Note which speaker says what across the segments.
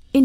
Speaker 1: verscheen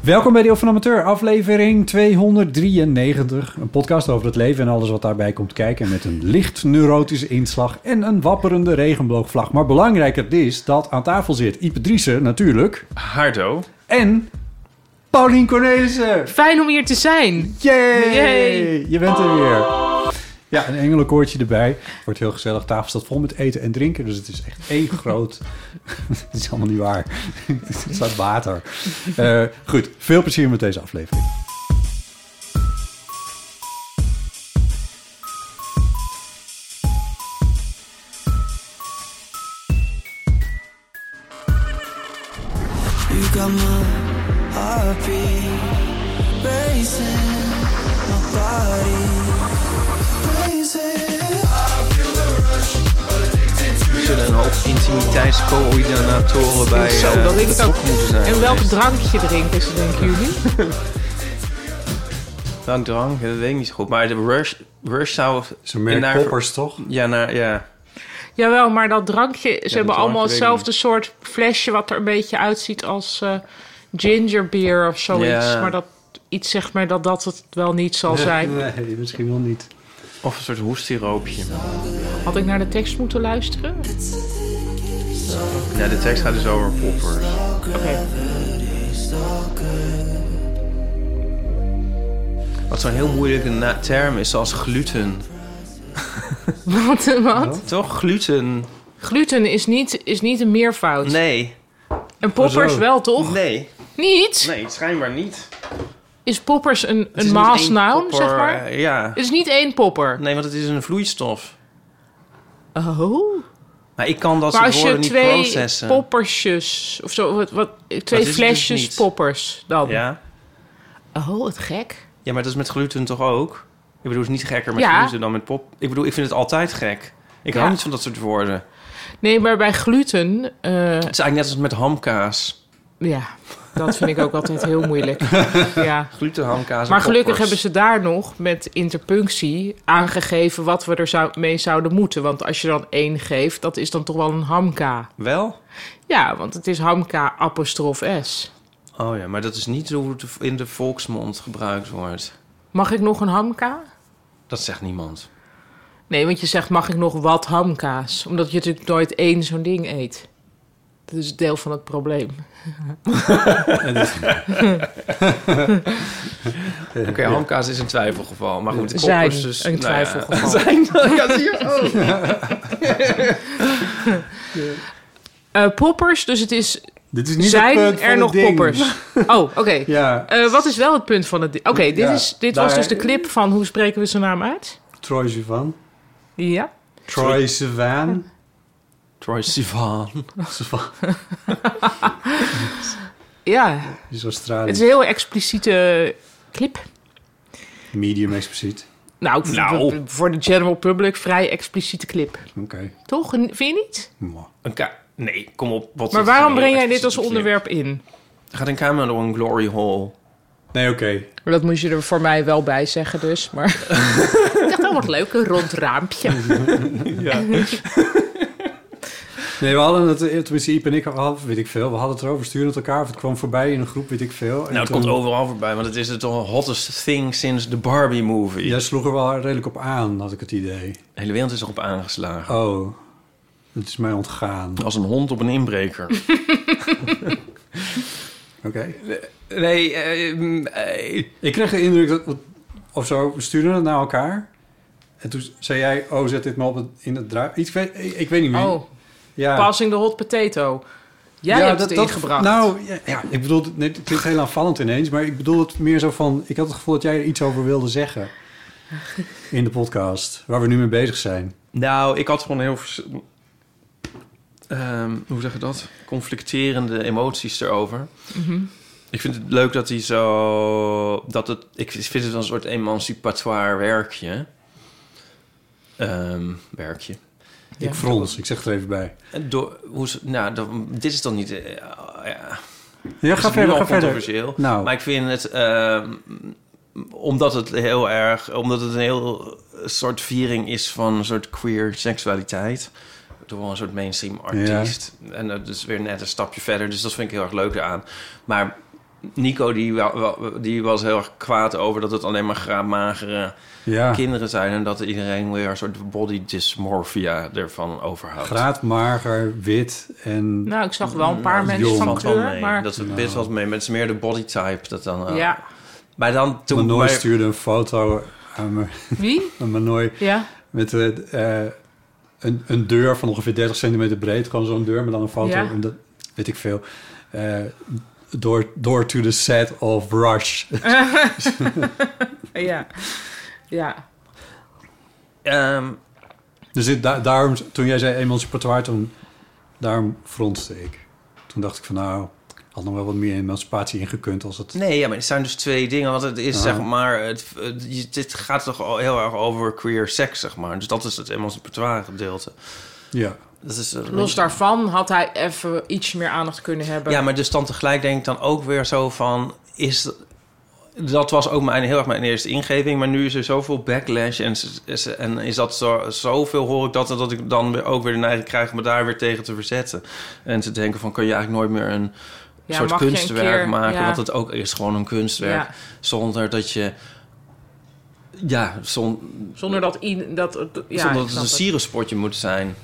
Speaker 2: Welkom bij Deel van Amateur, aflevering 293. Een podcast over het leven en alles wat daarbij komt kijken. Met een licht neurotische inslag en een wapperende regenboogvlag. Maar belangrijker is dat aan tafel zit Ipe Driessen natuurlijk.
Speaker 3: Hardo.
Speaker 2: En Paulien Cornelissen.
Speaker 4: Fijn om hier te zijn.
Speaker 2: Yay!
Speaker 4: Yay!
Speaker 2: Je bent er weer. Ja, een engelenkoortje erbij. Wordt heel gezellig. Tafel staat vol met eten en drinken. Dus het is echt één groot... Het is allemaal niet waar. Het staat water. Eh, goed, veel plezier met deze aflevering.
Speaker 5: You got my heartbeat racing, my body blazing.
Speaker 6: zullen een hoop intimiteitscoördinatoren bij
Speaker 4: Zo,
Speaker 6: eh,
Speaker 4: dat ik het ook.
Speaker 6: moeten zijn.
Speaker 4: En welk drankje drinken ze, denken jullie?
Speaker 6: Dank drank, Nou, dat weet ik niet zo goed. Maar de Rush, Rush zou...
Speaker 2: Ze merk
Speaker 6: naar-
Speaker 2: poppers, toch?
Speaker 6: Ja, naar, ja.
Speaker 4: Jawel, maar dat drankje, ze hebben
Speaker 6: drankje
Speaker 4: allemaal
Speaker 6: weet ik
Speaker 4: hetzelfde soort flesje wat er een beetje uitziet als eh ginger beer of zoiets.
Speaker 6: Ja.
Speaker 4: Maar dat iets zegt mij dat dat het wel niet zal zijn.
Speaker 2: Nee, misschien wel niet.
Speaker 6: Of een soort hoestiroopje.
Speaker 4: Had ik naar de tekst moeten luisteren? Oké.
Speaker 6: Ja, de tekst gaat dus over poppers. Wat zo'n heel moeilijke na- term is, zoals gluten.
Speaker 4: Wat, eh, wat?
Speaker 6: Toch? Gluten?
Speaker 4: Gluten is niet, is niet een meervoud.
Speaker 6: Nee.
Speaker 4: En poppers
Speaker 2: Zo.
Speaker 4: wel, toch?
Speaker 6: Nee.
Speaker 4: Niet?
Speaker 6: Nee, schijnbaar niet.
Speaker 4: Is poppers een,
Speaker 6: Het is
Speaker 4: een
Speaker 6: niet één
Speaker 4: maalsnaam,
Speaker 6: popper,
Speaker 4: zeg maar?
Speaker 6: eh, Ja.
Speaker 4: Het is niet één popper.
Speaker 6: Nee, want het is een vloeistof.
Speaker 4: Oh.
Speaker 6: Maar ik kan
Speaker 4: Maar
Speaker 6: dat soort
Speaker 4: als je
Speaker 6: woorden niet
Speaker 4: twee
Speaker 6: processen.
Speaker 4: poppersjes of zo, wat, wat, twee
Speaker 6: is het
Speaker 4: flesjes
Speaker 6: dus niet.
Speaker 4: poppers dan.
Speaker 6: Ja.
Speaker 4: Oh, wat gek.
Speaker 6: Ja, maar dat is met gluten toch ook? Ik bedoel, het is niet gekker met
Speaker 4: Ja.
Speaker 6: gluten dan met pop. Ik bedoel, ik vind het altijd gek. Ik
Speaker 4: Ja.
Speaker 6: hou niet van dat soort woorden.
Speaker 4: Nee, maar bij gluten, eh,
Speaker 6: Het is eigenlijk net als met hamkaas.
Speaker 4: ja, dat vind ik ook altijd heel moeilijk. Ja.
Speaker 6: Gluten, hamkaas en
Speaker 4: Maar gelukkig
Speaker 6: poppers.
Speaker 4: hebben ze daar nog met interpunctie aangegeven wat we er zou, mee zouden moeten. Want als je dan één geeft, dat is dan toch wel een hamka.
Speaker 6: Wel?
Speaker 4: Ja, want het is hamka apostrof s.
Speaker 6: Oh ja, maar dat is niet hoe het in de volksmond gebruikt wordt.
Speaker 4: Mag ik nog een hamka?
Speaker 6: Dat zegt niemand.
Speaker 4: Nee, want je zegt mag ik nog wat hamkaas? Omdat je natuurlijk nooit één zo'n ding eet. Dat is deel van het probleem.
Speaker 6: Oké, hamkaas is een twijfelgeval. Maar goed, de
Speaker 4: Zijn
Speaker 6: poppers dus...
Speaker 4: een
Speaker 6: nou ja.
Speaker 4: twijfelgeval.
Speaker 6: Zijn, ja, zie je? Oh.
Speaker 4: Eh, poppers, dus het is...
Speaker 2: Dit is niet
Speaker 4: zijn
Speaker 2: het punt van
Speaker 4: er
Speaker 2: het
Speaker 4: nog
Speaker 2: ding.
Speaker 4: poppers? Oh, oké.
Speaker 2: Ja,
Speaker 4: Eh, wat is wel het punt van het... di- Oké, dit,
Speaker 2: Ja,
Speaker 4: is, dit
Speaker 2: daar-
Speaker 4: was dus de clip van hoe spreken we zijn naam uit?
Speaker 2: Troy Sivan.
Speaker 4: Ja.
Speaker 2: Troy Sivan.
Speaker 6: Troy Sivan.
Speaker 2: Sivan.
Speaker 4: Ja,
Speaker 2: Die is
Speaker 4: het is
Speaker 2: Australisch.
Speaker 4: een heel expliciete clip.
Speaker 2: Medium expliciet.
Speaker 4: Nou, ik vind het voor de general public vrij expliciete clip.
Speaker 2: Oké.
Speaker 4: Toch? Vind je niet?
Speaker 2: Mwah.
Speaker 6: Een ka- nee, kom op. Wat
Speaker 4: Maar
Speaker 6: is het
Speaker 4: waarom
Speaker 6: een
Speaker 4: breng jij
Speaker 6: heel
Speaker 4: dit als
Speaker 6: expliciete
Speaker 4: onderwerp in?
Speaker 6: clip? Gaat een camera door een glory hole?
Speaker 2: Nee, oké.
Speaker 4: Maar Dat moest je er voor mij wel bij zeggen dus. Maar
Speaker 2: Mhm.
Speaker 4: ik dacht, oh wat leuk, een rond raampje.
Speaker 2: Nee, we hadden het, eh, tenminste Iep en ik hadden, weet ik veel, we hadden het erover, sturen het elkaar of het kwam voorbij in een groep, weet ik veel. En
Speaker 6: Nou, het
Speaker 2: toen-
Speaker 6: komt overal voorbij, want het is het toch een hottest thing sinds de Barbie-movie.
Speaker 2: Jij sloeg er wel redelijk op aan, had ik het idee.
Speaker 6: De hele wereld is erop aangeslagen.
Speaker 2: Oh, het is mij ontgaan.
Speaker 6: Als een hond op een inbreker.
Speaker 2: Oké.
Speaker 6: nee, eh, mm, eh,
Speaker 2: Ik kreeg de indruk dat, of zo, we sturen het naar elkaar. En toen zei jij, oh, zet dit maar op het, in het draai... Ik weet, ik, ik weet niet meer.
Speaker 4: Oh,
Speaker 2: ja.
Speaker 4: passing the hot potato. Jij hebt het ingebracht.
Speaker 2: Nou, ja, ja, ik bedoel, nee, het klinkt heel aanvallend ineens, maar ik bedoel het meer zo van, ik had het gevoel dat jij er iets over wilde zeggen in de podcast, waar we nu mee bezig zijn.
Speaker 6: nou, ik had gewoon heel... vers- ehm, hoe zeg je dat? Conflicterende emoties erover. Ik vind het leuk dat hij zo... Dat het, ik vind het een soort emancipatoire werkje. Ehm, werkje.
Speaker 4: Ja.
Speaker 2: Ik frons, ik zeg het er even bij.
Speaker 6: En Door, hoe, ze- nou, dan- dit is dan niet... eh, ja,
Speaker 2: Ja,
Speaker 6: is
Speaker 2: ga
Speaker 6: het nu
Speaker 2: verder,
Speaker 6: al
Speaker 2: ga verder.
Speaker 6: controversieel.
Speaker 2: Nou.
Speaker 6: Maar ik vind het... ehm, omdat het heel erg... Omdat het een heel soort viering is van een soort queer seksualiteit. Door een soort mainstream artiest. En dat is weer net een stapje verder. Dus dat vind ik heel erg leuk eraan. Maar Nico, die, wa- wa- die was heel erg kwaad over dat het alleen maar gra- magere
Speaker 2: Ja,
Speaker 6: kinderen zijn. En dat iedereen weer een soort body dysmorphia ervan overhoudt.
Speaker 2: graadmager, wit en...
Speaker 4: Nou, ik zag wel een paar
Speaker 6: Mm,
Speaker 4: mensen
Speaker 2: joh, Nou.
Speaker 4: van
Speaker 6: valt wel
Speaker 4: kleur,
Speaker 6: mee.
Speaker 4: maar...
Speaker 6: oh Dat is best wel mee. Met meer de bodytype dat dan. eh,
Speaker 4: Ja,
Speaker 6: Maar dan toen.
Speaker 2: Manoy
Speaker 6: maar-
Speaker 2: stuurde een foto aan me,
Speaker 4: wie?
Speaker 2: aan Manoy
Speaker 4: Ja.
Speaker 2: met eh, eh, een, een deur van ongeveer 30 centimeter breed. Gewoon zo'n deur, maar dan een foto.
Speaker 4: Ja.
Speaker 2: En dat weet ik veel. Eh, door, door to the set of Rush.
Speaker 4: Ja. Ja.
Speaker 6: Ehm,
Speaker 2: dus dit, da- daarom, toen jij zei emancipatoire, toen, daarom fronste ik. Toen dacht ik van nou, had nog wel wat meer emancipatie ingekund als het...
Speaker 6: nee, ja, maar het zijn dus twee dingen. Want het is zeg maar. Het, het- je- dit gaat toch al heel erg over queer seks, zeg maar. Dus dat is het emancipatoire gedeelte.
Speaker 2: Ja.
Speaker 6: Dat is, eh,
Speaker 4: Los daarvan had hij even iets meer aandacht kunnen hebben.
Speaker 6: Ja, maar dus dan tegelijk denk ik dan ook weer zo van... Is, dat was ook mijn, heel erg mijn eerste ingeving. Maar nu is er zoveel backlash en, s- is- en is dat zo, zoveel hoor ik dat... dat ik dan weer ook weer de neiging krijg me daar weer tegen te verzetten. En te denken van, kan je eigenlijk nooit meer een
Speaker 4: Ja,
Speaker 6: soort
Speaker 4: mag je een
Speaker 6: kunstwerk
Speaker 4: keer,
Speaker 6: maken?
Speaker 4: ja.
Speaker 6: Want het ook is gewoon een kunstwerk.
Speaker 4: Ja.
Speaker 6: Zonder dat je... Ja, zon,
Speaker 4: Zonder dat... i- dat, dat ja,
Speaker 6: zonder
Speaker 4: ik
Speaker 6: dat het
Speaker 4: snap
Speaker 6: een sirenspotje moet zijn.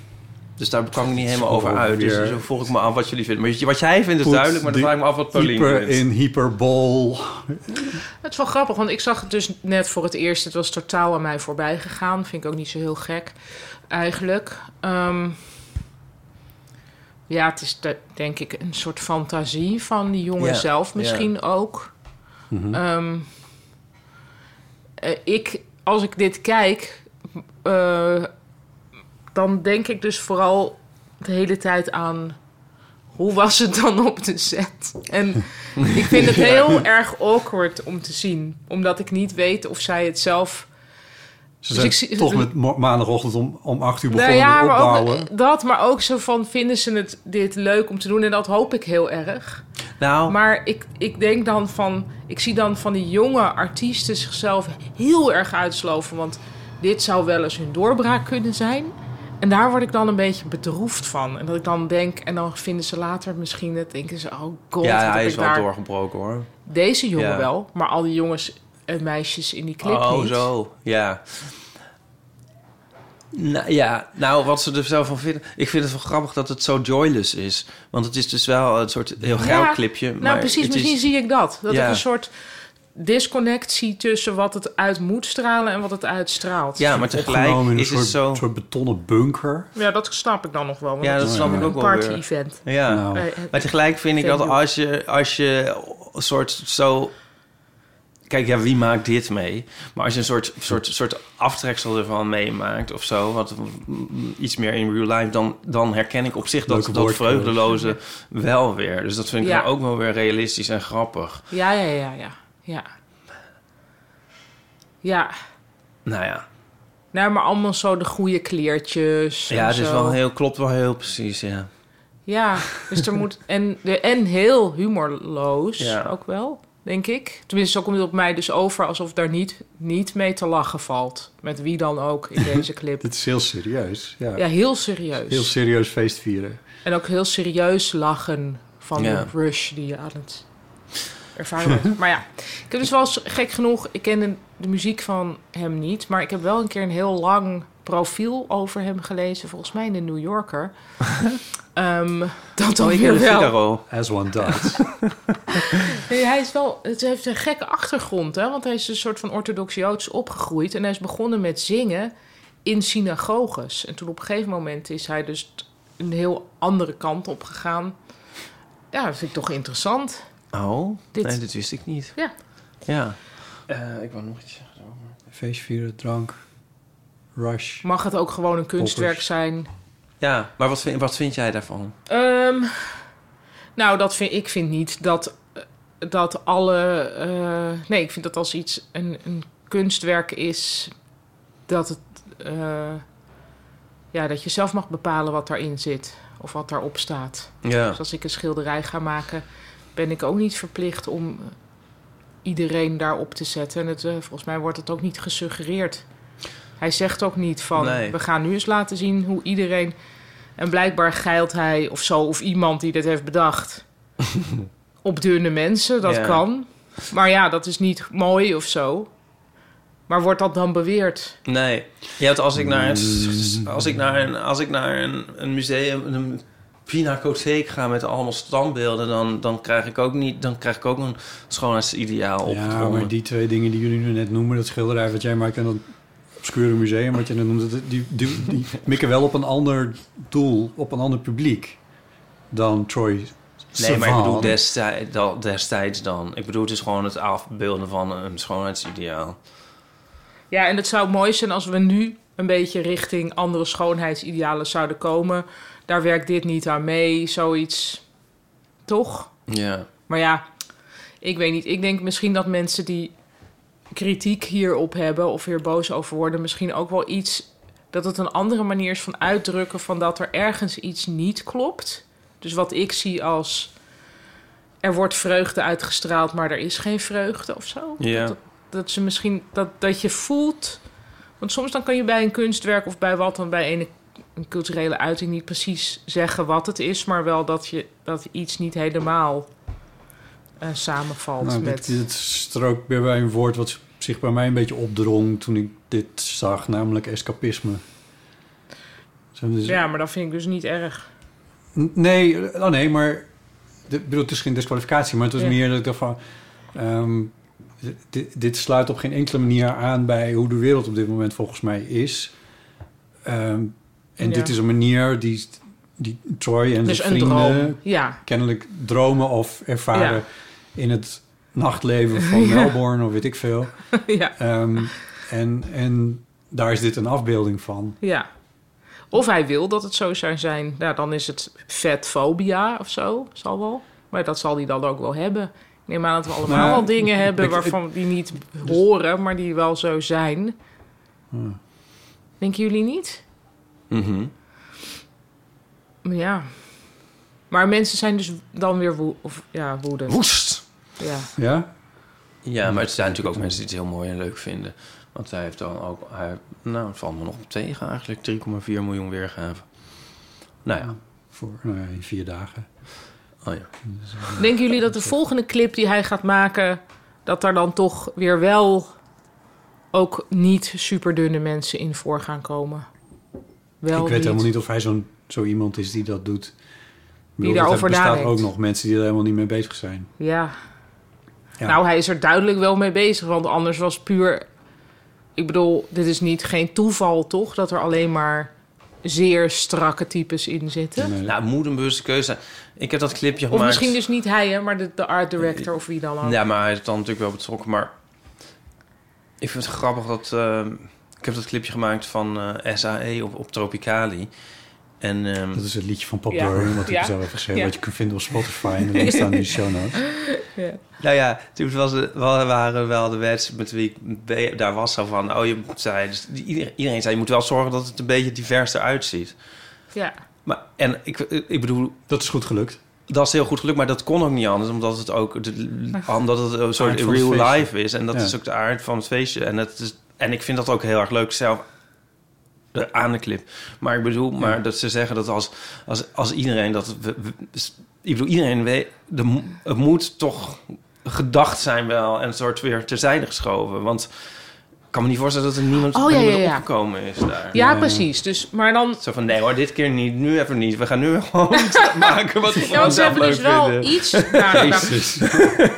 Speaker 6: Dus daar kwam ik niet helemaal
Speaker 2: Gewoon
Speaker 6: over uit. Dus
Speaker 2: weer-
Speaker 6: zo vroeg ik me af wat jullie vinden. Maar wat jij vindt is
Speaker 2: Goed,
Speaker 6: duidelijk, maar dan
Speaker 2: die
Speaker 6: vraag ik me af wat Pauline
Speaker 2: Hyper
Speaker 6: vindt.
Speaker 2: in hyperbol.
Speaker 4: Het is wel grappig, want ik zag het dus net voor het eerst. Het was totaal aan mij voorbij gegaan. Vind ik ook niet zo heel gek, eigenlijk. Ehm, ja, het is de- denk ik een soort fantasie van die jongen
Speaker 6: Ja,
Speaker 4: zelf
Speaker 6: ja. Mhm.
Speaker 4: misschien ook. Ehm, eh, ik, als ik dit kijk, eh, dan denk ik dus vooral de hele tijd aan... Hoe was het dan op de set? En ik vind het heel erg awkward om te zien. Omdat ik niet weet of zij het zelf...
Speaker 2: Ze
Speaker 4: Dus
Speaker 2: zijn
Speaker 4: ik zie-
Speaker 2: toch met mo- maandagochtend om, om acht uur begonnen
Speaker 4: Nou ja,
Speaker 2: met
Speaker 4: maar
Speaker 2: opbouwen.
Speaker 4: ook dat. Maar ook zo van, vinden ze het, dit leuk om te doen? En dat hoop ik heel erg.
Speaker 6: Nou,
Speaker 4: Maar ik, ik denk dan van... Ik zie dan van die jonge artiesten zichzelf heel erg uitsloven. Want dit zou wel eens hun doorbraak kunnen zijn. En daar word ik dan een beetje bedroefd van. En dat ik dan denk... En dan vinden ze later misschien... het denken ze, oh god, wat
Speaker 6: ja,
Speaker 4: heb
Speaker 6: hij is
Speaker 4: ik
Speaker 6: wel
Speaker 4: daar
Speaker 6: doorgebroken hoor.
Speaker 4: Deze jongen
Speaker 6: Ja.
Speaker 4: wel, maar al die jongens en meisjes in die clip
Speaker 6: oh,
Speaker 4: niet.
Speaker 6: zo. Ja. Nou, ja, nou, wat ze er zelf van vinden. Ik vind het wel grappig dat het zo joyless is. Want het is dus wel een soort heel geil
Speaker 4: Ja,
Speaker 6: clipje.
Speaker 4: Nou,
Speaker 6: maar
Speaker 4: precies.
Speaker 6: het
Speaker 4: Misschien
Speaker 6: is,
Speaker 4: zie ik dat. Dat
Speaker 6: Ja.
Speaker 4: ik een soort disconnect zie tussen wat het uit moet stralen en wat het uitstraalt.
Speaker 6: Ja, maar
Speaker 2: Opgenomen in
Speaker 6: tegelijk
Speaker 2: een
Speaker 6: is
Speaker 2: soort,
Speaker 6: het zo...
Speaker 2: soort betonnen bunker.
Speaker 4: Ja, dat snap ik dan nog wel. Want
Speaker 6: Ja, dat
Speaker 4: is
Speaker 6: snap ik ook
Speaker 4: een
Speaker 6: wel weer.
Speaker 4: party-event.
Speaker 6: Ja.
Speaker 2: Nou.
Speaker 4: Eh, eh,
Speaker 6: Maar tegelijk vind ik dat
Speaker 4: Venue.
Speaker 6: als je, als je een soort zo... Kijk, ja, wie maakt dit mee? Maar als je een soort, soort, soort aftreksel ervan meemaakt of zo... Wat, mm, iets meer in real life, dan, dan herken ik op zich dat,
Speaker 2: Leuke
Speaker 6: dat
Speaker 2: woordkeus.
Speaker 6: vreugdeloze wel weer. Dus dat vind ik
Speaker 4: Ja.
Speaker 6: dan ook wel weer realistisch en grappig.
Speaker 4: Ja, ja, ja, ja. Ja. Ja.
Speaker 6: Nou ja,
Speaker 4: Nou, maar allemaal zo de goede kleertjes. en
Speaker 6: ja het is
Speaker 4: zo.
Speaker 6: wel heel, klopt wel heel precies, ja.
Speaker 4: Ja, dus er moet... En, en heel humorloos
Speaker 6: Ja.
Speaker 4: ook wel. denk ik. Tenminste, zo komt het op mij dus over alsof daar niet, niet mee te lachen valt. Met wie dan ook in deze clip.
Speaker 2: Dit is heel serieus. Ja.
Speaker 4: ja, heel serieus.
Speaker 2: Heel serieus feest vieren.
Speaker 4: En ook heel serieus lachen van
Speaker 6: Ja.
Speaker 4: de rush die je aan het ervaren bent. maar ja, ik heb dus wel eens, gek genoeg... Ik ken de, de muziek van hem niet... maar ik heb wel een keer een heel lang profiel over hem gelezen. Volgens mij in de New Yorker. Ehm, dat dan
Speaker 6: Oh, ik
Speaker 4: weer
Speaker 6: in de
Speaker 4: wel.
Speaker 6: Figaro.
Speaker 2: As one does.
Speaker 4: Nee, hij is wel, het heeft een gekke achtergrond, hè? want hij is een soort van orthodox Joods opgegroeid. En hij is begonnen met zingen in synagoges. En toen op een gegeven moment is hij dus t- een heel andere kant op gegaan. Ja, dat vind ik toch interessant.
Speaker 6: Oh,
Speaker 4: Dit-
Speaker 6: nee, dat wist ik niet.
Speaker 4: Ja.
Speaker 6: Ja. Eh, ik wou nog iets zeggen.
Speaker 2: feest vieren, drank, rush.
Speaker 4: Mag het ook gewoon een kunstwerk
Speaker 2: Poppers.
Speaker 4: zijn?
Speaker 6: Ja, maar wat vind, wat vind jij daarvan?
Speaker 4: Ehm, nou, dat vind, ik vind niet dat, eh, dat alle... eh, nee, ik vind dat als iets een, een kunstwerk is... dat, het, eh, ja, dat je zelf mag bepalen wat daarin zit. Of wat daarop staat.
Speaker 6: Ja.
Speaker 4: Dus als ik een schilderij ga maken... ben ik ook niet verplicht om iedereen daarop te zetten. En het, eh, volgens mij wordt dat ook niet gesuggereerd. Hij zegt ook niet van...
Speaker 6: Nee.
Speaker 4: we gaan nu eens laten zien hoe iedereen... En blijkbaar geilt hij of zo, of iemand die dit heeft bedacht. op dunne mensen, dat
Speaker 6: Ja.
Speaker 4: kan. Maar ja, dat is niet mooi of zo. Maar wordt dat dan beweerd?
Speaker 6: Nee. Je hebt als ik naar een, als ik naar een, als ik naar een, een museum, een pinacotheek ga met allemaal standbeelden, dan, dan krijg ik ook niet, dan krijg ik ook een schoonheidsideaal
Speaker 2: Ja,
Speaker 6: opgedrongen.
Speaker 2: maar die twee dingen die jullie nu net noemen, dat schilderij wat jij maakt en dat obscure museum wat je net noemt, dat- die, die, die mikken wel op een ander doel, op een ander publiek dan Troy
Speaker 6: Nee, maar ik bedoel
Speaker 2: Sivan.
Speaker 6: destij- da- destijds dan. Ik bedoel, het is gewoon het afbeelden van een schoonheidsideaal.
Speaker 4: Ja, en het zou mooi zijn als we nu een beetje richting andere schoonheidsidealen zouden komen. Daar werkt dit niet aan mee, zoiets. Toch?
Speaker 6: Ja.
Speaker 4: Maar ja, ik weet niet. Ik denk misschien dat mensen die kritiek hierop hebben of hier boos over worden, misschien ook wel iets dat het een andere manier is van uitdrukken van dat er ergens iets niet klopt. Dus wat ik zie als er wordt vreugde uitgestraald, maar er is geen vreugde of zo.
Speaker 6: Ja.
Speaker 4: Dat, dat ze misschien dat, dat je voelt. Want soms dan kan je bij een kunstwerk of bij wat dan bij een, een culturele uiting niet precies zeggen wat het is, maar wel dat je dat iets niet helemaal eh, samenvalt
Speaker 2: Nou,
Speaker 4: met.
Speaker 2: dit, dit strookt weer bij een woord wat zich bij mij een beetje opdrong toen ik dit zag, namelijk escapisme. Zo, dus-
Speaker 4: Ja, maar dat vind ik dus niet erg.
Speaker 2: N- Nee, oh nee, maar... de- Ik bedoel, het is geen disqualificatie, maar het was
Speaker 4: Ja.
Speaker 2: meer dat ik dacht van... ehm, dit, dit sluit op geen enkele manier aan bij hoe de wereld op dit moment volgens mij is. Ehm, en
Speaker 4: Ja.
Speaker 2: dit is een manier die, die Troy en
Speaker 4: Dus
Speaker 2: zijn
Speaker 4: een
Speaker 2: vrienden
Speaker 4: droom. Ja.
Speaker 2: kennelijk dromen of ervaren in het nachtleven van Melbourne of weet ik veel.
Speaker 4: ja.
Speaker 2: Ehm, en, en daar is dit een afbeelding van.
Speaker 4: Ja. Of hij wil dat het zo zou zijn. Nou, dan is het vetfobia of zo. Zal wel. Maar dat zal hij dan ook wel hebben. Ik neem aan dat we allemaal
Speaker 2: Nou,
Speaker 4: wel dingen hebben
Speaker 2: ik- dus-
Speaker 4: waarvan die niet horen, maar die wel zo zijn. Denken jullie niet?
Speaker 6: Mhm.
Speaker 4: Ja. Maar mensen zijn dus dan weer woe of, ja, woedend.
Speaker 6: Woest!
Speaker 4: Ja.
Speaker 2: Ja?
Speaker 6: Ja, maar het zijn natuurlijk ook mensen die het heel mooi en leuk vinden. Want hij heeft dan ook... Hij, nou, het valt me nog op tegen eigenlijk. 3,4 miljoen weergaven. Nou ja.
Speaker 2: Voor nou ja, in vier dagen.
Speaker 6: Oh ja.
Speaker 4: Denken jullie dat de volgende clip die hij gaat maken, dat daar dan toch weer wel ook niet superdunne mensen in voor gaan komen? Wel
Speaker 2: ik weet helemaal niet of hij zo'n zo iemand is die dat doet. Ik bedoel,
Speaker 4: daarover
Speaker 2: Er bestaan
Speaker 4: nadenkt.
Speaker 2: ook nog mensen die er helemaal niet mee bezig zijn.
Speaker 4: Ja.
Speaker 2: Ja.
Speaker 4: Nou, hij is er duidelijk wel mee bezig, want anders was puur. Ik bedoel, dit is niet geen toeval toch dat er alleen maar zeer strakke types in zitten.
Speaker 2: Nee.
Speaker 6: Nou, het moet een bewuste keuze zijn. Ik heb dat clipje
Speaker 4: Of
Speaker 6: gemaakt.
Speaker 4: misschien dus niet hij, hè, maar de, de art director of wie dan ook.
Speaker 6: Ja, maar hij is dan natuurlijk wel betrokken. Maar ik vind het grappig dat... ehm, ik heb dat clipje gemaakt van eh, SAE op, op Tropicali. En ehm,
Speaker 2: Dat is het liedje van Pop
Speaker 4: Ja.
Speaker 2: Dorin, wat ik
Speaker 4: Ja.
Speaker 2: zelf heb geschreven.
Speaker 4: Ja.
Speaker 2: Wat je kunt vinden op Spotify. En de link staan in de show notes.
Speaker 6: Nou ja, toen was het, wa- waren wel de mensen met wie ik be- daar was zo van. Oh, je moet- zei, dus die- iedereen, iedereen zei, je moet wel zorgen dat het een beetje divers eruit ziet.
Speaker 4: Ja.
Speaker 6: Maar, en ik, ik bedoel,
Speaker 2: Dat is goed gelukt.
Speaker 6: dat is heel goed gelukt, maar dat kon ook niet anders, omdat het ook de, omdat het een soort
Speaker 2: Aard van het
Speaker 6: real
Speaker 2: feestje.
Speaker 6: life is en dat
Speaker 2: Ja.
Speaker 6: is ook de aard van het feestje. En dat is en ik vind dat ook heel erg leuk zelf eh, aan de clip. Maar ik bedoel, maar dat ze zeggen dat als als als iedereen dat we- we- ik bedoel iedereen weet, de, mo- het moet toch gedacht zijn wel en een soort weer terzijde geschoven, want ik kan me niet voorstellen dat er niemand
Speaker 4: Oh,
Speaker 6: bij
Speaker 4: ja, ja,
Speaker 6: niemand
Speaker 4: ja.
Speaker 6: opgekomen is daar.
Speaker 4: Ja, precies. Dus, maar dan...
Speaker 6: Zo van, nee hoor, dit keer niet, nu even niet. We gaan nu gewoon iets maken wat we
Speaker 4: Ja, want
Speaker 6: gewoon
Speaker 4: ze
Speaker 6: zelf
Speaker 4: hebben
Speaker 6: leuk
Speaker 4: dus wel
Speaker 6: vinden.
Speaker 4: iets... daar- daar-
Speaker 2: Jezus.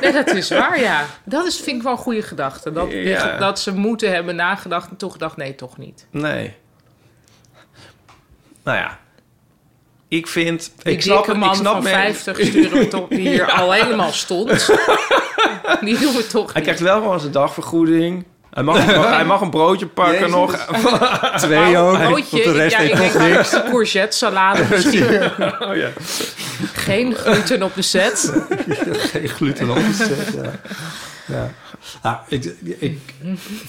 Speaker 4: nee, dat is waar, ja. Dat is, vind ik wel een goede gedachte. Dat,
Speaker 6: Ja.
Speaker 4: dat ze moeten hebben nagedacht en toch gedacht, nee, toch niet.
Speaker 6: Nee. Nou ja. Ik vind...
Speaker 4: Die
Speaker 6: ik snap,
Speaker 4: dikke
Speaker 6: het,
Speaker 4: man
Speaker 6: ik snap
Speaker 4: van
Speaker 6: men-
Speaker 4: 50 sturen we toch, die hier al helemaal stond. Die doen we toch
Speaker 6: Hij
Speaker 4: niet.
Speaker 6: krijgt wel gewoon zijn dagvergoeding. Hij mag, hij mag- hij mag een broodje pakken
Speaker 2: Jezus.
Speaker 6: nog.
Speaker 2: Twee ook. want
Speaker 4: Broodje,
Speaker 2: de rest
Speaker 4: ja, ik
Speaker 2: eet
Speaker 4: denk
Speaker 2: toch
Speaker 4: dat
Speaker 2: niks.
Speaker 4: is een courgette salade misschien.
Speaker 6: Oh ja.
Speaker 4: Geen gluten op de set.
Speaker 2: Geen gluten op gezet, ja. ja. Nou, ik, ik,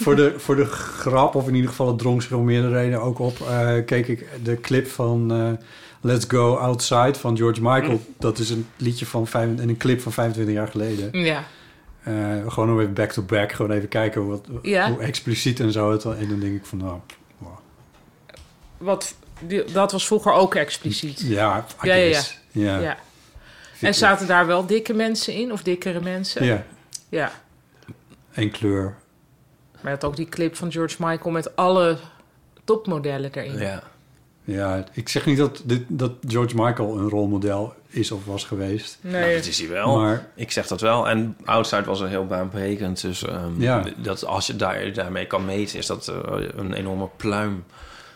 Speaker 2: voor, de, voor de grap, of in ieder geval het drong zich om meerdere redenen ook op... eh, keek ik de clip van eh, Let's Go Outside van George Michael. Dat is een liedje van vijf, en een clip van 25 jaar geleden.
Speaker 4: Ja.
Speaker 2: Eh, gewoon om even back-to-back, gewoon even kijken hoe, wat,
Speaker 4: Ja.
Speaker 2: hoe expliciet en zo het al. En dan denk ik van, nou,
Speaker 4: Wat, die- dat was vroeger ook expliciet.
Speaker 2: ja, I
Speaker 4: Ja, ja,
Speaker 2: guess. Ja,
Speaker 4: Ja.
Speaker 2: Vind
Speaker 4: En
Speaker 2: ik-
Speaker 4: zaten daar wel dikke mensen in? Of dikkere mensen?
Speaker 2: Ja,
Speaker 4: ja.
Speaker 2: en kleur.
Speaker 4: Maar je had ook die clip van George Michael met alle topmodellen erin.
Speaker 6: ja.
Speaker 2: Ja, ik zeg niet dat, dit, dat George Michael een rolmodel is of was geweest.
Speaker 6: Nou,
Speaker 4: Nee.
Speaker 6: dat is hij wel.
Speaker 2: Maar-
Speaker 6: ik zeg dat wel. En Outside was een heel baanbrekend. Dus ehm,
Speaker 2: Ja.
Speaker 6: dat als je daar, daarmee kan meten, is dat eh, een enorme pluim.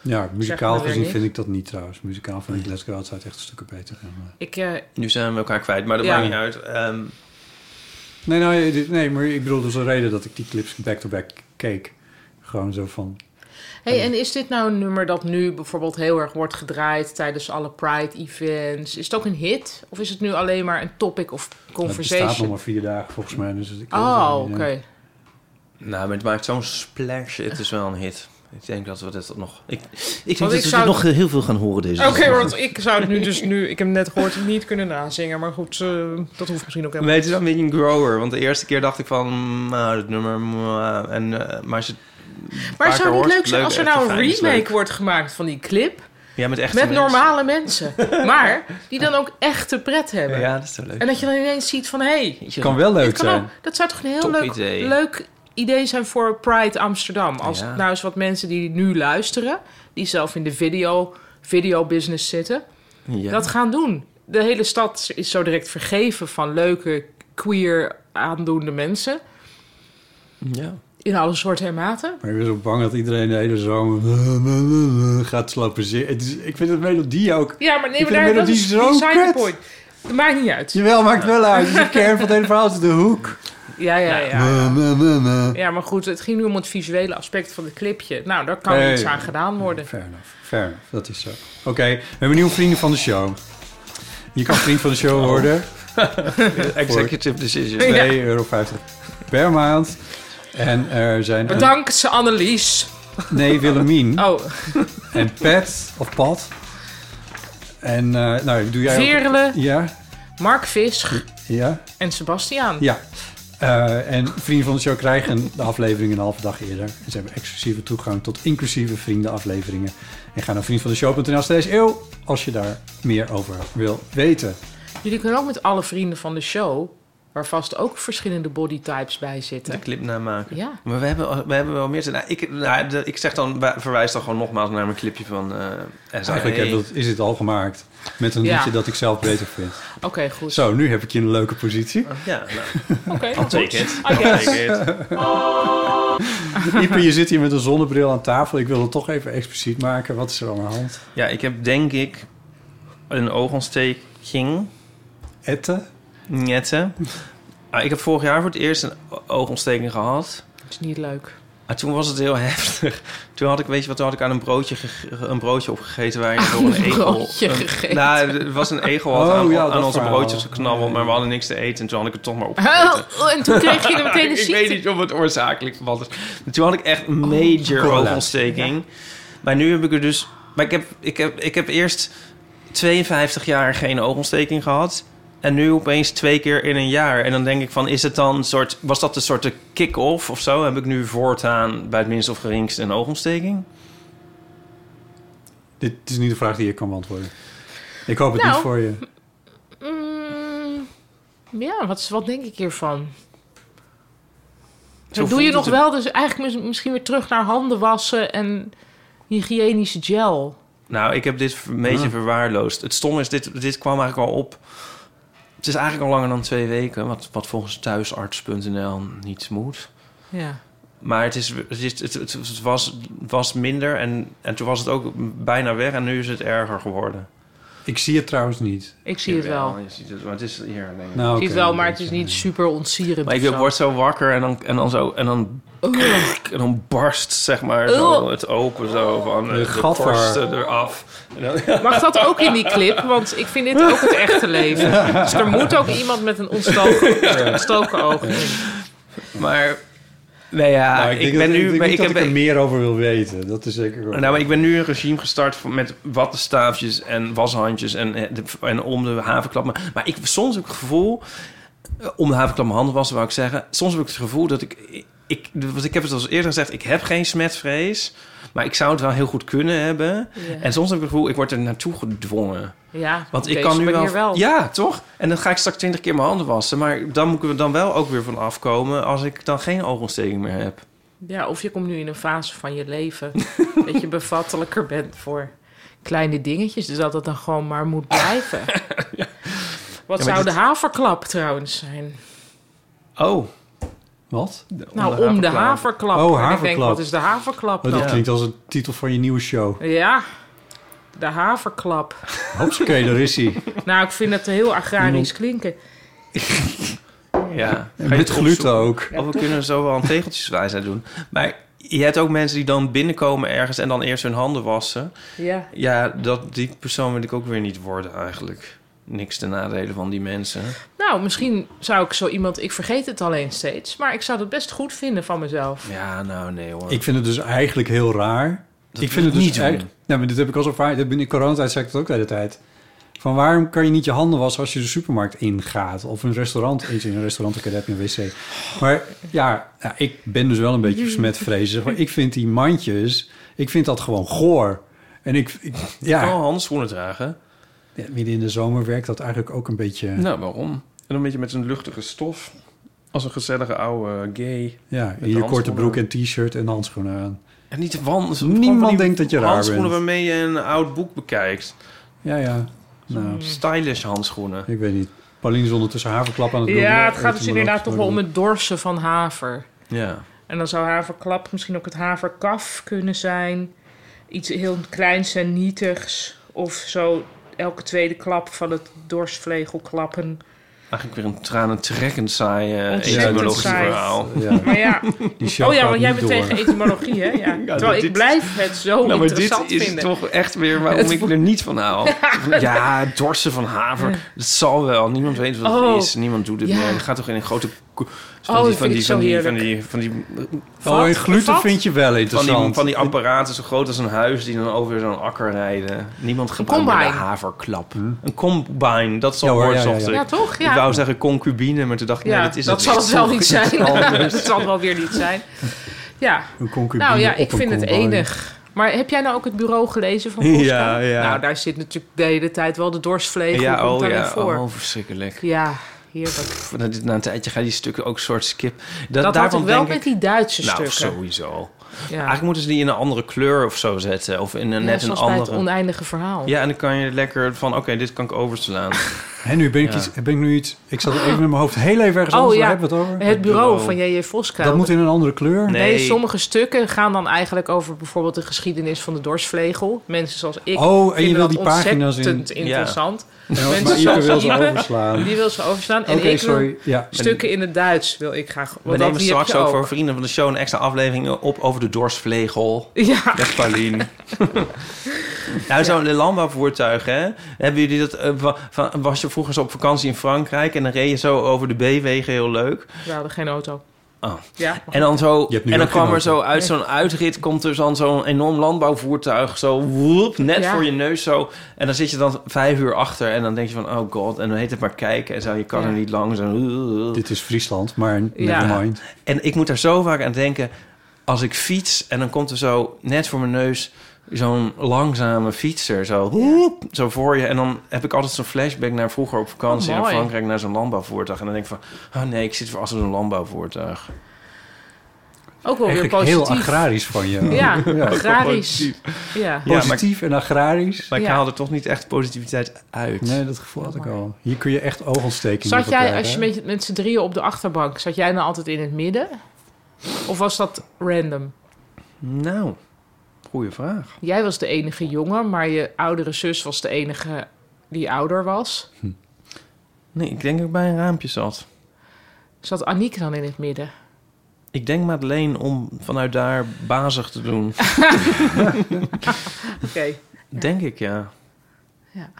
Speaker 2: Ja, muzikaal
Speaker 4: maar weer
Speaker 2: gezien
Speaker 4: niet.
Speaker 2: vind ik dat niet trouwens. Muzikaal vind ik Let's Go Outside echt stukken beter. En, eh,
Speaker 4: Ik, eh,
Speaker 6: Nu zijn we elkaar kwijt, maar dat
Speaker 4: Ja.
Speaker 6: maakt niet uit. Ehm,
Speaker 2: Nee, nou, dit- nee, maar ik bedoel, dus een reden dat ik die clips back-to-back keek. Gewoon zo van...
Speaker 4: hey, en is dit nou een nummer dat nu bijvoorbeeld heel erg wordt gedraaid tijdens alle Pride-events? Is het ook een hit? Of is het nu alleen maar een topic of
Speaker 2: Het bestaat nog
Speaker 4: conversation?
Speaker 2: maar vier dagen volgens mij. Dus ik
Speaker 4: Oh, oké.
Speaker 2: ja.
Speaker 6: eh, Nou, maar het maakt zo'n splash. Het is wel een hit. Ik denk dat we dit nog... Ik, ik
Speaker 4: Want
Speaker 6: denk
Speaker 4: ik
Speaker 6: dat we
Speaker 4: zou-
Speaker 6: dit nog heel veel gaan horen deze
Speaker 4: Oké,
Speaker 6: dag.
Speaker 4: want ik zou het nu dus nu... Ik heb net gehoord niet kunnen nazingen, maar goed, eh, dat hoeft misschien ook helemaal
Speaker 6: Weet je, dan ben je een grower. Want de eerste keer dacht ik van... mm, Nou, dit nummer... mm, eh, en, eh, maar als je het een paar
Speaker 4: Maar zou
Speaker 6: keer
Speaker 4: het
Speaker 6: hoort,
Speaker 4: niet leuk zijn als er
Speaker 6: echt
Speaker 4: nou een
Speaker 6: fijn, is leuk.
Speaker 4: remake wordt gemaakt van die clip?
Speaker 6: Ja, met echte
Speaker 4: Met
Speaker 6: mensen.
Speaker 4: normale mensen. Maar die dan ook echte pret hebben.
Speaker 6: Ja, dat is zo leuk.
Speaker 4: En dat je dan ineens ziet van... Hé, hey,
Speaker 2: kan wel leuk
Speaker 4: dit kan
Speaker 2: zijn.
Speaker 4: ook- dat zou toch een heel
Speaker 6: Top
Speaker 4: leuk
Speaker 6: idee.
Speaker 4: leuk idee zijn voor Pride Amsterdam. Als
Speaker 6: Ja.
Speaker 4: nou eens wat mensen die nu luisteren... die zelf in de video, video business zitten...
Speaker 6: Ja.
Speaker 4: dat gaan doen. De hele stad is zo direct vergeven van leuke, queer aandoende mensen...
Speaker 6: ja.
Speaker 4: in alle soorten en maten.
Speaker 2: Maar ik ben zo bang dat iedereen de hele zomer gaat slopen zingen. Het is- Ik vind het melodie ook...
Speaker 4: Ja, maar
Speaker 2: Ik
Speaker 4: nee, maar
Speaker 2: vind
Speaker 4: daar,
Speaker 2: de
Speaker 4: dat
Speaker 2: melodie
Speaker 4: is
Speaker 2: zo
Speaker 4: beside
Speaker 2: kut.
Speaker 4: the point. Dat maakt niet uit.
Speaker 2: Jawel, maakt wel uit. Het is de kern van het hele verhaal het is de hoek.
Speaker 4: Ja, ja, ja.
Speaker 2: Me, me, me.
Speaker 4: Ja, maar goed, het ging nu om het visuele aspect van het clipje. Nou, daar kan
Speaker 2: Nee.
Speaker 4: iets aan gedaan worden.
Speaker 2: Fair enough, fair enough. Dat is zo. Oké, we hebben nieuwe vrienden van de show. Je kan vriend van de show worden.
Speaker 6: Oh. Executive decision.
Speaker 4: Ja.
Speaker 2: 2,50 euro per maand. En er zijn...
Speaker 4: Bedankt, ze Annelies.
Speaker 2: Nee, Willemien.
Speaker 4: Oh,
Speaker 2: En Pet, of Pat. En, eh, nou, doe jij ook-
Speaker 4: Verle,
Speaker 2: Ja,
Speaker 4: Mark Visch
Speaker 2: ja,
Speaker 4: en Sebastiaan.
Speaker 2: ja. Eh, en vrienden van de show krijgen de aflevering een halve dag eerder. En ze hebben exclusieve toegang tot inclusieve vriendenafleveringen. En ga naar vriendvandeshow.nl slash eeuw als je daar meer over wil weten.
Speaker 4: Jullie kunnen ook met alle vrienden van de show, waar vast ook verschillende bodytypes bij
Speaker 6: De
Speaker 4: zitten.
Speaker 6: clip namaken.
Speaker 4: Ja.
Speaker 6: Maar we hebben, al- we hebben wel meer te... Nou, ik, nou, de- ik zeg dan, wa- verwijs dan gewoon nogmaals naar mijn clipje van eh SIA.
Speaker 2: Eigenlijk heb dat- is dit al gemaakt met een
Speaker 4: Ja.
Speaker 2: liedje dat ik zelf beter vind.
Speaker 4: Oké, goed.
Speaker 2: Zo, nu heb ik je in een leuke positie.
Speaker 6: Ja, nou,
Speaker 4: Oké,
Speaker 6: I'll
Speaker 4: goed.
Speaker 6: take it.
Speaker 4: I
Speaker 6: I'll
Speaker 4: guess.
Speaker 6: take it.
Speaker 2: Ieper, je zit hier met een zonnebril aan tafel. Ik wil het toch even expliciet maken. Wat is er aan de hand?
Speaker 6: Ja, ik heb denk ik een oogontsteking.
Speaker 2: Ette?
Speaker 6: Nette. Ah, ik heb vorig jaar voor het eerst een o- oogontsteking gehad.
Speaker 4: Dat is niet leuk.
Speaker 6: Maar toen was het heel heftig. Toen had ik, weet je wat, toen had ik aan een broodje, gege- een broodje opgegeten waar je door een,
Speaker 4: een
Speaker 6: egel...
Speaker 4: broodje
Speaker 6: een-
Speaker 4: gegeten.
Speaker 6: Nou, er was een egel had
Speaker 2: Oh,
Speaker 6: aan,
Speaker 2: ja, dat
Speaker 6: aan onze
Speaker 2: verhaal.
Speaker 6: broodjes geknabbeld,
Speaker 2: Ja.
Speaker 6: maar we hadden niks te eten. En toen had ik het toch maar opgegeten.
Speaker 4: Oh, en toen kreeg je er meteen een
Speaker 6: ik weet
Speaker 4: ziekte.
Speaker 6: niet of het oorzakelijk was. Maar Toen had ik echt een major
Speaker 2: cola's.
Speaker 6: oogontsteking. Maar nu heb ik er dus... Maar ik heb, ik heb, ik heb eerst 52 jaar geen oogontsteking gehad. En nu opeens twee keer in een jaar. En dan denk ik van, is het dan een soort... Was dat een soort de kick-off of zo? Heb ik nu voortaan bij het minst of geringst een oogontsteking?
Speaker 2: Dit is niet de vraag die ik kan beantwoorden. Ik hoop het
Speaker 4: Nou.
Speaker 2: niet voor je.
Speaker 4: Mm, ja, wat, is- wat denk ik hiervan?
Speaker 6: Zo
Speaker 4: Zo doe je
Speaker 6: voelt
Speaker 4: nog
Speaker 6: het-
Speaker 4: wel, dus eigenlijk mis- misschien weer terug naar handen wassen en hygiënisch gel.
Speaker 6: Nou, ik heb dit een beetje
Speaker 2: Ah.
Speaker 6: verwaarloosd. Het stom is, dit, dit kwam eigenlijk al op... Het is eigenlijk al langer dan twee weken. Wat, wat volgens thuisarts.nl niet moet.
Speaker 4: Ja.
Speaker 6: Maar het, is, het, is, het, het- het was, was minder en, en toen was het ook bijna weg en nu is het erger geworden.
Speaker 2: Ik zie het trouwens niet.
Speaker 4: Ik zie het wel.
Speaker 6: Je ziet het, maar het is hier. Denk
Speaker 2: Nou,
Speaker 4: Ik
Speaker 6: ik.
Speaker 4: zie
Speaker 2: oké,
Speaker 4: het wel, maar
Speaker 2: dat
Speaker 4: het is
Speaker 6: eh,
Speaker 4: niet super ontsierend.
Speaker 6: Maar ik
Speaker 4: of
Speaker 6: wil-
Speaker 4: zo.
Speaker 6: word zo wakker en dan, en dan zo en dan, en dan barst zeg maar zo
Speaker 4: Ugh.
Speaker 6: het open zo van de,
Speaker 2: Een
Speaker 6: de
Speaker 2: gat voor haar.
Speaker 6: korsten eraf. En dan-
Speaker 4: Mag dat ook in die clip? Want ik vind dit ook het echte leven. Dus er moet ook iemand met een ontstoken, ontstoken oog in.
Speaker 6: maar nee ja,
Speaker 2: Nou,
Speaker 6: Ah, ik,
Speaker 2: denk
Speaker 6: ben
Speaker 2: dat-
Speaker 6: nu
Speaker 2: Ik denk
Speaker 6: maar
Speaker 2: niet
Speaker 6: ik
Speaker 2: dat
Speaker 6: heb
Speaker 2: ik er meer over wil weten. Dat is zeker wel.
Speaker 6: Nou, maar ik ben nu een regime gestart van- met wattenstaafjes en washandjes en, eh, de- en om de havenklap. Maar, maar ik soms heb ik het gevoel, eh, om de havenklap mijn handen wassen, wou ik zeggen. Soms heb ik het gevoel dat ik, ik, want ik heb het al eens eerder gezegd, ik heb geen smetvrees. Maar ik zou het wel heel goed kunnen hebben. En soms heb ik het gevoel, ik word er naartoe gedwongen.
Speaker 4: Ja,
Speaker 6: Want
Speaker 4: op
Speaker 6: ik
Speaker 4: deze
Speaker 6: kan nu wel,
Speaker 4: manier wel.
Speaker 6: Ja, toch? En dan ga ik straks twintig keer mijn handen wassen. Maar dan moet ik er dan wel ook weer van afkomen als ik dan geen oogontsteking meer heb.
Speaker 4: Ja, of je komt nu in een fase van je leven dat je bevattelijker bent voor kleine dingetjes. Dus dat het dan gewoon maar moet blijven. Wat
Speaker 6: maar
Speaker 4: zou
Speaker 6: dit-
Speaker 4: de haverklap trouwens zijn?
Speaker 6: Oh.
Speaker 2: Wat?
Speaker 4: nou, om de haverklap.
Speaker 2: Oh,
Speaker 4: En Ik denk,
Speaker 2: haverklap.
Speaker 4: wat is de haverklap
Speaker 2: Oh,
Speaker 4: dan?
Speaker 2: dat klinkt als een titel van je nieuwe show.
Speaker 4: Ja, de haverklap.
Speaker 2: Hopsakee, daar is hij.
Speaker 4: Nou, ik vind het heel agrarisch klinken.
Speaker 6: Ja.
Speaker 2: En met gluten ook.
Speaker 6: Of we kunnen zo wel een tegeltjeswijsheid doen. Maar je hebt ook mensen die dan binnenkomen ergens en dan eerst hun handen wassen.
Speaker 4: Ja.
Speaker 6: Ja, dat, die persoon wil ik ook weer niet worden eigenlijk. Niks ten nadele van die mensen.
Speaker 4: Nou, misschien zou ik zo iemand... Ik vergeet het alleen steeds. Maar ik zou dat best goed vinden van mezelf.
Speaker 6: Ja, nou nee hoor.
Speaker 2: Ik vind het dus eigenlijk heel raar.
Speaker 6: Dat
Speaker 2: ik
Speaker 6: wil
Speaker 2: vind het
Speaker 6: ik
Speaker 2: dus
Speaker 6: niet doen.
Speaker 2: eigenlijk- Nou, maar dit heb ik al zo vaak. dit- In coronatijd zei ik dat ook de hele tijd. Van waarom kan je niet je handen wassen als je de supermarkt ingaat? Of een restaurant. Eens in een restaurant, oké, daar heb je een wc. Maar ja, nou, ik ben dus wel een beetje besmetvrees. Zeg maar ik vind die mandjes, ik vind dat gewoon goor. En ik, ik ja,
Speaker 6: Oh, handschoenen dragen.
Speaker 2: ja, midden in de zomer werkt dat eigenlijk ook een beetje...
Speaker 6: Nou, waarom? En een beetje met een luchtige stof. Als een gezellige oude gay.
Speaker 2: Ja, in
Speaker 6: de
Speaker 2: je korte
Speaker 6: handschoenen.
Speaker 2: broek en t-shirt en handschoenen aan.
Speaker 6: En niet de wan- gewoon
Speaker 2: Niemand
Speaker 6: van die
Speaker 2: denkt dat je raar
Speaker 6: Handschoenen
Speaker 2: bent.
Speaker 6: waarmee je een oud boek bekijkt. Hmm.
Speaker 2: Ja, ja. Nou,
Speaker 6: Stylish handschoenen.
Speaker 2: ik weet niet. Pauline is ondertussen haverklap aan het doen.
Speaker 6: eh,
Speaker 4: Ja, het gaat dus
Speaker 2: Eten
Speaker 4: inderdaad
Speaker 2: maar
Speaker 4: toch
Speaker 2: ook
Speaker 4: wel om het dorsen van haver.
Speaker 6: Ja.
Speaker 4: En dan zou haverklap misschien ook het haverkaf kunnen zijn. Iets heel kleins en nietigs. Of zo elke tweede klap van het dorsvlegel klappen.
Speaker 6: Eigenlijk weer een tranentrekkend saai eh,
Speaker 4: Ontzettend
Speaker 6: etymologisch
Speaker 4: saai.
Speaker 6: verhaal.
Speaker 2: Ja.
Speaker 4: Maar ja,
Speaker 2: Die show
Speaker 4: oh ja,
Speaker 2: gaat
Speaker 4: want jij
Speaker 2: niet
Speaker 4: bent
Speaker 2: door.
Speaker 4: tegen etymologie, hè? Ja. Terwijl ik
Speaker 6: dit-
Speaker 4: blijf het zo
Speaker 6: Nou, maar dit
Speaker 4: Oh, interessant
Speaker 6: is
Speaker 4: vinden.
Speaker 6: toch echt weer waarom ik er niet van hou. Ja, dorsen van haver. Het zal wel. Niemand weet wat
Speaker 4: Oh.
Speaker 6: het is. Niemand doet het
Speaker 4: Ja.
Speaker 6: meer. Je gaat toch in een grote... ko- Van
Speaker 4: Oh,
Speaker 6: die,
Speaker 4: dat
Speaker 6: van
Speaker 4: vind
Speaker 6: die,
Speaker 4: ik zo
Speaker 6: van die, van
Speaker 4: heerlijk.
Speaker 6: die, van die,
Speaker 2: Oh, en
Speaker 4: Vat,
Speaker 2: gluten
Speaker 4: vat.
Speaker 2: vind je wel
Speaker 6: van
Speaker 2: interessant.
Speaker 6: die, van die apparaten zo groot als een huis... die dan over zo'n akker rijden. Niemand gebruikt meer de
Speaker 4: combine.
Speaker 6: haverklap. Een combine, dat zal
Speaker 2: Hm? Ja hoor,
Speaker 6: woord
Speaker 2: ja, ja,
Speaker 6: zocht
Speaker 2: ja.
Speaker 6: ik.
Speaker 4: Ja, toch?
Speaker 6: Ik
Speaker 4: Ja,
Speaker 6: wou zeggen concubine, maar toen dacht ik...
Speaker 4: ja
Speaker 6: nee,
Speaker 4: dat,
Speaker 6: dat is
Speaker 4: zal het wel niet zijn. dat
Speaker 6: anders.
Speaker 4: zal het wel weer niet zijn. Ja,
Speaker 2: Een concubine
Speaker 4: nou ja,
Speaker 2: op
Speaker 4: ik
Speaker 2: een
Speaker 4: vind het
Speaker 2: combine.
Speaker 4: enig. Maar heb jij nou ook het bureau gelezen van Posca?
Speaker 6: Ja, ja.
Speaker 4: Nou, daar zit natuurlijk de hele tijd wel de dorsvlegel
Speaker 6: Ja,
Speaker 4: komt
Speaker 6: oh
Speaker 4: daarin
Speaker 6: ja.
Speaker 4: voor.
Speaker 6: Oh, verschrikkelijk.
Speaker 4: Ja, heerlijk.
Speaker 6: Pff, na, dit- na een tijdje ga je die stukken ook soort skip.
Speaker 4: Dat, had
Speaker 6: daarvan
Speaker 4: ik wel
Speaker 6: denk
Speaker 4: met die Duitse
Speaker 6: Nou,
Speaker 4: stukken.
Speaker 6: sowieso.
Speaker 4: Ja.
Speaker 6: Eigenlijk moeten ze die in een andere kleur of zo zetten. Of in een,
Speaker 4: Ja,
Speaker 6: net een
Speaker 4: zoals bij het
Speaker 6: andere.
Speaker 4: oneindige verhaal.
Speaker 6: Ja, en dan kan je lekker van, oké, dit kan ik overslaan.
Speaker 2: En nu ben ik,
Speaker 6: Ja.
Speaker 2: iets, ben ik nu iets... Ik zat even in mijn hoofd heel even ergens
Speaker 4: Oh,
Speaker 2: anders.
Speaker 4: ja. nou.
Speaker 2: Waar hebben we het over?
Speaker 4: Het bureau
Speaker 6: bureau.
Speaker 4: van J.J. Voska.
Speaker 2: Dat moet in een andere kleur.
Speaker 4: Nee,
Speaker 6: Nee.
Speaker 4: sommige stukken gaan dan eigenlijk over bijvoorbeeld de geschiedenis van de dorsvlegel. Mensen zoals ik
Speaker 2: Oh, en je
Speaker 4: vinden
Speaker 2: wil
Speaker 4: dat
Speaker 2: die pagina's in-
Speaker 4: ontzettend
Speaker 6: Ja.
Speaker 4: interessant.
Speaker 2: En
Speaker 4: Mensen
Speaker 2: maar Ipe
Speaker 4: zoals
Speaker 2: wil ze
Speaker 4: Ipe,
Speaker 2: overslaan.
Speaker 4: Die wil ze overstaan. En
Speaker 2: Oké,
Speaker 4: ik wil
Speaker 2: sorry. Ja.
Speaker 4: stukken in het Duits wil ik graag. Want
Speaker 6: We
Speaker 4: dat
Speaker 6: nemen
Speaker 4: die heb
Speaker 6: straks
Speaker 4: je
Speaker 6: ook voor vrienden van de show een extra aflevering op over de dorsvlegel.
Speaker 4: Ja,
Speaker 6: Echt, Paulien. nou, zo'n landbouwvoertuig, hè? Hebben jullie dat... eh, wa- van- was je vroeger zo op vakantie in Frankrijk en dan reed je zo over de B-wegen heel leuk.
Speaker 4: we hadden geen auto.
Speaker 6: Oh.
Speaker 4: Ja.
Speaker 6: En dan, zo,
Speaker 2: Je hebt nu
Speaker 6: en dan
Speaker 2: ook geen
Speaker 6: kwam er
Speaker 2: auto.
Speaker 6: zo uit zo'n uitrit, komt er dan zo'n enorm landbouwvoertuig, zo woep, net
Speaker 4: Ja.
Speaker 6: voor je neus zo. En dan zit je dan vijf uur achter en dan denk je van, oh god, en dan heet het maar kijken en zo, je kan
Speaker 4: Ja.
Speaker 6: er niet lang. Zo,
Speaker 2: Dit is Friesland, maar
Speaker 4: Ja. Oh,
Speaker 2: never mind.
Speaker 6: En ik moet daar zo vaak aan denken, als ik fiets en dan komt er zo net voor mijn neus zo'n langzame fietser, zo woep, zo voor je. En dan heb ik altijd zo'n flashback naar vroeger op vakantie
Speaker 4: Oh,
Speaker 6: in
Speaker 4: mooi.
Speaker 6: Frankrijk, naar zo'n landbouwvoertuig. En dan denk ik van, oh nee, ik zit vast in een landbouwvoertuig.
Speaker 4: Ook wel weer
Speaker 2: Eigenlijk heel
Speaker 4: positief.
Speaker 2: agrarisch van je.
Speaker 4: Ja, agrarisch. Ja.
Speaker 6: Ja, maar-
Speaker 2: Positief en agrarisch.
Speaker 6: Maar ik
Speaker 4: Ja.
Speaker 6: haalde toch niet echt positiviteit uit.
Speaker 2: Nee, dat gevoel had ik al. Hier kun je echt oogontstekingen
Speaker 4: Zat jij,
Speaker 2: verkrijgen,
Speaker 4: als je
Speaker 2: hè?
Speaker 4: met, met z'n drieën op de achterbank, zat jij nou altijd in het midden? Of was dat random?
Speaker 6: Nou, goede vraag.
Speaker 4: Jij was de enige jongen, maar je oudere zus was de enige die ouder was.
Speaker 6: Nee, ik denk dat ik bij een raampje zat.
Speaker 4: Zat Aniek dan in het midden?
Speaker 6: Ik denk Madeleine om vanuit daar bazig te doen.
Speaker 4: Oké.
Speaker 6: Denk ik, ja.
Speaker 4: Ja.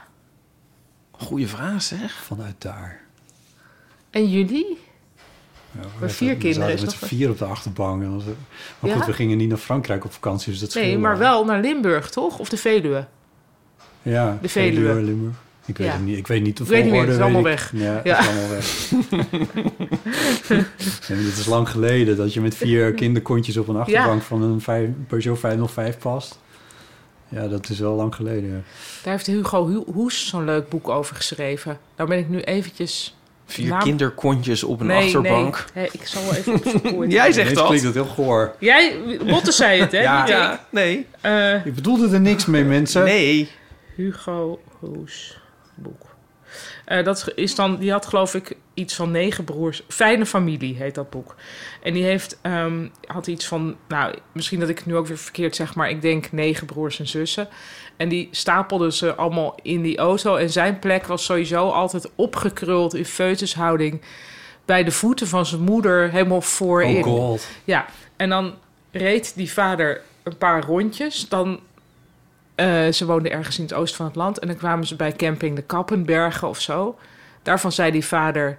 Speaker 6: Goeie vraag, zeg.
Speaker 2: Vanuit daar.
Speaker 4: En jullie?
Speaker 2: Ja, we
Speaker 4: vier
Speaker 2: zaten
Speaker 4: kinderen is
Speaker 2: met
Speaker 4: dat wel-
Speaker 2: vier op de achterbank. En dat- Maar
Speaker 4: Ja?
Speaker 2: goed, we gingen niet naar Frankrijk op vakantie, dus dat
Speaker 4: Nee,
Speaker 2: scheelde
Speaker 4: maar wel naar Limburg, toch? Of de Veluwe?
Speaker 2: Ja,
Speaker 4: de Veluwe.
Speaker 2: Limburg. Ik weet
Speaker 4: Ja.
Speaker 2: het niet. Ik weet niet de
Speaker 4: Ik weet niet meer, het is
Speaker 2: volgorde,
Speaker 4: allemaal
Speaker 2: weet ik. Ja, het
Speaker 4: Ja.
Speaker 2: is allemaal weg. Nee, maar dit is lang geleden dat je met vier kinderkontjes op een achterbank van een vijf, Peugeot 505 past. Ja, dat is wel lang geleden. ja.
Speaker 4: Daar heeft Hugo Hu- Hoes zo'n leuk boek over geschreven. Daar ben ik nu eventjes...
Speaker 6: Vier
Speaker 4: Naam-
Speaker 6: kinderkontjes op een achterbank.
Speaker 4: Nou. Nee, Hé, ik zal wel even opzoeken. hoe het-
Speaker 6: Jij
Speaker 2: Ineens
Speaker 6: zegt dat?
Speaker 2: klinkt dat heel goor.
Speaker 4: Jij, Botte zei het, hè?
Speaker 2: Ja.
Speaker 4: niet ik.
Speaker 6: Ja, nee.
Speaker 4: Eh,
Speaker 2: Ik bedoelde er niks mee, mensen.
Speaker 6: Nee.
Speaker 4: Hugo Hoes boek. Eh, dat is dan, die had geloof ik iets van negen broers. Fijne familie heet dat boek. En die heeft, ehm, had iets van, nou, misschien dat ik het nu ook weer verkeerd zeg, maar ik denk negen broers en zussen. En die stapelden ze allemaal in die auto. En zijn plek was sowieso altijd opgekruld in feutushouding. Bij de voeten van zijn moeder, helemaal voorin.
Speaker 2: Oh god.
Speaker 4: Ja, en dan reed die vader een paar rondjes. Dan, eh, ze woonden ergens in het oosten van het land. En dan kwamen ze bij camping de Kappenbergen of zo. Daarvan zei die vader,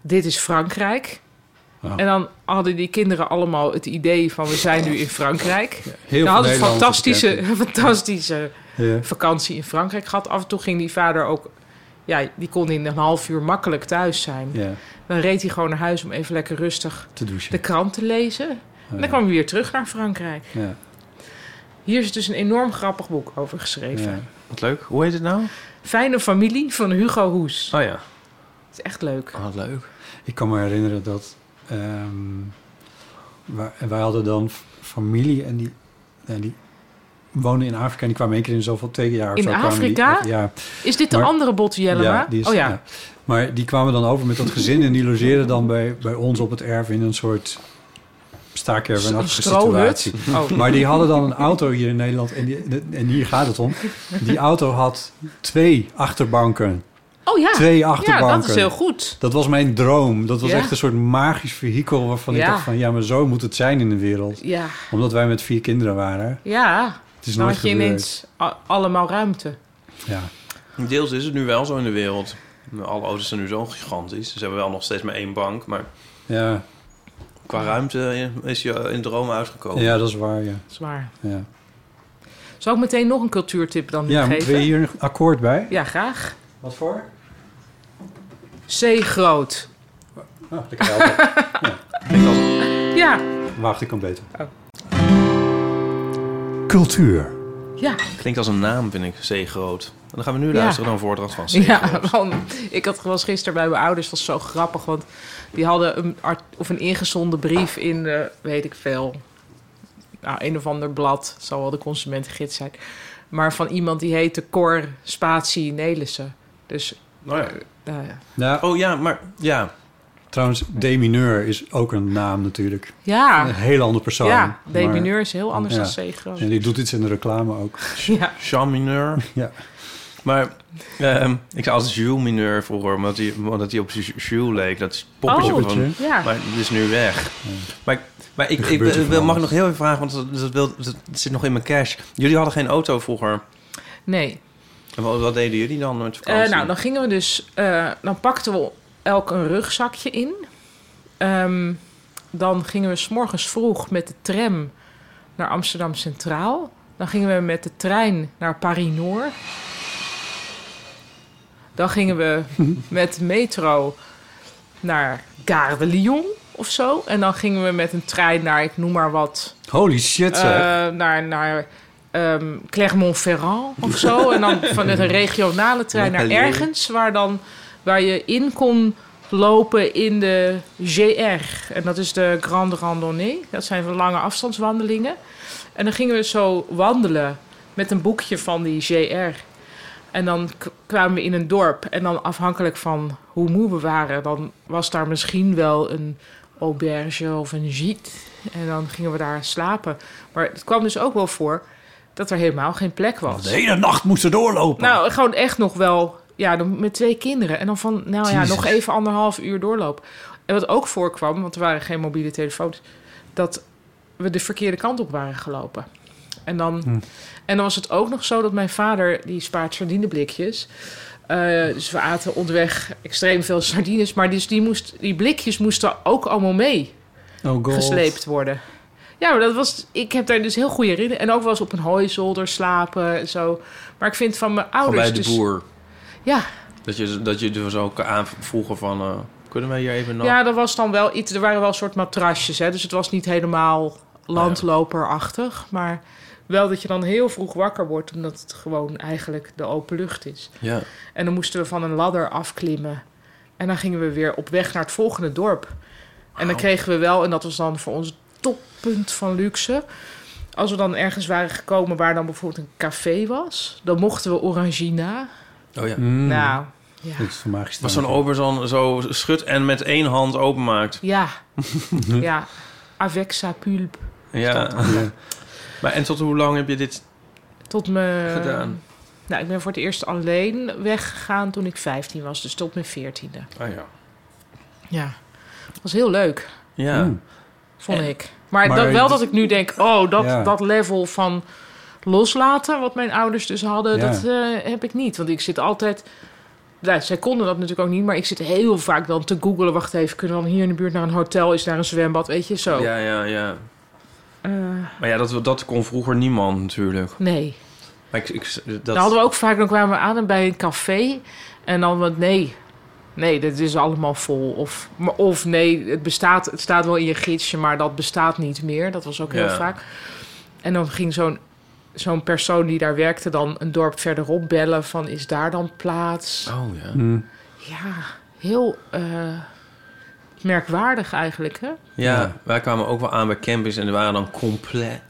Speaker 4: dit is Frankrijk.
Speaker 2: Oh.
Speaker 4: En dan hadden die kinderen allemaal het idee van... we zijn nu in Frankrijk.
Speaker 2: Heel veel
Speaker 4: dan hadden ze een
Speaker 2: Nederlanders
Speaker 4: Nou fantastische, fantastische
Speaker 2: Ja.
Speaker 4: vakantie in Frankrijk gehad. Af en toe ging die vader ook... ja, die kon in een half uur makkelijk thuis zijn.
Speaker 2: ja,
Speaker 4: Dan reed hij gewoon naar huis om even lekker rustig
Speaker 2: te douchen.
Speaker 4: de krant te lezen. En dan kwam hij weer terug naar Frankrijk.
Speaker 2: Ja,
Speaker 4: Hier is dus een enorm grappig boek over geschreven.
Speaker 2: ja.
Speaker 6: Wat leuk. Hoe heet het nou?
Speaker 4: Fijne familie van Hugo Hoes.
Speaker 6: Oh ja.
Speaker 4: Het is echt leuk.
Speaker 6: Oh, wat leuk.
Speaker 2: Ik kan me herinneren dat ehm, wa- wij hadden dan f- familie en die, en die woonden in Afrika en die kwamen één keer in zoveel twee jaar. of
Speaker 4: In
Speaker 2: zo kwamen die-
Speaker 4: Afrika?
Speaker 2: ja,
Speaker 4: Is dit de
Speaker 2: Maar-
Speaker 4: andere Botte Jellema?
Speaker 2: ja, die is-
Speaker 4: oh ja.
Speaker 2: ja. Maar die kwamen dan over met dat gezin en die logeerden dan bij, bij ons op het erf in een soort
Speaker 4: een
Speaker 2: staakervenachtige
Speaker 4: strohut.
Speaker 2: situatie.
Speaker 4: Oh.
Speaker 2: Maar die hadden dan een auto hier in Nederland en, die, en hier gaat het om. Die auto had twee achterbanken.
Speaker 4: oh ja.
Speaker 2: Twee
Speaker 4: Ja, dat
Speaker 2: achterbanken.
Speaker 4: is heel goed.
Speaker 2: Dat was mijn droom. Dat was
Speaker 4: Ja?
Speaker 2: echt een soort magisch vehikel waarvan ik
Speaker 4: Ja.
Speaker 2: dacht van... ja, maar zo moet het zijn in de wereld.
Speaker 4: Ja,
Speaker 2: Omdat wij met vier kinderen waren.
Speaker 4: ja.
Speaker 2: Het is
Speaker 4: Dan
Speaker 2: nooit
Speaker 4: had je
Speaker 2: gebeurd.
Speaker 4: ineens a- allemaal ruimte.
Speaker 2: Ja.
Speaker 6: Deels is het nu wel zo in de wereld. Alle auto's zijn nu zo gigantisch. Ze hebben wel nog steeds maar één bank. Maar
Speaker 2: Ja.
Speaker 6: qua ruimte is je in droom uitgekomen.
Speaker 2: ja, dat is waar, ja.
Speaker 4: Zwaar.
Speaker 2: Ja,
Speaker 4: Zou ik meteen nog een cultuurtip dan
Speaker 2: ja
Speaker 4: geven?
Speaker 2: moeten we hier een akkoord bij?
Speaker 4: Ja, graag.
Speaker 2: Wat voor?
Speaker 4: C groot.
Speaker 2: Oh, dat kan helpen.
Speaker 4: Ja.
Speaker 2: Wacht, ik kan beter.
Speaker 4: Oh.
Speaker 2: Cultuur.
Speaker 4: Ja.
Speaker 6: Klinkt als een naam, vind ik. Zeegroot. En dan gaan we nu
Speaker 4: Ja.
Speaker 6: luisteren naar een voordracht van Zeegroot.
Speaker 4: Ja, want ik had was gisteren bij mijn ouders, was zo grappig, want die hadden een art- of een ingezonden brief in, eh, weet ik veel, nou, een of ander blad, het zal wel de consumentengids zijn, maar van iemand die heette Cor Spatie Nelissen. Dus
Speaker 6: Nou ja.
Speaker 4: eh,
Speaker 2: Nou,
Speaker 6: Oh ja, maar ja.
Speaker 2: trouwens, D-mineur is ook een naam natuurlijk.
Speaker 4: ja,
Speaker 2: Een hele andere persoon.
Speaker 4: ja,
Speaker 2: maar-
Speaker 4: D mineur is heel anders
Speaker 2: Ja.
Speaker 4: dan C groot.
Speaker 2: En die doet iets in de reclame ook.
Speaker 4: Ja.
Speaker 6: Jean Mineur.
Speaker 2: Ja.
Speaker 6: Maar ehm, ik zei altijd Jules Mineur vroeger, omdat hij, omdat hij op Ju- Jules leek. Dat is poppetje
Speaker 4: Oh,
Speaker 6: van...
Speaker 4: ja.
Speaker 6: Maar het is nu weg. Maar, maar ik,
Speaker 2: Er
Speaker 6: ik,
Speaker 2: gebeurt er
Speaker 6: wil-
Speaker 2: van
Speaker 6: mag
Speaker 2: alles.
Speaker 6: nog heel even vragen, want dat, dat, wil, dat zit nog in mijn cash. Jullie hadden geen auto vroeger.
Speaker 4: Nee.
Speaker 6: En Wat, wat deden jullie dan met
Speaker 4: Eh,
Speaker 6: vakantie?
Speaker 4: nou, dan gingen we dus, eh, dan pakten we elk een rugzakje in. Ehm, dan gingen we s'morgens vroeg met de tram naar Amsterdam Centraal. Dan gingen we met de trein naar Paris-Noord. Dan gingen we met de metro naar Gare de Lyon of zo. En dan gingen we met een trein naar, ik noem maar wat...
Speaker 2: Holy shit, zeg.
Speaker 4: eh, naar naar ehm, Clermont-Ferrand of zo. en dan vanuit een regionale trein naar
Speaker 6: Montpellier.
Speaker 4: ergens... waar, dan, waar je in kon lopen in de GR. En dat is de Grande Randonnée. Dat zijn van lange afstandswandelingen. En dan gingen we zo wandelen met een boekje van die GR. En dan k- kwamen we in een dorp. En dan afhankelijk van hoe moe we waren, dan was daar misschien wel een auberge of een gîte. En dan gingen we daar slapen. Maar het kwam dus ook wel voor dat er helemaal geen plek was.
Speaker 2: De hele nacht moesten doorlopen.
Speaker 4: Nou, gewoon echt nog wel. Ja, dan met twee kinderen. En dan van, nou ja,
Speaker 2: Jezus.
Speaker 4: nog even anderhalf uur doorloop. En wat ook voorkwam, want er waren geen mobiele telefoons, dat we de verkeerde kant op waren gelopen. En dan, en dan was het ook nog zo dat mijn vader, die spaart sardineblikjes. eh, dus we aten onderweg extreem veel sardines. Maar dus die, moest, die blikjes moesten ook allemaal mee
Speaker 2: oh god.
Speaker 4: gesleept worden. Ja, maar dat was. Ik heb daar dus heel goede herinneringen. En ook wel eens op een hooizolder slapen en zo. Maar ik vind van mijn
Speaker 6: Gewoon
Speaker 4: ouders.
Speaker 6: bij de
Speaker 4: dus,
Speaker 6: boer.
Speaker 4: Ja,
Speaker 6: Dat je, dat je dus ook aanvroegen van... eh, kunnen wij hier even... na-
Speaker 4: ja, er was dan wel iets. Er waren wel een soort matrasjes. Hè, dus het was niet helemaal
Speaker 6: Nou
Speaker 4: landloperachtig. Maar wel dat je dan heel vroeg wakker wordt. Omdat het gewoon eigenlijk de open lucht is.
Speaker 6: ja.
Speaker 4: En dan moesten we van een ladder afklimmen. En dan gingen we weer op weg naar het volgende dorp. En dan kregen we wel, en dat was dan voor ons het toppunt van luxe. Als we dan ergens waren gekomen waar dan bijvoorbeeld een café was, dan mochten we Orangina.
Speaker 6: Oh ja.
Speaker 2: Mm.
Speaker 4: Nou, ja.
Speaker 2: Dat is van mij gestaan.
Speaker 6: Was zo'n ober zo, zo schudt en met één hand openmaakt.
Speaker 4: Ja. ja. Avec sa pulp.
Speaker 6: Ja.
Speaker 2: Ja.
Speaker 6: Maar en tot hoe lang heb je dit
Speaker 4: Tot me.
Speaker 6: gedaan?
Speaker 4: Nou, ik ben voor het eerst alleen weggegaan toen ik 15 was, dus tot mijn 14e.
Speaker 6: Ah ja.
Speaker 4: Ja. Was heel leuk.
Speaker 6: Ja.
Speaker 2: Mm.
Speaker 4: vond ik. Maar,
Speaker 2: Maar
Speaker 4: dat, wel
Speaker 2: dit-
Speaker 4: dat ik nu denk, oh, dat,
Speaker 2: Ja.
Speaker 4: dat level van loslaten, wat mijn ouders dus hadden,
Speaker 2: Ja.
Speaker 4: dat eh, heb ik niet. Want ik zit altijd. Nou, zij konden dat natuurlijk ook niet, maar ik zit heel vaak dan te googelen. Wacht even, kunnen we dan hier in de buurt naar een hotel? Is daar een zwembad? Weet je zo.
Speaker 6: Ja, ja, ja.
Speaker 4: Eh,
Speaker 6: Maar ja, dat, dat kon vroeger niemand natuurlijk.
Speaker 4: nee.
Speaker 6: Maar ik, ik, dat,
Speaker 4: Dan Nou, hadden we ook vaak, dan kwamen we aan en bij een café. En dan wat, nee, nee, dit is allemaal vol. Of, maar- of nee, het, bestaat, het staat wel in je gidsje, maar dat bestaat niet meer. Dat was ook heel
Speaker 6: Ja.
Speaker 4: vaak. En dan ging zo'n zo'n persoon die daar werkte dan een dorp verderop bellen van... is daar dan plaats?
Speaker 6: Oh ja.
Speaker 2: Mm.
Speaker 4: Ja, heel eh, merkwaardig eigenlijk, hè?
Speaker 6: ja.
Speaker 2: Ja.
Speaker 6: wij kwamen ook wel aan bij campus en er waren dan compleet.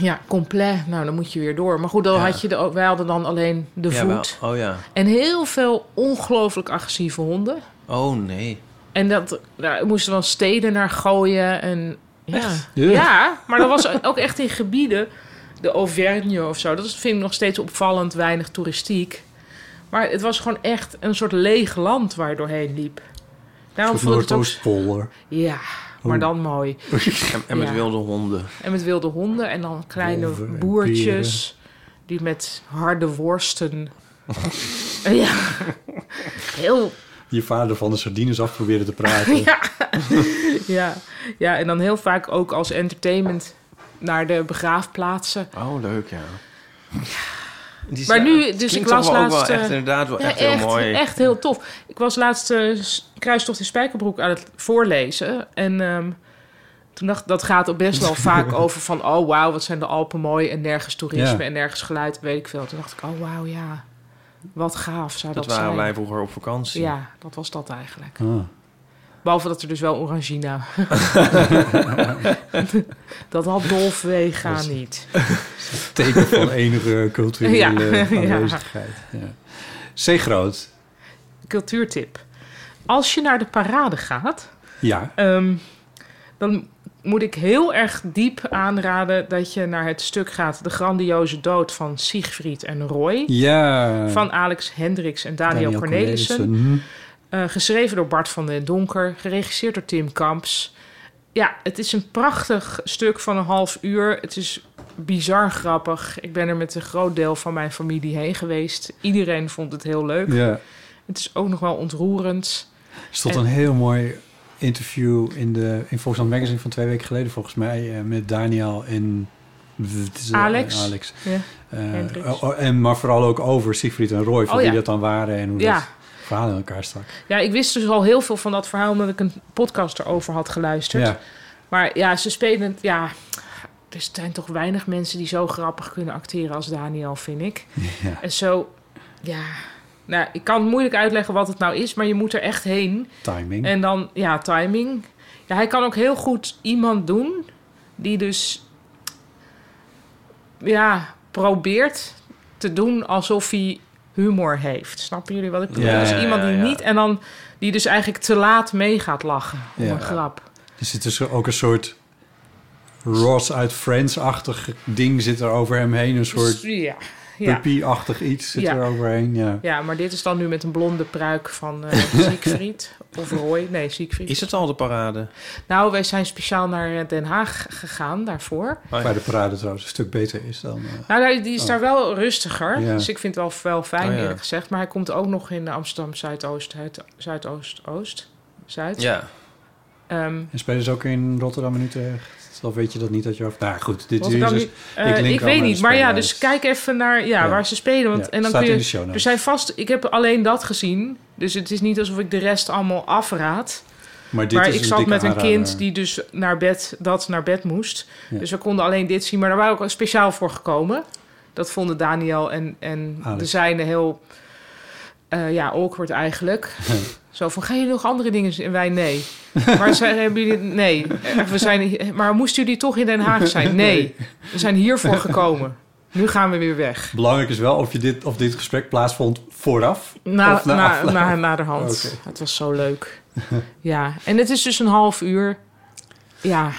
Speaker 4: Ja, compleet. Nou, dan moet je weer door. Maar goed, dan
Speaker 6: Ja.
Speaker 4: had je de, wij hadden dan alleen de
Speaker 6: Ja, wel.
Speaker 4: voet.
Speaker 6: Oh ja.
Speaker 4: En heel veel ongelooflijk agressieve honden.
Speaker 6: Oh nee.
Speaker 4: En dat, daar moesten dan steden naar gooien. En, ja.
Speaker 2: Ja.
Speaker 4: ja, maar dat was ook echt in gebieden, de Auvergne of zo. Dat is- vind ik nog steeds opvallend weinig toeristiek. Maar het was gewoon echt een soort leeg land waar je doorheen liep. Daarom
Speaker 2: Of
Speaker 4: vond ik het ook...
Speaker 2: Mm. Noordoostpolder.
Speaker 4: Ja,
Speaker 2: Oh.
Speaker 4: maar dan mooi.
Speaker 6: En, en met
Speaker 4: Ja.
Speaker 6: wilde honden.
Speaker 4: En met wilde honden en dan kleine
Speaker 2: Wolven en
Speaker 4: boertjes... die met harde worsten... ja, heel
Speaker 2: Je vader van de sardines af proberen te praten.
Speaker 4: Ja. ja. ja, en dan heel vaak ook als entertainment naar de begraafplaatsen.
Speaker 6: Oh, leuk ja. Die
Speaker 4: Maar
Speaker 6: zijn-
Speaker 4: nu, dus
Speaker 6: klinkt
Speaker 4: ik las
Speaker 6: toch wel
Speaker 4: laatst,
Speaker 6: ook wel echt
Speaker 4: eh,
Speaker 6: inderdaad wel
Speaker 4: Ja,
Speaker 6: echt heel mooi.
Speaker 4: echt heel tof. Ik was laatst eh, s- Kruistocht in Spijkerbroek aan het voorlezen. En ehm, toen dacht ik, dat gaat ook best wel vaak over van... oh, wauw, wat zijn de Alpen mooi en nergens toerisme
Speaker 2: Ja.
Speaker 4: en nergens geluid, weet ik veel. Toen dacht ik, oh, wauw, ja, wat gaaf zou dat,
Speaker 6: Dat waren
Speaker 4: zijn.
Speaker 6: wij vroeger op vakantie.
Speaker 4: Ja, dat was dat eigenlijk.
Speaker 2: Ah.
Speaker 4: Behalve dat er dus wel Orangina. dat had Dolf Wega
Speaker 2: Dat is-
Speaker 4: niet.
Speaker 2: Teken van enige culturele
Speaker 4: Ja.
Speaker 2: aanwezigheid. Ja. C groot.
Speaker 4: Cultuurtip. Als je naar de parade gaat,
Speaker 2: Ja.
Speaker 4: ehm, dan moet ik heel erg diep aanraden dat je naar het stuk gaat De grandioze dood van Siegfried en Roy.
Speaker 2: Ja.
Speaker 4: Van Alex Hendricks en Daniel, Cornelissen. Eh, geschreven door Bart van den Donker, geregisseerd door Tim Kamps. Ja, het is een prachtig stuk van een half uur. Het is bizar grappig. Ik ben er met een groot deel van mijn familie heen geweest. Iedereen vond het heel leuk.
Speaker 2: Ja.
Speaker 4: Het is ook nog wel ontroerend.
Speaker 2: Er stond
Speaker 4: En-
Speaker 2: een heel mooi interview in, de, in Volksland Magazine van twee weken geleden, volgens mij, eh, met Daniel en het is, eh,
Speaker 4: Alex.
Speaker 2: Alex.
Speaker 4: Ja.
Speaker 2: Eh,
Speaker 4: Hendricks.
Speaker 2: oh, oh, en, maar vooral ook over Siegfried en Roy, van
Speaker 4: Oh,
Speaker 2: wie
Speaker 4: ja.
Speaker 2: dat dan waren en hoe
Speaker 4: Ja.
Speaker 2: dat verhaal in elkaar stak.
Speaker 4: ja, ik wist dus al heel veel van dat verhaal... omdat ik een podcast erover had geluisterd.
Speaker 2: Ja,
Speaker 4: Maar ja, ze spelen... het- Ja, er zijn toch weinig mensen die zo grappig kunnen acteren als Daniel, vind ik.
Speaker 2: ja.
Speaker 4: En zo, ja... Nou, ik kan moeilijk uitleggen wat het nou is, maar je moet er echt heen.
Speaker 2: timing.
Speaker 4: En dan, ja, timing. Ja, hij kan ook heel goed iemand doen die dus, ja, probeert te doen alsof hij humor heeft. Snappen jullie wat ik bedoel?
Speaker 2: Ja,
Speaker 4: dus
Speaker 6: ja,
Speaker 4: iemand die
Speaker 6: ja, ja.
Speaker 4: niet en dan die dus eigenlijk te laat mee gaat lachen om
Speaker 2: Ja.
Speaker 4: een grap.
Speaker 2: Er zit dus ook een soort Ross uit Friends-achtig ding zit er over hem heen. Een
Speaker 4: Dus,
Speaker 2: soort
Speaker 4: ja, ja.
Speaker 2: puppy-achtig iets zit
Speaker 4: Ja.
Speaker 2: er overheen. Ja.
Speaker 4: Ja, maar dit is dan nu met een blonde pruik van eh Siegfried. of Roy. Nee, Siegfried.
Speaker 6: Is het al de parade?
Speaker 4: Nou, wij zijn speciaal naar eh, Den Haag gegaan daarvoor.
Speaker 2: Waar de parade trouwens een stuk beter is dan... eh,
Speaker 4: Nou, daar- die is daar wel rustiger.
Speaker 2: Ja.
Speaker 4: Dus ik vind het wel, wel fijn,
Speaker 6: Oh, ja.
Speaker 4: eerlijk gezegd. Maar hij komt ook nog in Amsterdam Zuidoost, Zuid- Zuidoost, Oost. Zuid.
Speaker 6: Ja.
Speaker 4: Ehm,
Speaker 2: En spelen ze ook in Rotterdam en Utrecht? Dan weet je dat niet dat je... af- Nou goed, dit
Speaker 4: want
Speaker 2: is
Speaker 4: dan
Speaker 2: dus...
Speaker 4: nu- eh,
Speaker 2: link
Speaker 4: ik
Speaker 2: allemaal
Speaker 4: weet
Speaker 2: de
Speaker 4: niet, maar ja,
Speaker 2: speellijst.
Speaker 4: dus kijk even naar ja,
Speaker 2: Ja.
Speaker 4: waar ze spelen. Want,
Speaker 2: Ja,
Speaker 4: en dan
Speaker 2: staat
Speaker 4: kun
Speaker 2: in de
Speaker 4: je,
Speaker 2: show notes.
Speaker 4: er zijn vast, ik heb alleen dat gezien. Dus het is niet alsof ik de rest allemaal afraad.
Speaker 2: Maar dit
Speaker 4: maar
Speaker 2: is
Speaker 4: ik
Speaker 2: een
Speaker 4: zat
Speaker 2: dikke
Speaker 4: met een
Speaker 2: aanrader. eh.
Speaker 4: kind die dus naar bed, dat naar bed moest.
Speaker 2: Ja.
Speaker 4: Dus we konden alleen dit zien. Maar daar waren we ook speciaal voor gekomen. Dat vonden Daniel en, en
Speaker 2: Alex.
Speaker 4: de zijne heel eh, ja, awkward eigenlijk. Zo van, gaan jullie nog andere dingen zien? En wij, nee. Maar zijn, hebben jullie... Nee. Eh, We zijn, maar moesten jullie toch in Den Haag zijn? Nee. We zijn hiervoor gekomen. Nu gaan we weer weg.
Speaker 2: Belangrijk is wel of, je dit, of dit gesprek plaatsvond vooraf.
Speaker 4: Na,
Speaker 2: of na
Speaker 4: na,
Speaker 2: afloop.
Speaker 4: na, naderhand.
Speaker 2: Oké.
Speaker 4: Het was zo leuk. Ja. En het is dus een half uur. Ja.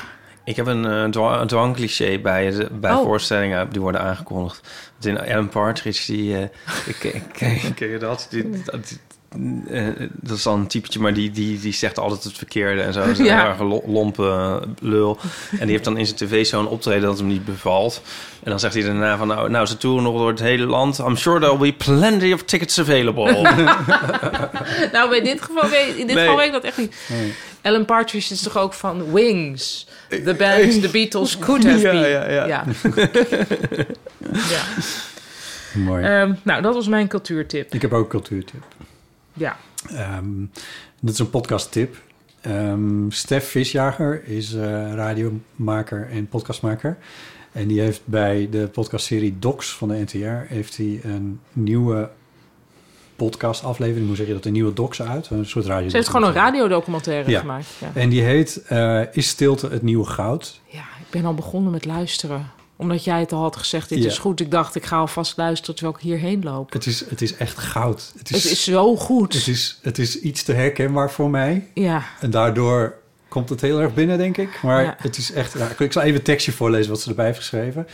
Speaker 6: Ik heb een eh, dwa- een dwangcliché bij, de- bij
Speaker 4: Oh.
Speaker 6: voorstellingen die worden aangekondigd. Want in Alan Partridge, die... eh, ik- ik- ken- Ken je dat? Die- dat die- eh, dat is dan een typetje, maar die, die, die zegt altijd het verkeerde en zo. Dat is een
Speaker 4: Ja.
Speaker 6: heel erg lo- lompe lul. En die heeft dan in zijn tv zo'n optreden dat hem niet bevalt. En dan zegt hij daarna van, nou, nou ze toeren nog door het hele land. I'm sure there will be plenty of tickets available.
Speaker 4: Nou, bij dit geval weet, in dit
Speaker 6: Nee.
Speaker 4: geval weet ik dat echt niet. Ellen Partridge is toch ook van Wings. The band, the Beatles could have
Speaker 6: Ja,
Speaker 4: been.
Speaker 6: ja, ja.
Speaker 4: Ja.
Speaker 2: Mooi.
Speaker 4: Ehm, nou, dat was mijn cultuurtip.
Speaker 2: Eh, ik heb ook een cultuurtip.
Speaker 4: Ja.
Speaker 2: Ehm, dat is een podcasttip. Ehm Stef Visjager is eh, radiomaker en podcastmaker. En die heeft bij de podcastserie Docs van de NTR... heeft hij een nieuwe podcastaflevering, hoe zeg je dat, een nieuwe docs uit. Een soort radio
Speaker 4: Ze heeft gewoon een radiodocumentaire
Speaker 2: Ja.
Speaker 4: gemaakt. Ja.
Speaker 2: En die heet eh, Is stilte het nieuwe goud?
Speaker 4: ja, ik ben al begonnen met luisteren. Omdat jij het al had gezegd, dit
Speaker 2: Ja.
Speaker 4: is goed. Ik dacht, ik ga alvast luisteren terwijl ik hierheen loop.
Speaker 2: Het is, het is echt goud. Het is,
Speaker 4: Het is zo goed.
Speaker 2: het, is, het is iets te herkenbaar voor mij.
Speaker 4: Ja,
Speaker 2: En daardoor komt het heel erg binnen, denk ik. Maar
Speaker 4: Ja.
Speaker 2: het is echt... raar. ik zal even het tekstje voorlezen wat ze erbij heeft geschreven.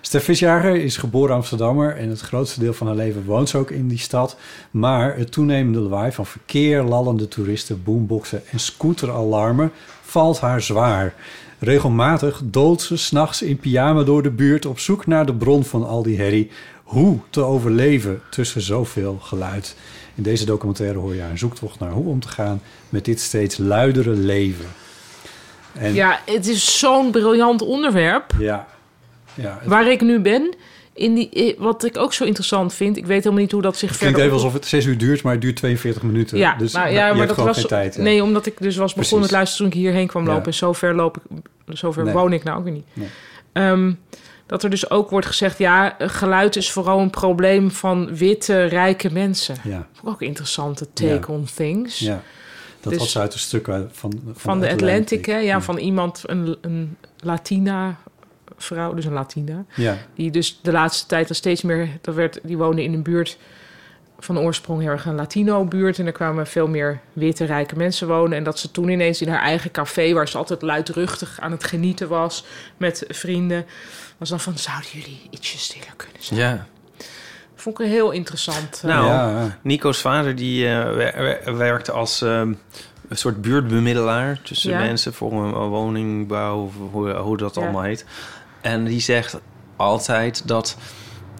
Speaker 2: Stef Visjager is geboren Amsterdammer... en het grootste deel van haar leven woont ze ook in die stad. Maar het toenemende lawaai van verkeer, lallende toeristen... boomboxen en scooteralarmen valt haar zwaar. Regelmatig doolt ze s'nachts in pyjama door de buurt... op zoek naar de bron van al die herrie. Hoe te overleven tussen zoveel geluid. In deze documentaire hoor je haar zoektocht naar hoe om te gaan... met dit steeds luidere leven. En
Speaker 4: ja het is zo'n briljant onderwerp.
Speaker 2: ja, ja, het
Speaker 4: Waar ik nu ben, in die, eh, wat ik ook zo interessant vind... ik weet helemaal niet hoe dat zich
Speaker 2: klinkt
Speaker 4: verder
Speaker 2: even alsof het 6 uur duurt, maar het duurt 42 minuten.
Speaker 4: Ja,
Speaker 2: dus
Speaker 4: maar,
Speaker 2: je
Speaker 4: ja,
Speaker 2: hebt
Speaker 4: maar dat
Speaker 2: gewoon
Speaker 4: was.
Speaker 2: geen tijd. hè.
Speaker 4: Nee, omdat ik dus was begonnen
Speaker 2: Precies.
Speaker 4: met luisteren toen ik hierheen kwam
Speaker 2: Ja.
Speaker 4: lopen. En zover loop ik, zover
Speaker 2: Nee.
Speaker 4: woon ik nou ook weer niet.
Speaker 2: Nee.
Speaker 4: Ehm, dat er dus ook wordt gezegd, ja, geluid is vooral een probleem van witte, rijke mensen.
Speaker 2: Ja,
Speaker 4: Ook interessante take on things.
Speaker 2: ja. Dat
Speaker 4: Dus-
Speaker 2: was uit een stuk uit- van, van,
Speaker 4: Van de Atlantic, hè? Ja, van iemand, een, een Latina vrouw, dus een Latina.
Speaker 2: Ja,
Speaker 4: Die dus de laatste tijd al steeds meer... Dat werd, die woonde in een buurt van oorsprong heel erg een Latino-buurt. En er kwamen veel meer witte, rijke mensen wonen. En dat ze toen ineens in haar eigen café... waar ze altijd luidruchtig aan het genieten was met vrienden... was dan van, zouden jullie ietsje stiller kunnen zijn?
Speaker 6: ja.
Speaker 4: Vond ik een heel interessant... eh,
Speaker 6: Nou,
Speaker 2: ja,
Speaker 6: Nico's vader die eh, wer- wer- werkte als ehm, een soort buurtbemiddelaar tussen
Speaker 4: Ja.
Speaker 6: mensen voor een een woningbouw, of hoe, hoe dat
Speaker 4: Ja.
Speaker 6: allemaal heet. En die zegt altijd dat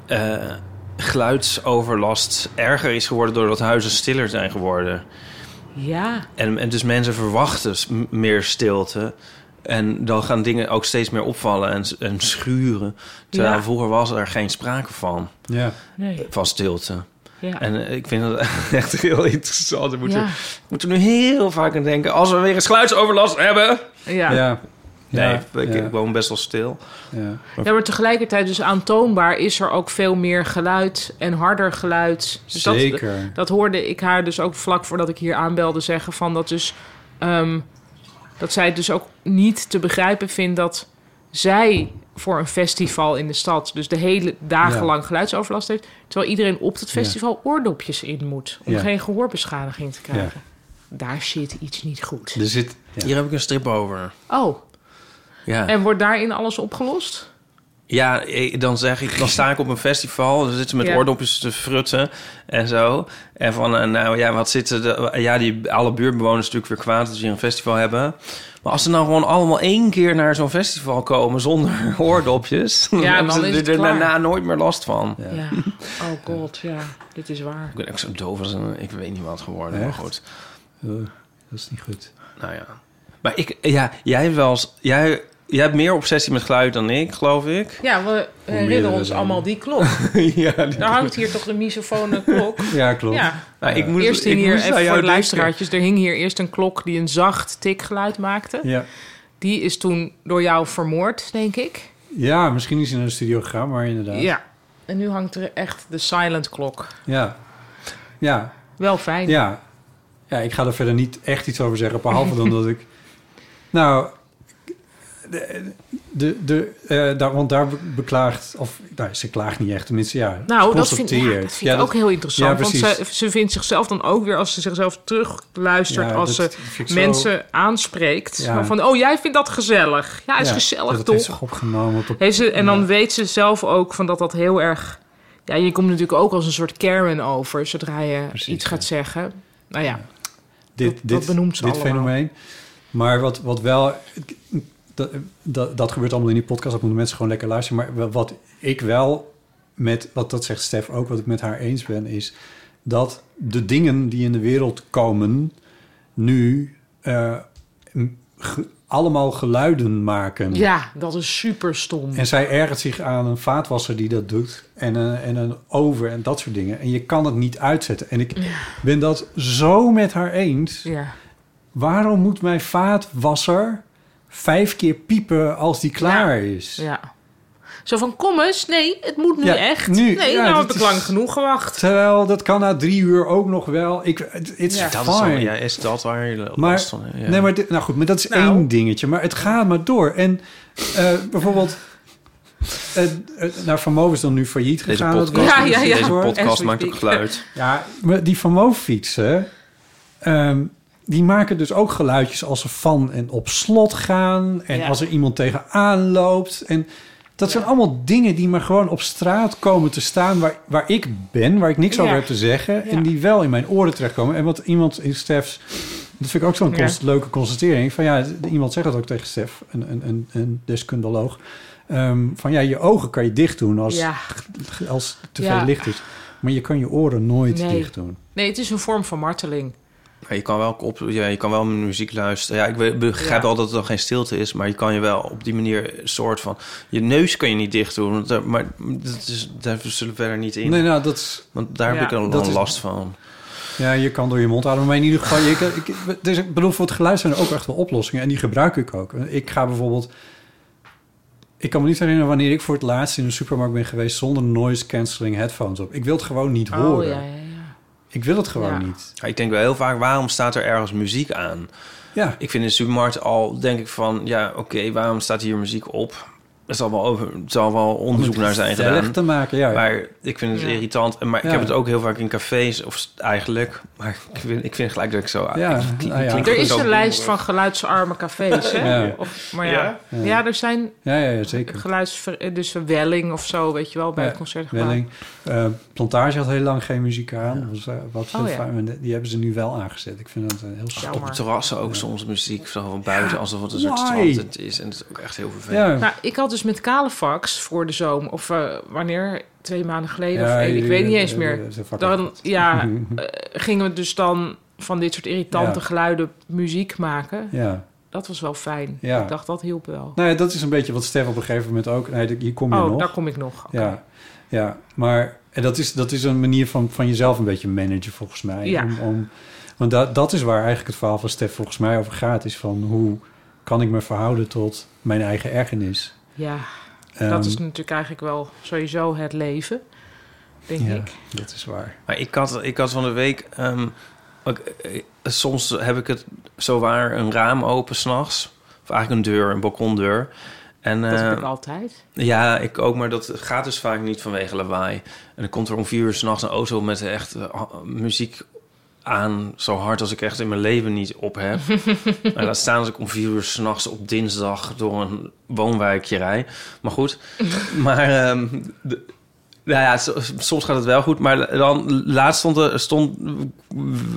Speaker 6: eh, geluidsoverlast erger is geworden doordat huizen stiller zijn geworden.
Speaker 4: Ja.
Speaker 6: En, en dus mensen verwachten s- m- meer stilte. En dan gaan dingen ook steeds meer opvallen en, s- en schuren. Terwijl
Speaker 4: Ja.
Speaker 6: vroeger was er geen sprake van,
Speaker 2: Ja.
Speaker 4: Nee.
Speaker 6: van stilte.
Speaker 4: Ja.
Speaker 6: En eh, ik vind dat echt heel interessant. We moeten,
Speaker 4: Ja.
Speaker 6: we moeten nu heel vaak aan denken... als we weer een sluitsoverlast hebben...
Speaker 4: Ja. Ja.
Speaker 2: Ja.
Speaker 6: Nee,
Speaker 2: Ja.
Speaker 6: ik,
Speaker 2: Ja.
Speaker 6: ik woon best wel stil.
Speaker 2: Ja.
Speaker 4: maar tegelijkertijd dus aantoonbaar is er ook veel meer geluid en harder geluid. Dus dat-
Speaker 2: Zeker.
Speaker 4: Dat hoorde ik haar dus ook vlak voordat ik hier aanbelde zeggen van dat dus ehm, dat zij dus ook niet te begrijpen vindt dat zij voor een festival in de stad dus de hele dagenlang lang geluidsoverlast heeft, terwijl iedereen op het festival oordopjes in moet om
Speaker 2: Ja.
Speaker 4: geen gehoorbeschadiging te krijgen. Daar zit iets niet goed.
Speaker 2: Er zit... Ja.
Speaker 6: Hier heb ik een strip over.
Speaker 4: Oh,
Speaker 6: Ja.
Speaker 4: en wordt daarin alles opgelost?
Speaker 6: Ja, ik- dan zeg ik, dan sta ik op een festival, dan zitten ze met
Speaker 4: Ja.
Speaker 6: oordopjes te frutten en zo. En van, eh, nou ja, wat zitten de, ja, die alle buurtbewoners natuurlijk weer kwaad dat ze hier een festival hebben. Maar als ze nou gewoon allemaal één keer naar zo'n festival komen zonder oordopjes,
Speaker 4: Ja,
Speaker 6: hebben
Speaker 4: dan
Speaker 6: ze
Speaker 4: is het
Speaker 6: er
Speaker 4: klaar.
Speaker 6: daarna nooit meer last van.
Speaker 4: Ja. Oh god, ja, dit is waar.
Speaker 6: Ik ben echt zo doof als een, ik weet niet wat geworden, maar
Speaker 2: Echt?
Speaker 6: goed.
Speaker 2: Eh, dat is niet goed.
Speaker 6: Nou ja. Maar ik, ja, jij hebt wel eens, jij, jij hebt meer obsessie met geluid dan ik, geloof ik.
Speaker 4: Ja, we herinneren
Speaker 2: meerdere
Speaker 4: ons
Speaker 2: zijn
Speaker 4: allemaal
Speaker 2: er.
Speaker 4: die klok.
Speaker 6: ja,
Speaker 4: Daar hangt hier toch de misofone klok.
Speaker 2: Ja, klopt.
Speaker 4: Ja.
Speaker 6: nou, ik moest,
Speaker 4: eerst
Speaker 6: ik
Speaker 4: hing hier,
Speaker 6: moest aan
Speaker 4: even voor
Speaker 6: jou
Speaker 4: de
Speaker 6: denken.
Speaker 4: luisteraartjes, er hing hier eerst een klok die een zacht tikgeluid maakte.
Speaker 2: Ja.
Speaker 4: Die is toen door jou vermoord, denk ik.
Speaker 2: Ja, misschien is hij naar de studio gegaan, maar
Speaker 4: Ja.
Speaker 2: inderdaad.
Speaker 4: En nu hangt er echt de silent klok.
Speaker 2: Ja. Ja.
Speaker 4: Wel fijn.
Speaker 2: Ja. Ja, ik ga er verder niet echt iets over zeggen, behalve dan dat ik... Nou, de, de, de, eh, daar, want daar beklaagt... Of, nou, ze klaagt niet echt, tenminste, ja.
Speaker 4: Nou,
Speaker 2: ze
Speaker 4: dat vind, ja, dat
Speaker 2: constateert.
Speaker 4: vind ik
Speaker 2: Ja, dat-
Speaker 4: ook heel interessant.
Speaker 2: ja,
Speaker 4: want ze,
Speaker 2: precies.
Speaker 4: ze vindt zichzelf dan ook weer, als ze zichzelf terugluistert,
Speaker 2: Ja,
Speaker 4: als
Speaker 2: dat
Speaker 4: ze
Speaker 2: vind ik zo-
Speaker 4: mensen aanspreekt.
Speaker 2: Ja.
Speaker 4: Van, van, oh, jij vindt dat gezellig. Ja, is
Speaker 2: ja,
Speaker 4: gezellig,
Speaker 2: dat
Speaker 4: toch?
Speaker 2: heeft zich opgenomen tot...
Speaker 4: Heeft ze, en dan weet ze zelf ook van dat dat heel erg... Ja, je komt natuurlijk ook als een soort Karen over... zodra je
Speaker 2: Precies,
Speaker 4: iets gaat zeggen. Nou ja,
Speaker 2: dit,
Speaker 4: Dat-
Speaker 2: dit,
Speaker 4: dat benoemt ze
Speaker 2: dit
Speaker 4: allemaal.
Speaker 2: fenomeen. Maar wat, wat wel... Dat, dat, dat gebeurt allemaal in die podcast. Dat moeten mensen gewoon lekker luisteren. Maar wa- wat ik wel met... Wat dat zegt Stef ook, wat ik met haar eens ben... is dat de dingen die in de wereld komen... nu eh, m- ge- allemaal geluiden maken.
Speaker 4: ja dat is super stom.
Speaker 2: En zij ergert zich aan een vaatwasser die dat doet. En een, en een over en dat soort dingen. En je kan het niet uitzetten. En ik ben dat zo met haar eens.
Speaker 4: Ja.
Speaker 2: Waarom moet mijn vaatwasser vijf keer piepen als die klaar is?
Speaker 4: ja. Zo van, kom eens. Nee, het moet nu
Speaker 2: Ja,
Speaker 4: echt.
Speaker 2: nu.
Speaker 4: nee,
Speaker 2: Ja,
Speaker 4: nou
Speaker 2: dat
Speaker 4: heb ik
Speaker 2: is-
Speaker 4: lang genoeg gewacht.
Speaker 2: Terwijl dat kan na drie uur ook nog wel. Ik, het- it's
Speaker 4: Ja.
Speaker 6: Dat is,
Speaker 2: fine.
Speaker 6: wel- ja, is dat waar je last
Speaker 2: Maar,
Speaker 6: van hebt? Ja.
Speaker 2: nee, maar, dit- nou goed, maar dat is
Speaker 4: Nou.
Speaker 2: één dingetje. Maar het gaat maar door. En eh, bijvoorbeeld... eh, eh, nou, Van Moof is dan nu failliet
Speaker 6: Deze
Speaker 2: gegaan. dat
Speaker 6: podcast,
Speaker 2: weet
Speaker 4: Ja,
Speaker 2: ik
Speaker 4: ja,
Speaker 2: niet
Speaker 4: ja.
Speaker 6: Deze
Speaker 2: hoor.
Speaker 4: As
Speaker 6: podcast
Speaker 4: we
Speaker 6: maakt ook
Speaker 4: speak.
Speaker 6: geluid.
Speaker 2: Ja, maar die Van Moof fietsen... ehm, die maken dus ook geluidjes als ze van en op slot gaan... en
Speaker 4: Ja.
Speaker 2: als er iemand tegenaan loopt. En dat zijn allemaal dingen die maar gewoon op straat komen te staan... waar, waar ik ben, waar ik niks
Speaker 4: Ja.
Speaker 2: over heb te zeggen... en die wel in mijn oren terechtkomen. En wat iemand in Stef's... Dat vind ik ook zo'n
Speaker 4: Ja.
Speaker 2: const- leuke constatering. Van ja, d- iemand zegt dat ook tegen Stef, een, een, een, een deskundoloog. Ehm, van ja, je ogen kan je dicht doen als,
Speaker 4: Ja.
Speaker 2: als te
Speaker 4: Ja.
Speaker 2: veel licht is. Maar je kan je oren nooit
Speaker 4: Nee.
Speaker 2: dicht doen.
Speaker 4: Nee, het is een vorm van marteling.
Speaker 6: Maar je kan wel op, ja, je kan wel muziek luisteren. Ja, ik be- begrijp
Speaker 4: Ja.
Speaker 6: wel dat er dan geen stilte is, maar je kan je wel op die manier een soort van je neus kan je niet dicht doen. want daar- Maar dat is, daar zullen we verder niet in.
Speaker 2: Nee, nou, dat is,
Speaker 6: Want daar
Speaker 4: Ja,
Speaker 6: heb ik dan
Speaker 2: dat is-
Speaker 6: last van.
Speaker 2: ja, je kan door je mond ademen. Maar in ieder geval, je, kan- ik, dus ik bedoel, voor het geluid zijn er ook echt wel oplossingen. En die gebruik ik ook. Ik ga bijvoorbeeld... Ik kan me niet herinneren wanneer ik voor het laatst in een supermarkt ben geweest... zonder noise cancelling headphones op. Ik wil het gewoon niet
Speaker 4: Oh,
Speaker 2: horen.
Speaker 4: ja, ja, ja.
Speaker 2: Ik wil het gewoon
Speaker 4: Ja.
Speaker 2: niet.
Speaker 6: Ja, ik denk wel heel vaak, waarom staat er ergens muziek aan?
Speaker 2: Ja,
Speaker 6: Ik vind in de supermarkt al, denk ik van, ja, oké, waarom staat hier muziek op? Er zal wel, over, er zal wel onderzoek naar zijn gedaan.
Speaker 2: gezellig te maken, ja.
Speaker 6: Maar ik vind het
Speaker 4: Ja.
Speaker 6: irritant. En Maar ik
Speaker 2: Ja.
Speaker 6: heb het ook heel vaak in cafés, of s- eigenlijk. Maar ik vind, ik vind gelijk dat ik zo...
Speaker 2: Ja,
Speaker 6: ik- ik- ik-
Speaker 2: nou ja.
Speaker 6: klink
Speaker 4: Er is
Speaker 6: zo
Speaker 4: een lijst van
Speaker 6: boemerig.
Speaker 4: geluidsarme cafés, hè?
Speaker 2: Ja.
Speaker 4: Of, maar ja. Ja? er zijn
Speaker 2: Ja, ja, ja, zeker.
Speaker 4: geluids... Dus een welling of zo, weet je wel, bij
Speaker 2: Ja,
Speaker 4: het concert.
Speaker 2: Welling. Eh, Plantage had heel lang geen muziek aan. Dat was, eh, wat heel
Speaker 4: Oh, ja.
Speaker 2: fijn. En Die hebben ze nu wel aangezet. Ik vind dat een heel stom.
Speaker 6: Op
Speaker 4: Jammer.
Speaker 6: terrassen ook soms muziek zo van buiten, alsof het een
Speaker 2: why?
Speaker 6: soort strand het is. En het is ook echt heel vervelend.
Speaker 2: Ja,
Speaker 4: Nou, ik had dus met Kalefax voor de zomer, of eh, wanneer, twee maanden geleden,
Speaker 2: Ja,
Speaker 4: of één, ik
Speaker 2: jullie-
Speaker 4: weet niet eens
Speaker 2: eh,
Speaker 4: meer.
Speaker 2: eh, ze vakken
Speaker 4: Dan,
Speaker 2: gehad.
Speaker 4: ja, eh, gingen we dus dan van dit soort irritante
Speaker 2: Ja.
Speaker 4: geluiden muziek maken.
Speaker 2: Ja.
Speaker 4: Dat was wel fijn.
Speaker 2: Ja.
Speaker 4: Ik dacht, dat hielp wel.
Speaker 2: Nou ja, dat is een beetje wat Stef op een gegeven moment ook... Nee, hier kom je
Speaker 4: oh,
Speaker 2: nog.
Speaker 4: daar kom ik nog. Oké.
Speaker 2: Ja, ja maar en dat, is, dat is een manier van, van jezelf een beetje managen, volgens mij.
Speaker 4: Ja.
Speaker 2: Om, om, want dat dat is waar eigenlijk het verhaal van Stef volgens mij over gaat. Is van hoe kan ik me verhouden tot mijn eigen ergernis?
Speaker 4: Ja,
Speaker 2: Ehm,
Speaker 4: dat is natuurlijk eigenlijk wel sowieso het leven, denk
Speaker 2: ja,
Speaker 4: ik.
Speaker 2: dat is waar.
Speaker 6: Maar ik had, ik had van de week... ehm, ook, eh, soms heb ik het zowaar een raam open s'nachts. Of eigenlijk een deur, een balkondeur. En,
Speaker 4: Dat heb
Speaker 6: eh,
Speaker 4: ik altijd.
Speaker 6: Ja, ik ook, maar dat gaat dus vaak niet vanwege lawaai. En dan komt er om vier uur s'nachts een auto met echt eh, ha- muziek aan, zo hard als ik echt in mijn leven niet op heb. en dan staan ze om vier uur s'nachts op dinsdag door een woonwijkje rij. Maar goed, maar ehm, de- nou ja, so- soms gaat het wel goed. Maar dan laatst stond, er, stond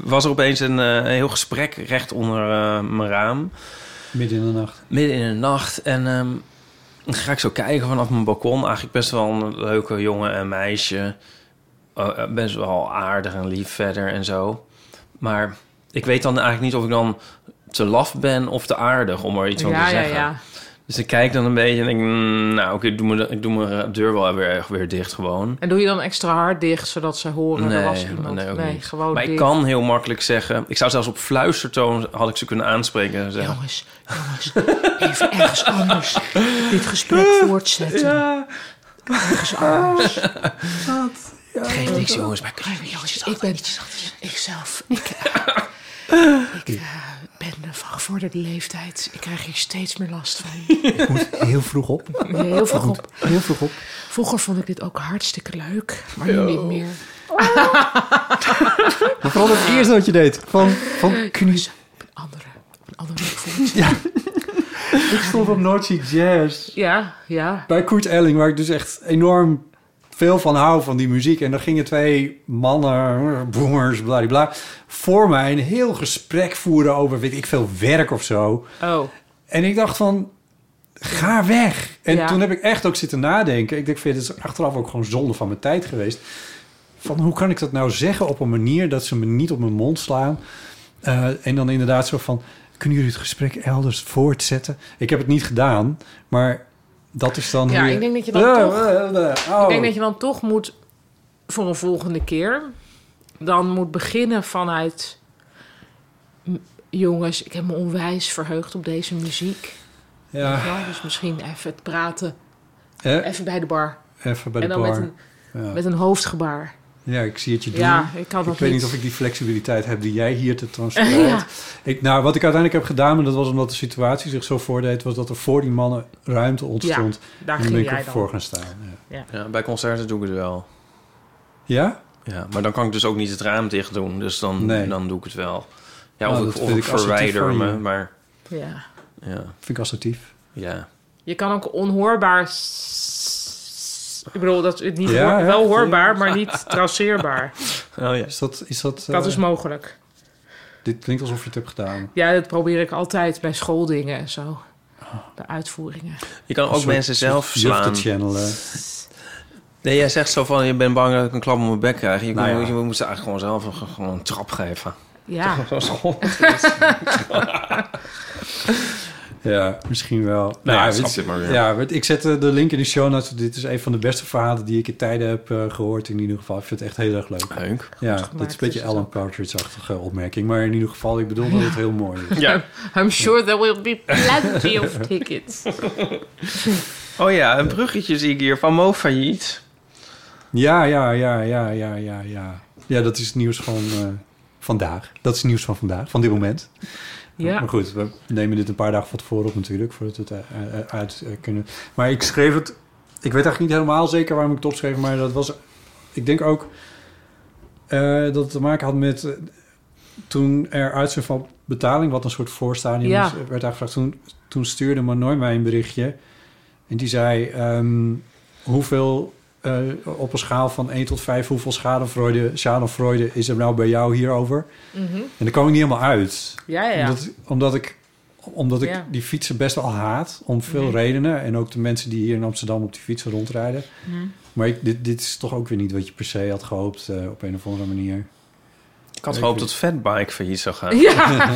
Speaker 6: was er opeens een, eh, een heel gesprek recht onder eh, mijn raam
Speaker 2: Midden in de nacht.
Speaker 6: midden in de nacht. En ehm, dan ga ik zo kijken vanaf mijn balkon. Eigenlijk best wel een leuke jongen en meisje. Eh, eh, best wel aardig en lief verder en zo. Maar ik weet dan eigenlijk niet of ik dan te laf ben of te aardig om er iets van
Speaker 4: ja,
Speaker 6: te
Speaker 4: ja,
Speaker 6: zeggen.
Speaker 4: ja.
Speaker 6: Dus ik kijk dan een beetje en denk, mm, nou oké, ik doe me- ik doe mijn deur wel weer, weer dicht gewoon.
Speaker 4: En doe je dan extra hard dicht, zodat ze horen
Speaker 6: Nee,
Speaker 4: er Oh, was iemand?
Speaker 6: nee, ook niet.
Speaker 4: gewoon
Speaker 6: Maar ik
Speaker 4: dicht.
Speaker 6: kan heel makkelijk zeggen, ik zou zelfs op fluistertoon had ik ze kunnen aanspreken en zeggen,
Speaker 4: Jongens, jongens, even ergens anders dit gesprek voortzetten. Ergens anders.
Speaker 6: geef niks jongens, maar kun je
Speaker 4: Even, jongens, ik ben ikzelf. Ik, ik eh, ben van gevorderde leeftijd. Ik krijg hier steeds meer last van.
Speaker 2: Heel vroeg op.
Speaker 4: Heel vroeg op.
Speaker 2: Heel vroeg op.
Speaker 4: Vroeger vond ik dit ook hartstikke leuk, maar nu niet meer.
Speaker 2: Maar vooral het eerste wat je deed. Van, van kun je...
Speaker 4: Andere, op een andere manier voelt.
Speaker 2: Ik stond op Noordse Jazz.
Speaker 4: Ja, ja.
Speaker 2: bij Koert Elling, waar ik dus echt enorm veel van hou van die muziek. En daar gingen twee mannen, boomers, bladibla, voor mij een heel gesprek voeren over, weet ik veel, werk of zo.
Speaker 4: Oh,
Speaker 2: En ik dacht van, ga weg. En
Speaker 4: Ja.
Speaker 2: toen heb ik echt ook zitten nadenken. Ik denk, vind het is achteraf ook gewoon zonde van mijn tijd geweest. Van hoe kan ik dat nou zeggen op een manier dat ze me niet op mijn mond slaan? Eh, en dan inderdaad zo van, kunnen jullie het gesprek elders voortzetten? Ik heb het niet gedaan, maar dat is dan...
Speaker 4: Ja,
Speaker 2: hoe
Speaker 4: ik denk dat je dan
Speaker 2: Eh,
Speaker 4: toch-
Speaker 2: eh, eh, oh.
Speaker 4: ik denk dat je dan toch moet voor een volgende keer dan moet beginnen vanuit "M, jongens, ik heb me onwijs verheugd op deze muziek.
Speaker 2: Ja,
Speaker 4: Ja, dus misschien even het praten,
Speaker 2: eh,
Speaker 4: even bij de bar
Speaker 2: even bij de
Speaker 4: en dan met
Speaker 2: bar.
Speaker 4: een,
Speaker 2: Ja.
Speaker 4: met een hoofdgebaar.
Speaker 2: ja, ik zie het je doen.
Speaker 4: Ja, ik kan dat
Speaker 2: Ik weet
Speaker 4: niet.
Speaker 2: niet of ik die flexibiliteit heb die jij hier te transfereren.
Speaker 4: Ja.
Speaker 2: ik, nou, wat ik uiteindelijk heb gedaan, en dat was omdat de situatie zich zo voordeed, was dat er voor die mannen ruimte ontstond.
Speaker 4: Daar
Speaker 2: en dan ben
Speaker 4: ging
Speaker 2: ik
Speaker 4: jij
Speaker 2: ervoor
Speaker 4: dan.
Speaker 2: gaan staan. Ja?
Speaker 6: Ja, bij concerten doe ik het wel.
Speaker 2: Ja?
Speaker 6: Ja, maar dan kan ik dus ook niet het raam dicht doen. Dus dan,
Speaker 2: Nee.
Speaker 6: dan doe ik het wel. Ja,
Speaker 2: Nou,
Speaker 6: of
Speaker 2: dat
Speaker 6: ik, of
Speaker 2: vind
Speaker 6: ik
Speaker 2: ik assertief
Speaker 6: verwijder
Speaker 2: van
Speaker 6: me.
Speaker 2: je.
Speaker 6: Maar
Speaker 4: Ja.
Speaker 6: ja,
Speaker 2: Vind ik assertief.
Speaker 6: ja.
Speaker 4: Je kan ook onhoorbaar. s- Ik bedoel, dat is niet
Speaker 2: Ja,
Speaker 4: hoor-
Speaker 2: ja.
Speaker 4: wel hoorbaar, maar niet traceerbaar.
Speaker 6: Oh ja.
Speaker 2: Is dat... Is dat,
Speaker 4: Dat
Speaker 2: eh,
Speaker 4: is mogelijk.
Speaker 2: dit klinkt alsof je het hebt gedaan.
Speaker 4: Ja, dat probeer ik altijd bij schooldingen en zo.
Speaker 2: Ah.
Speaker 4: Bij uitvoeringen.
Speaker 6: Je kan ook mensen zelf
Speaker 2: Juf te
Speaker 6: slaan.
Speaker 2: channelen.
Speaker 6: Nee, jij zegt zo van, je bent bang dat ik een klap op mijn bek krijg. Je,
Speaker 2: Nou
Speaker 6: kan-
Speaker 2: ja.
Speaker 6: je moest eigenlijk gewoon zelf een, gewoon een trap geven.
Speaker 4: Ja.
Speaker 2: Ja, misschien wel. Nou,
Speaker 6: ja,
Speaker 2: weet-
Speaker 6: snap dit maar weer.
Speaker 2: Ja, weet- ik zet eh, de link in de show notes. Dit is een van de beste verhalen die ik in tijden heb eh, gehoord. In ieder geval, ik vind het echt heel erg leuk.
Speaker 6: Leuk.
Speaker 2: Ja, dat
Speaker 4: gemaakt,
Speaker 2: is een beetje
Speaker 6: dus
Speaker 4: is het
Speaker 2: Alan Partridge-achtige opmerking. Maar in ieder geval, ik bedoel dat het heel mooi is.
Speaker 6: Ja.
Speaker 4: I'm sure there will be plenty of tickets.
Speaker 6: Oh ja, een bruggetje zie ik hier van Mo Failliet.
Speaker 2: Ja, ja, ja, ja, ja, ja, ja. Ja, dat is het nieuws van eh, vandaag. Dat is het nieuws van vandaag, van dit moment.
Speaker 4: Ja.
Speaker 2: Maar goed, we nemen dit een paar dagen van tevoren op natuurlijk, voordat we het eh, eh, uit eh, kunnen. Maar ik schreef het, ik weet eigenlijk niet helemaal zeker waarom ik het opschreef, maar dat was, ik denk ook eh, dat het te maken had met eh, toen er uitzien van betaling, wat een soort voorstadium
Speaker 4: Ja.
Speaker 2: is, werd aangevraagd. Toen, toen stuurde Manoy mij een berichtje en die zei ehm, hoeveel... eh, op een schaal van 1 tot 5, hoeveel schadefreude, schadefreude is er nou bij jou hierover?
Speaker 4: Mhm.
Speaker 2: En daar kwam ik niet helemaal uit
Speaker 4: Ja, ja.
Speaker 2: omdat, omdat ik, omdat ik
Speaker 4: Ja.
Speaker 2: die fietsen best wel haat, om veel
Speaker 4: Mhm.
Speaker 2: redenen. En ook de mensen die hier in Amsterdam op die fietsen rondrijden.
Speaker 4: Mhm.
Speaker 2: Maar ik, dit, dit is toch ook weer niet wat je per se had gehoopt eh, op een of andere manier.
Speaker 6: Ik had gehoopt dat Fatbike failliet zou gaan.
Speaker 4: Ja.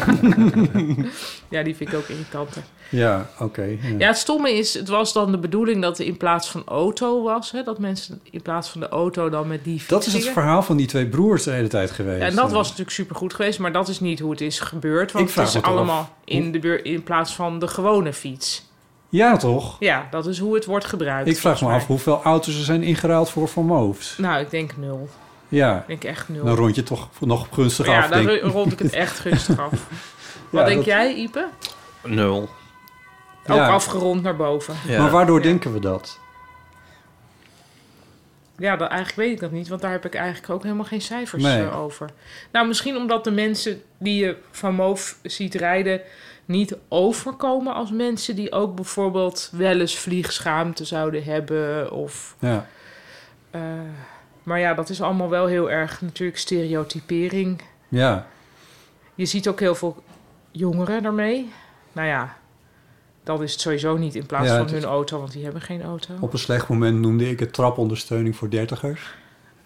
Speaker 4: ja, die vind ik ook irritanter.
Speaker 2: Ja, oké. ja.
Speaker 4: Ja, het stomme is, het was dan de bedoeling dat er in plaats van auto was. Hè, dat mensen in plaats van de auto dan met die
Speaker 2: Dat is het
Speaker 4: fietsen.
Speaker 2: verhaal van die twee broers de hele tijd geweest.
Speaker 4: Ja, en dat
Speaker 2: Eh,
Speaker 4: was natuurlijk supergoed geweest, maar dat is niet hoe het is gebeurd.
Speaker 2: Ik
Speaker 4: Want
Speaker 2: vraag
Speaker 4: het
Speaker 2: me
Speaker 4: is
Speaker 2: toch af,
Speaker 4: allemaal in, de beur, in plaats van de gewone fiets.
Speaker 2: Ja, toch?
Speaker 4: Ja, dat is hoe het wordt gebruikt.
Speaker 2: Ik vraag me
Speaker 4: volgens
Speaker 2: af hoeveel auto's er zijn ingeruild voor Van Moofs.
Speaker 4: mij. Nou, ik denk nul.
Speaker 2: Ja,
Speaker 4: Ik denk echt nul.
Speaker 2: dan rond je toch nog gunstig
Speaker 4: ja,
Speaker 2: af,
Speaker 4: dan
Speaker 2: denk ik.
Speaker 4: ro- rond ik het echt gunstig af. Wat
Speaker 2: Ja,
Speaker 4: denk
Speaker 2: dat-
Speaker 4: jij, Ipe?
Speaker 6: Nul.
Speaker 4: Ook
Speaker 2: Ja.
Speaker 4: afgerond naar boven.
Speaker 6: Ja.
Speaker 2: Maar waardoor
Speaker 4: Ja.
Speaker 2: denken we dat?
Speaker 4: Ja, dat, eigenlijk weet ik dat niet, want daar heb ik eigenlijk ook helemaal geen cijfers
Speaker 2: Nee.
Speaker 4: eh, over. Nou, misschien omdat de mensen die je van Moof ziet rijden niet overkomen als mensen die ook bijvoorbeeld wel eens vliegschaamte zouden hebben. Of,
Speaker 2: Ja,
Speaker 4: eh, maar ja, dat is allemaal wel heel erg natuurlijk stereotypering.
Speaker 2: ja.
Speaker 4: Je ziet ook heel veel jongeren daarmee. Nou ja, dan is het sowieso niet in plaats
Speaker 2: Ja,
Speaker 4: van
Speaker 2: het is-
Speaker 4: hun auto, want die hebben geen auto.
Speaker 2: op een slecht moment noemde ik het trapondersteuning voor dertigers.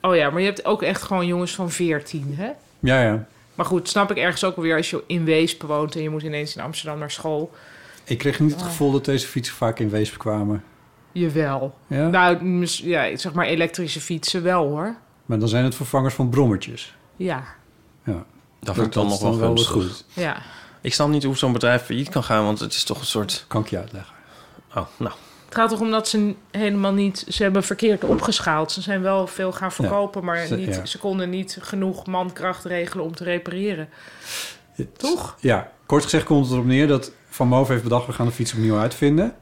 Speaker 4: Oh ja, maar je hebt ook echt gewoon jongens van 14, hè?
Speaker 2: Ja, ja.
Speaker 4: Maar goed, snap ik ergens ook weer als je in Weesp woont en je moet ineens in Amsterdam naar school.
Speaker 2: Ik kreeg niet het gevoel dat deze fietsen vaak in Weesp kwamen.
Speaker 4: Jawel.
Speaker 2: Ja?
Speaker 4: Nou, mis- ja, zeg maar elektrische fietsen wel hoor.
Speaker 2: Maar dan zijn het vervangers van brommertjes.
Speaker 4: Ja,
Speaker 2: Ja,
Speaker 6: Dat vind ik dan nog
Speaker 2: is
Speaker 6: wel
Speaker 2: weer
Speaker 6: gunstig.
Speaker 2: goed.
Speaker 4: ja.
Speaker 6: Ik snap niet hoe zo'n bedrijf failliet kan gaan, want het is toch een soort...
Speaker 2: Kan ik je uitleggen.
Speaker 6: Oh, nou.
Speaker 4: Het gaat toch om dat ze helemaal niet... Ze hebben verkeerd opgeschaald. Ze zijn wel veel gaan verkopen, maar
Speaker 2: ze-
Speaker 4: niet,
Speaker 2: ja.
Speaker 4: ze konden niet genoeg mankracht regelen om te repareren.
Speaker 2: Het-
Speaker 4: Toch?
Speaker 2: Ja, kort gezegd komt het erop neer dat Van Moof heeft bedacht... we gaan de fiets opnieuw uitvinden.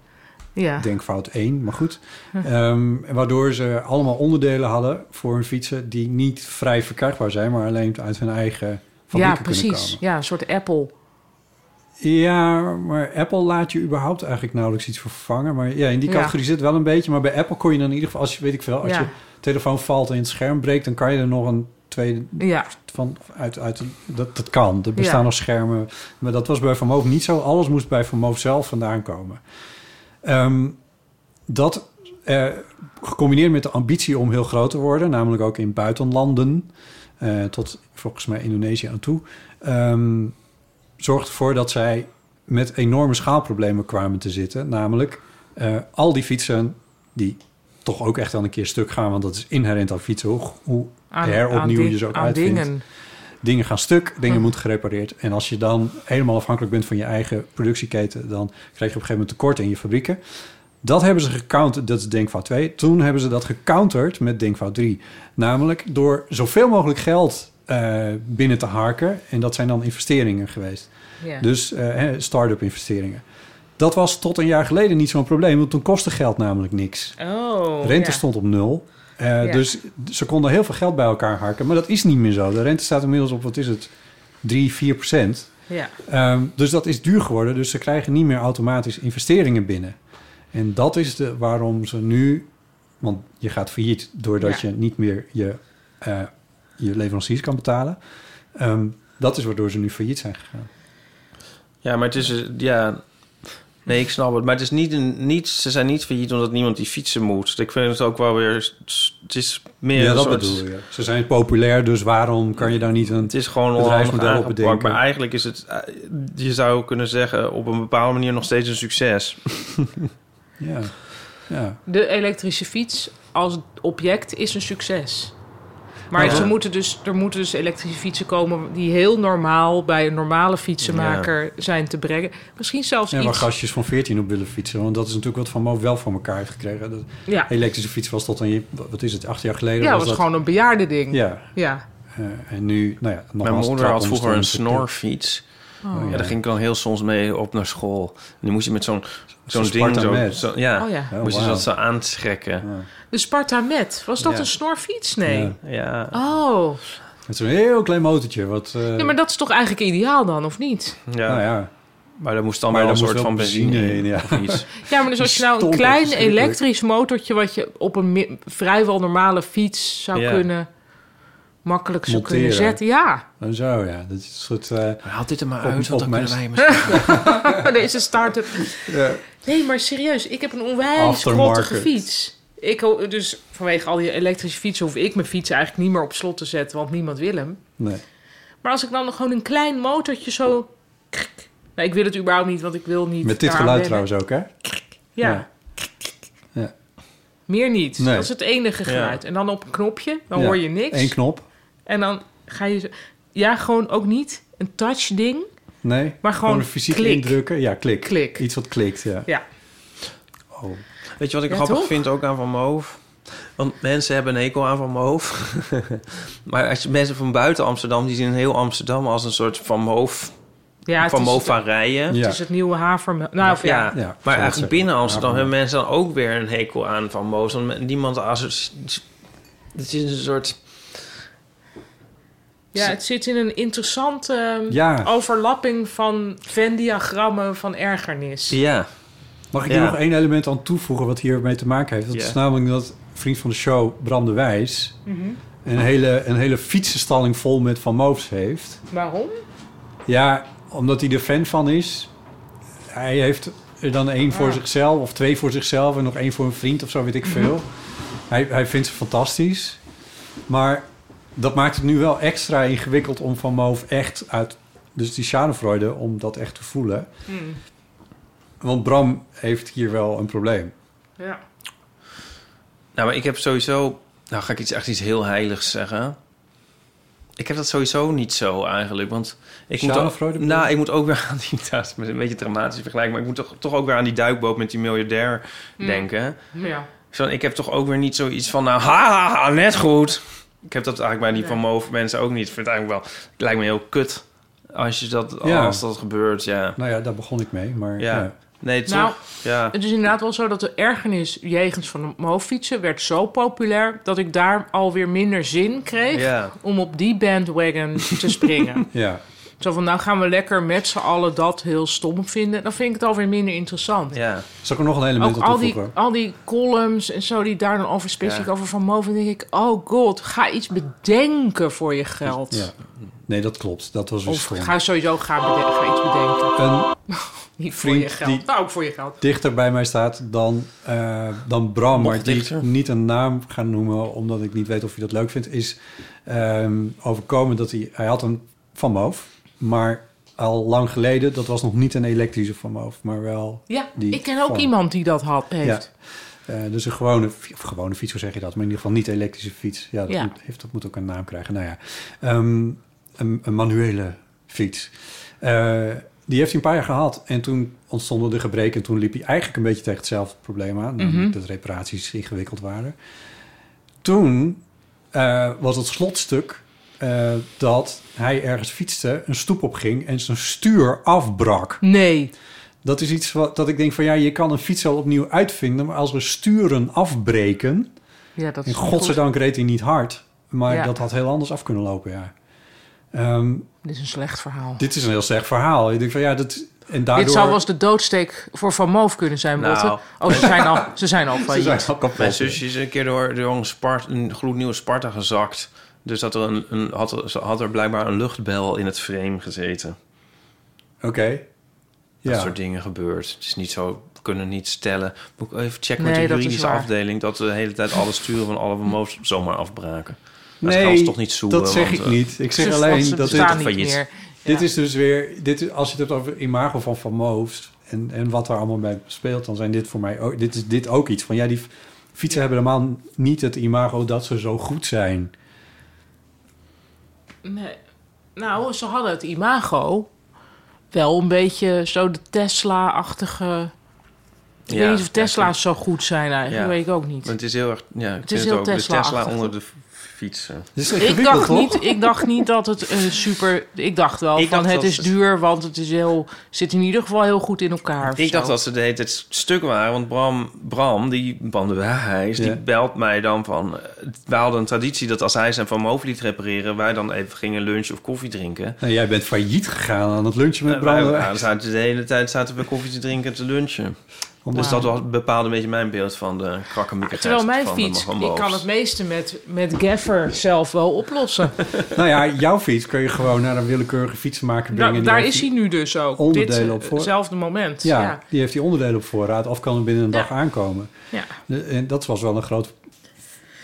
Speaker 4: Ja,
Speaker 2: Denkfout 1, maar goed. Ehm, waardoor ze allemaal onderdelen hadden voor hun fietsen... die niet vrij verkrijgbaar zijn, maar alleen uit hun eigen fabrieken
Speaker 4: ja
Speaker 2: kunnen
Speaker 4: precies.
Speaker 2: komen.
Speaker 4: Ja, een soort Apple.
Speaker 2: Ja, maar Apple laat je überhaupt eigenlijk nauwelijks iets vervangen. Maar ja, in die
Speaker 4: Ja.
Speaker 2: categorie zit wel een beetje. Maar bij Apple kon je dan in ieder geval, als je weet ik veel, als
Speaker 4: Ja.
Speaker 2: je telefoon valt en het scherm breekt, dan kan je er nog een tweede
Speaker 4: Ja,
Speaker 2: van uit. uit dat, dat kan. Er bestaan
Speaker 4: Ja.
Speaker 2: nog schermen. Maar dat was bij Vermogen niet zo. Alles moest bij Vermogen zelf vandaan komen. Ehm, dat eh, gecombineerd met de ambitie om heel groot te worden, namelijk ook in buitenlanden, eh, tot volgens mij Indonesië aan toe, ehm, zorgt ervoor dat zij met enorme schaalproblemen kwamen te zitten. Namelijk eh, al die fietsen die toch ook echt al een keer stuk gaan, want dat is inherent aan fietsen, hoe, hoe
Speaker 4: aan, aan,
Speaker 2: heropnieuw
Speaker 4: ding-
Speaker 2: je ze ook
Speaker 4: aan
Speaker 2: uitvindt
Speaker 4: dingen.
Speaker 2: dingen gaan stuk, dingen moeten gerepareerd. En als je dan helemaal afhankelijk bent van je eigen productieketen, dan krijg je op een gegeven moment tekort in je fabrieken. Dat hebben ze gecounterd, dat is denkfout 2. Toen hebben ze dat gecounterd met denkfout 3. Namelijk door zoveel mogelijk geld eh, binnen te harken. En dat zijn dan investeringen geweest.
Speaker 4: Ja.
Speaker 2: Dus eh, hè, start-up investeringen. Dat was tot een jaar geleden niet zo'n probleem, want toen kostte geld namelijk niks.
Speaker 4: oh,
Speaker 2: Rente
Speaker 4: ja.
Speaker 2: stond op nul. Eh,
Speaker 4: Ja.
Speaker 2: Dus ze konden heel veel geld bij elkaar harken. Maar dat is niet meer zo. De rente staat inmiddels op, wat is het, 3, 4 procent.
Speaker 4: Ja.
Speaker 2: Ehm, dus dat is duur geworden. Dus ze krijgen niet meer automatisch investeringen binnen. En dat is de, waarom ze nu... Want je gaat failliet doordat
Speaker 4: Ja.
Speaker 2: je niet meer je, eh, je leveranciers kan betalen. Ehm, dat is waardoor ze nu failliet zijn gegaan.
Speaker 6: Ja, maar het is... eh, Ja... Nee, ik snap het. Maar het is niet, een, niet... Ze zijn niet failliet omdat niemand die fietsen moet. Ik vind het ook wel weer... Het is meer
Speaker 2: ja,
Speaker 6: een
Speaker 2: dat
Speaker 6: soort-
Speaker 2: bedoel je. Ze zijn populair, dus waarom kan je daar niet een...
Speaker 6: Het is gewoon
Speaker 2: Het
Speaker 6: onhandig
Speaker 2: reismodel
Speaker 6: aangepakt.
Speaker 2: bedenken.
Speaker 6: Maar eigenlijk is het... eh, Je zou kunnen zeggen op een bepaalde manier nog steeds een succes.
Speaker 2: Ja, ja.
Speaker 4: De elektrische fiets als object is een succes. Maar
Speaker 2: Nou,
Speaker 4: ze
Speaker 2: ja.
Speaker 4: moeten dus, er moeten dus elektrische fietsen komen die heel normaal bij een normale fietsenmaker zijn te brengen. Misschien zelfs
Speaker 2: Ja, waar
Speaker 4: iets.
Speaker 2: gastjes van 14 op willen fietsen. Want dat is natuurlijk wat Van Moof wel voor elkaar heeft gekregen. De
Speaker 4: Ja,
Speaker 2: elektrische fiets was tot een, wat is het, acht jaar geleden?
Speaker 4: ja was gewoon een bejaarde ding. Ja.
Speaker 2: Ja, eh, en nu, nou ja, nog
Speaker 6: Mijn moeder had vroeger een snorfiets.
Speaker 4: Oh.
Speaker 6: Ja, daar ging ik dan heel soms mee op naar school. En die moest je met zo'n zo'n
Speaker 2: Zo'n
Speaker 6: ding...
Speaker 2: Spartan
Speaker 6: Zo,
Speaker 2: Met.
Speaker 6: zo- ja,
Speaker 4: Oh ja.
Speaker 2: Oh,
Speaker 6: moest je
Speaker 2: wauw.
Speaker 6: dat zo aantrekken.
Speaker 4: De Sparta Met, was dat
Speaker 6: Ja.
Speaker 4: een snorfiets? Nee.
Speaker 2: Ja.
Speaker 6: Ja.
Speaker 4: Oh,
Speaker 2: Met zo'n heel klein motortje. Wat, eh,
Speaker 4: ja, maar dat is toch eigenlijk ideaal dan, of niet?
Speaker 6: Ja,
Speaker 2: nou ja,
Speaker 6: maar daar moest dan
Speaker 2: Maar
Speaker 6: wel een
Speaker 2: daar
Speaker 6: soort
Speaker 2: moest
Speaker 6: van
Speaker 2: wel
Speaker 6: benzine,
Speaker 2: benzine
Speaker 6: in
Speaker 2: in, ja.
Speaker 6: of iets.
Speaker 4: Ja, maar dus als je nou een
Speaker 2: Stom,
Speaker 4: klein
Speaker 2: verschrikkelijk.
Speaker 4: elektrisch motortje... wat je op een mi- vrijwel normale fiets zou
Speaker 6: Ja.
Speaker 4: kunnen... makkelijk zou kunnen
Speaker 2: Monteren.
Speaker 4: zetten. Ja,
Speaker 2: dan zo ja. Dat is een soort... eh,
Speaker 6: Haal dit er maar
Speaker 2: Op-
Speaker 6: uit, want
Speaker 2: op
Speaker 6: dan
Speaker 2: mijn-
Speaker 6: kunnen wij misschien...
Speaker 4: Maar Deze start-up. Nee, maar serieus, ik heb een onwijs
Speaker 2: Aftermarket.
Speaker 4: grottige fiets. Ik, ho- dus vanwege al die elektrische fietsen hoef ik mijn fiets eigenlijk niet meer op slot te zetten, want niemand wil hem.
Speaker 2: nee.
Speaker 4: Maar als ik dan nog gewoon een klein motortje zo... krik. Nou, ik wil het überhaupt niet, want ik wil niet...
Speaker 2: Met dit
Speaker 4: daaraan
Speaker 2: geluid
Speaker 4: wennen.
Speaker 2: trouwens ook, hè?
Speaker 4: Ja.
Speaker 2: Ja. Ja.
Speaker 4: Meer niet.
Speaker 2: Nee.
Speaker 4: Dat is het enige geluid. En dan op een knopje, dan
Speaker 2: Ja.
Speaker 4: hoor je niks.
Speaker 2: Eén knop.
Speaker 4: En dan ga je... zo- Ja, gewoon ook niet een touch ding.
Speaker 2: Nee.
Speaker 4: Maar gewoon
Speaker 2: fysiek
Speaker 4: klik.
Speaker 2: indrukken. Ja, klik.
Speaker 4: Klik.
Speaker 2: Iets wat klikt, ja.
Speaker 4: Ja.
Speaker 2: Oh.
Speaker 6: Weet je wat ik
Speaker 4: Ja,
Speaker 6: grappig
Speaker 4: toch?
Speaker 6: vind ook aan Van Moof? Want mensen hebben een hekel aan Van Moof. maar als je, mensen van buiten Amsterdam, die zien heel Amsterdam als een soort Van Moof,
Speaker 4: Ja, het
Speaker 6: Van
Speaker 4: is-
Speaker 6: Moof-varijen.
Speaker 2: Ja.
Speaker 4: Het is het nieuwe havermel. Nou, of ja.
Speaker 6: Ja,
Speaker 2: Ja,
Speaker 6: maar
Speaker 2: zo
Speaker 6: eigenlijk
Speaker 2: zeggen.
Speaker 6: binnen Amsterdam
Speaker 2: Ja,
Speaker 6: hebben mensen dan ook weer een hekel aan Van Moos. Want men- niemand als het is een soort.
Speaker 4: ja, het zit in een interessante ehm,
Speaker 2: Ja.
Speaker 4: overlapping van Venn-diagrammen van ergernis.
Speaker 6: Ja,
Speaker 2: Mag ik
Speaker 6: Ja.
Speaker 2: er nog één element aan toevoegen wat hiermee te maken heeft? Dat
Speaker 6: Ja.
Speaker 2: is namelijk dat vriend van de show, Bram de Wijs... Een, hele, een hele fietsenstalling vol met Van Moofs heeft...
Speaker 4: Waarom?
Speaker 2: Ja, omdat hij er fan van is. Hij heeft er dan één voor zichzelf of twee voor zichzelf en nog één voor een vriend of zo, weet ik
Speaker 4: Mhm.
Speaker 2: veel. hij, hij vindt ze fantastisch. Maar dat maakt het nu wel extra ingewikkeld om van Moof echt uit... Dus die schadenfreude, om dat echt te voelen.
Speaker 4: Mhm.
Speaker 2: Want Bram heeft hier wel een probleem.
Speaker 4: Ja.
Speaker 6: nou, maar ik heb sowieso. Nou, ga ik iets, echt iets heel heiligs zeggen. Ik heb dat sowieso niet zo eigenlijk. Want ik moet,
Speaker 2: Schadenfreude
Speaker 6: ook,
Speaker 2: bedoel je?
Speaker 6: nou, ik moet ook weer aan die. Dat is een beetje dramatisch vergelijking. Maar ik moet toch, toch ook weer aan die duikboot met die miljardair
Speaker 4: Hmm.
Speaker 6: denken.
Speaker 4: ja.
Speaker 6: Zo, ik heb toch ook weer niet zoiets van, nou, ha, ha, ha, net goed. Ik heb dat eigenlijk bij
Speaker 4: Nee.
Speaker 6: die van Moof mensen ook niet. Ik vind het eigenlijk wel, het lijkt me heel kut als, je dat,
Speaker 2: Ja.
Speaker 6: als dat gebeurt, ja.
Speaker 2: Nou ja, daar begon ik mee. Maar
Speaker 6: Ja.
Speaker 2: ja.
Speaker 6: Nee, toch?
Speaker 4: Nou,
Speaker 6: ja.
Speaker 4: Het is inderdaad wel zo dat de ergernis jegens van de hoofdfietsen werd zo populair dat ik daar alweer minder zin kreeg
Speaker 6: Ja.
Speaker 4: om op die bandwagon te springen.
Speaker 2: ja.
Speaker 4: zo van nou gaan we lekker met z'n allen dat heel stom vinden. Dan vind ik het alweer minder interessant.
Speaker 6: ja.
Speaker 2: Zal ik er nog een element
Speaker 4: Ook
Speaker 2: aan
Speaker 4: al die,
Speaker 2: toevoegen?
Speaker 4: al die columns en zo die daar dan over specifiek
Speaker 6: Ja.
Speaker 4: over van Moven, denk ik, oh god, ga iets bedenken voor je geld.
Speaker 2: Ja. Nee, dat klopt. Dat was weer
Speaker 4: Of
Speaker 2: stom.
Speaker 4: ga sowieso gaan bede- ga iets bedenken.
Speaker 2: Een
Speaker 4: Niet
Speaker 2: Vriend
Speaker 4: voor je geld.
Speaker 2: die-
Speaker 4: Nou, ook voor je geld.
Speaker 2: dichter bij mij staat dan, eh, dan Bram, maar die ik
Speaker 6: dichter.
Speaker 2: niet een naam ga noemen, omdat ik niet weet of je dat leuk vindt, is ehm, overkomen dat hij, hij had een Van Moof, maar al lang geleden, dat was nog niet een elektrische Van Moof, maar wel...
Speaker 4: Ja,
Speaker 2: die
Speaker 4: ik ken ook
Speaker 2: van-
Speaker 4: iemand die dat had, heeft.
Speaker 2: eh, dus een gewone, fi- of gewone fiets, hoe zeg je dat? Maar in ieder geval niet elektrische fiets. Ja, dat,
Speaker 4: Ja.
Speaker 2: Moet, heeft, dat moet ook een naam krijgen. Nou ja, Ehm, een, een manuele fiets. Eh, die heeft hij een paar jaar gehad. En toen ontstonden de gebreken. En toen liep hij eigenlijk een beetje tegen hetzelfde probleem aan. namelijk Dat reparaties ingewikkeld waren. Toen eh, was het slotstuk eh, dat hij ergens fietste, een stoep op ging en zijn stuur afbrak.
Speaker 4: Nee.
Speaker 2: Dat is iets wat dat ik denk van ja, je kan een fiets wel opnieuw uitvinden, maar als we sturen afbreken,
Speaker 4: Ja, dat
Speaker 2: in
Speaker 4: is
Speaker 2: godzijdank reed hij niet hard, maar
Speaker 4: Ja.
Speaker 2: dat had heel anders af kunnen lopen, ja. Ehm,
Speaker 4: Dit is een slecht verhaal.
Speaker 2: dit is een heel slecht verhaal. Ik denk van ja, dat en daardoor
Speaker 4: Dit zou wel eens de doodsteek voor Van Moof kunnen zijn,
Speaker 6: Nou.
Speaker 4: Botte. Oh, ze zijn al, ze zijn al
Speaker 2: Ze
Speaker 4: failliet.
Speaker 2: zijn al kapot.
Speaker 6: Mijn zusje is een keer door, door een, Spart, een gloednieuwe Sparta gezakt. Dus had er, een, een, had, er- ze had er blijkbaar een luchtbel in het frame gezeten.
Speaker 2: Oké.
Speaker 6: Dat
Speaker 2: Ja.
Speaker 6: soort dingen gebeurt. Het is niet zo, we kunnen niet stellen. Moet ik even checken
Speaker 4: Nee,
Speaker 6: met de
Speaker 4: dat is
Speaker 6: juridische
Speaker 4: waar.
Speaker 6: afdeling... dat we de hele tijd alle sturen van alle vermogens zomaar afbraken. Maar ze
Speaker 2: Nee,
Speaker 6: gaan ons toch niet eh, zoeken.
Speaker 2: dat zeg ik niet. Ik zeg alleen
Speaker 4: ze
Speaker 2: dat dit,
Speaker 4: bestaan
Speaker 6: dit-
Speaker 4: niet meer.
Speaker 2: dit
Speaker 4: Ja.
Speaker 2: is dus weer dit is, als je het hebt over imago van Van Moofs en, en wat daar allemaal bij speelt, dan zijn dit voor mij ook dit is dit ook iets van ja, die fietsen hebben helemaal niet het imago dat ze zo goed zijn.
Speaker 4: Nee. Nou, ze hadden het imago wel een beetje zo de Tesla-achtige... Ik weet niet of Tesla's zo goed zijn eigenlijk,
Speaker 6: Ja.
Speaker 4: dat weet ik ook niet.
Speaker 6: het is heel erg... Ja, ik
Speaker 4: is
Speaker 6: vind
Speaker 4: heel
Speaker 6: ook de
Speaker 4: Tesla-achtig,
Speaker 6: Tesla onder de
Speaker 4: toch?
Speaker 6: f- fietsen.
Speaker 2: Dit is
Speaker 4: Ik
Speaker 2: ingewikkeld,
Speaker 4: dacht,
Speaker 2: toch?
Speaker 4: niet, ik dacht niet dat het eh, super... Ik dacht wel
Speaker 6: Ik
Speaker 4: van
Speaker 6: dacht
Speaker 4: het
Speaker 6: dat
Speaker 4: is
Speaker 6: ze-
Speaker 4: duur, want het is heel, zit in ieder geval heel goed in elkaar. of
Speaker 6: Ik dacht
Speaker 4: zo.
Speaker 6: dat ze de hele tijd stuk waren, want Bram, Bram die bandenwijs,
Speaker 2: Ja.
Speaker 6: die belt mij dan van... eh, We hadden een traditie dat als hij zijn Van Moof liet repareren... wij dan even gingen lunch of koffie drinken.
Speaker 2: Nou, jij bent failliet gegaan aan het lunchen met
Speaker 6: Eh, wij-
Speaker 2: Brandon.
Speaker 6: nou, dan zaten we de hele tijd zaten we koffie te drinken en te lunchen. Dus dat was, bepaalde een beetje mijn beeld van de krakkemikkigheid.
Speaker 4: Terwijl mijn
Speaker 6: van de
Speaker 4: fiets,
Speaker 6: Van
Speaker 4: ik
Speaker 6: Boos.
Speaker 4: kan het meeste met, met Gaffer zelf wel oplossen.
Speaker 2: nou ja, jouw fiets kun je gewoon naar een willekeurige fietsenmaker brengen.
Speaker 4: Nou,
Speaker 2: Die
Speaker 4: daar
Speaker 2: heeft
Speaker 4: is
Speaker 2: die-
Speaker 4: hij nu dus ook.
Speaker 2: onderdelen
Speaker 4: Dit,
Speaker 2: op voor-
Speaker 4: Hetzelfde moment.
Speaker 2: Ja,
Speaker 4: Ja. ja.
Speaker 2: die heeft die onderdelen op voorraad of kan er binnen een
Speaker 4: Ja.
Speaker 2: dag aankomen.
Speaker 4: ja.
Speaker 2: En dat was wel een groot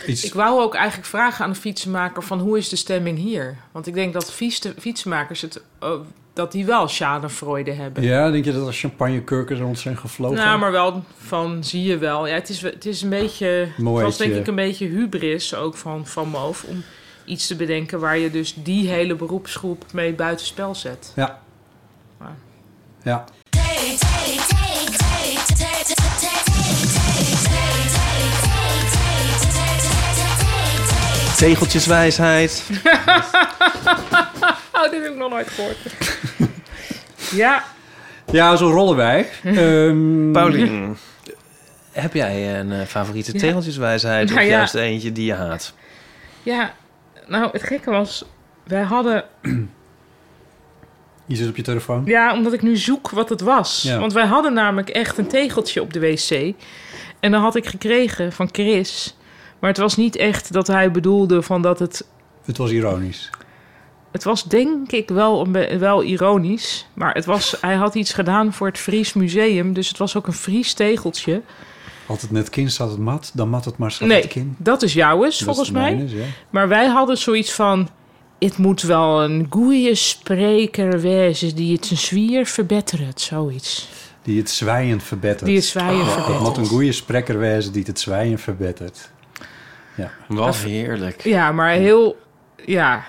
Speaker 2: Iets,
Speaker 4: Ik wou ook eigenlijk vragen aan de fietsenmaker van hoe is de stemming hier? Want ik denk dat fietsen- fietsenmakers het, eh, dat die wel schadenfreude hebben.
Speaker 2: ja, denk je dat er champagnekurken rond zijn gevlogen?
Speaker 4: Nou, maar wel van zie je wel. Ja, het, is, het is een beetje.
Speaker 2: Mooi
Speaker 4: Het was denk
Speaker 2: dat je-
Speaker 4: ik een beetje hubris ook van, van Moof om iets te bedenken waar je dus die hele beroepsgroep mee buitenspel zet.
Speaker 2: Ja.
Speaker 4: Maar-
Speaker 2: Ja.
Speaker 6: Tegeltjeswijsheid.
Speaker 4: Oh, dit heb ik nog nooit gehoord. ja,
Speaker 2: ja, zo rollen wij. Ehm,
Speaker 6: Paulien, heb jij een eh, favoriete
Speaker 4: Ja.
Speaker 6: tegeltjeswijsheid?
Speaker 4: Nou
Speaker 6: of
Speaker 4: ja.
Speaker 6: juist eentje die je haat?
Speaker 4: ja. Nou, het gekke was, wij hadden
Speaker 2: je zit op je telefoon.
Speaker 4: Ja, omdat ik nu zoek wat het was.
Speaker 2: Ja.
Speaker 4: Want wij hadden namelijk echt een tegeltje op de wc. En dat had ik gekregen van Chris. Maar het was niet echt dat hij bedoelde van dat het...
Speaker 2: Het was ironisch.
Speaker 4: Het was denk ik wel, een be- wel ironisch. Maar het was, hij had iets gedaan voor het Fries Museum. Dus het was ook een Fries tegeltje.
Speaker 2: Altijd net kind staat het mat, dan mat het maar staat
Speaker 4: nee,
Speaker 2: het kind.
Speaker 4: dat is jouw is
Speaker 2: Dat
Speaker 4: volgens
Speaker 2: is
Speaker 4: mij.
Speaker 2: mijn is, ja.
Speaker 4: Maar wij hadden zoiets van... Het moet wel een goede spreker wezen die het zijn zwier verbettert. Zoiets.
Speaker 2: Die het zwijgen verbettert.
Speaker 4: Die het zwijgen verbettert.
Speaker 2: Het Ah, moet een goede spreker wezen die het zwijgen verbettert.
Speaker 6: Wat heerlijk.
Speaker 4: Ja, maar heel... Ja,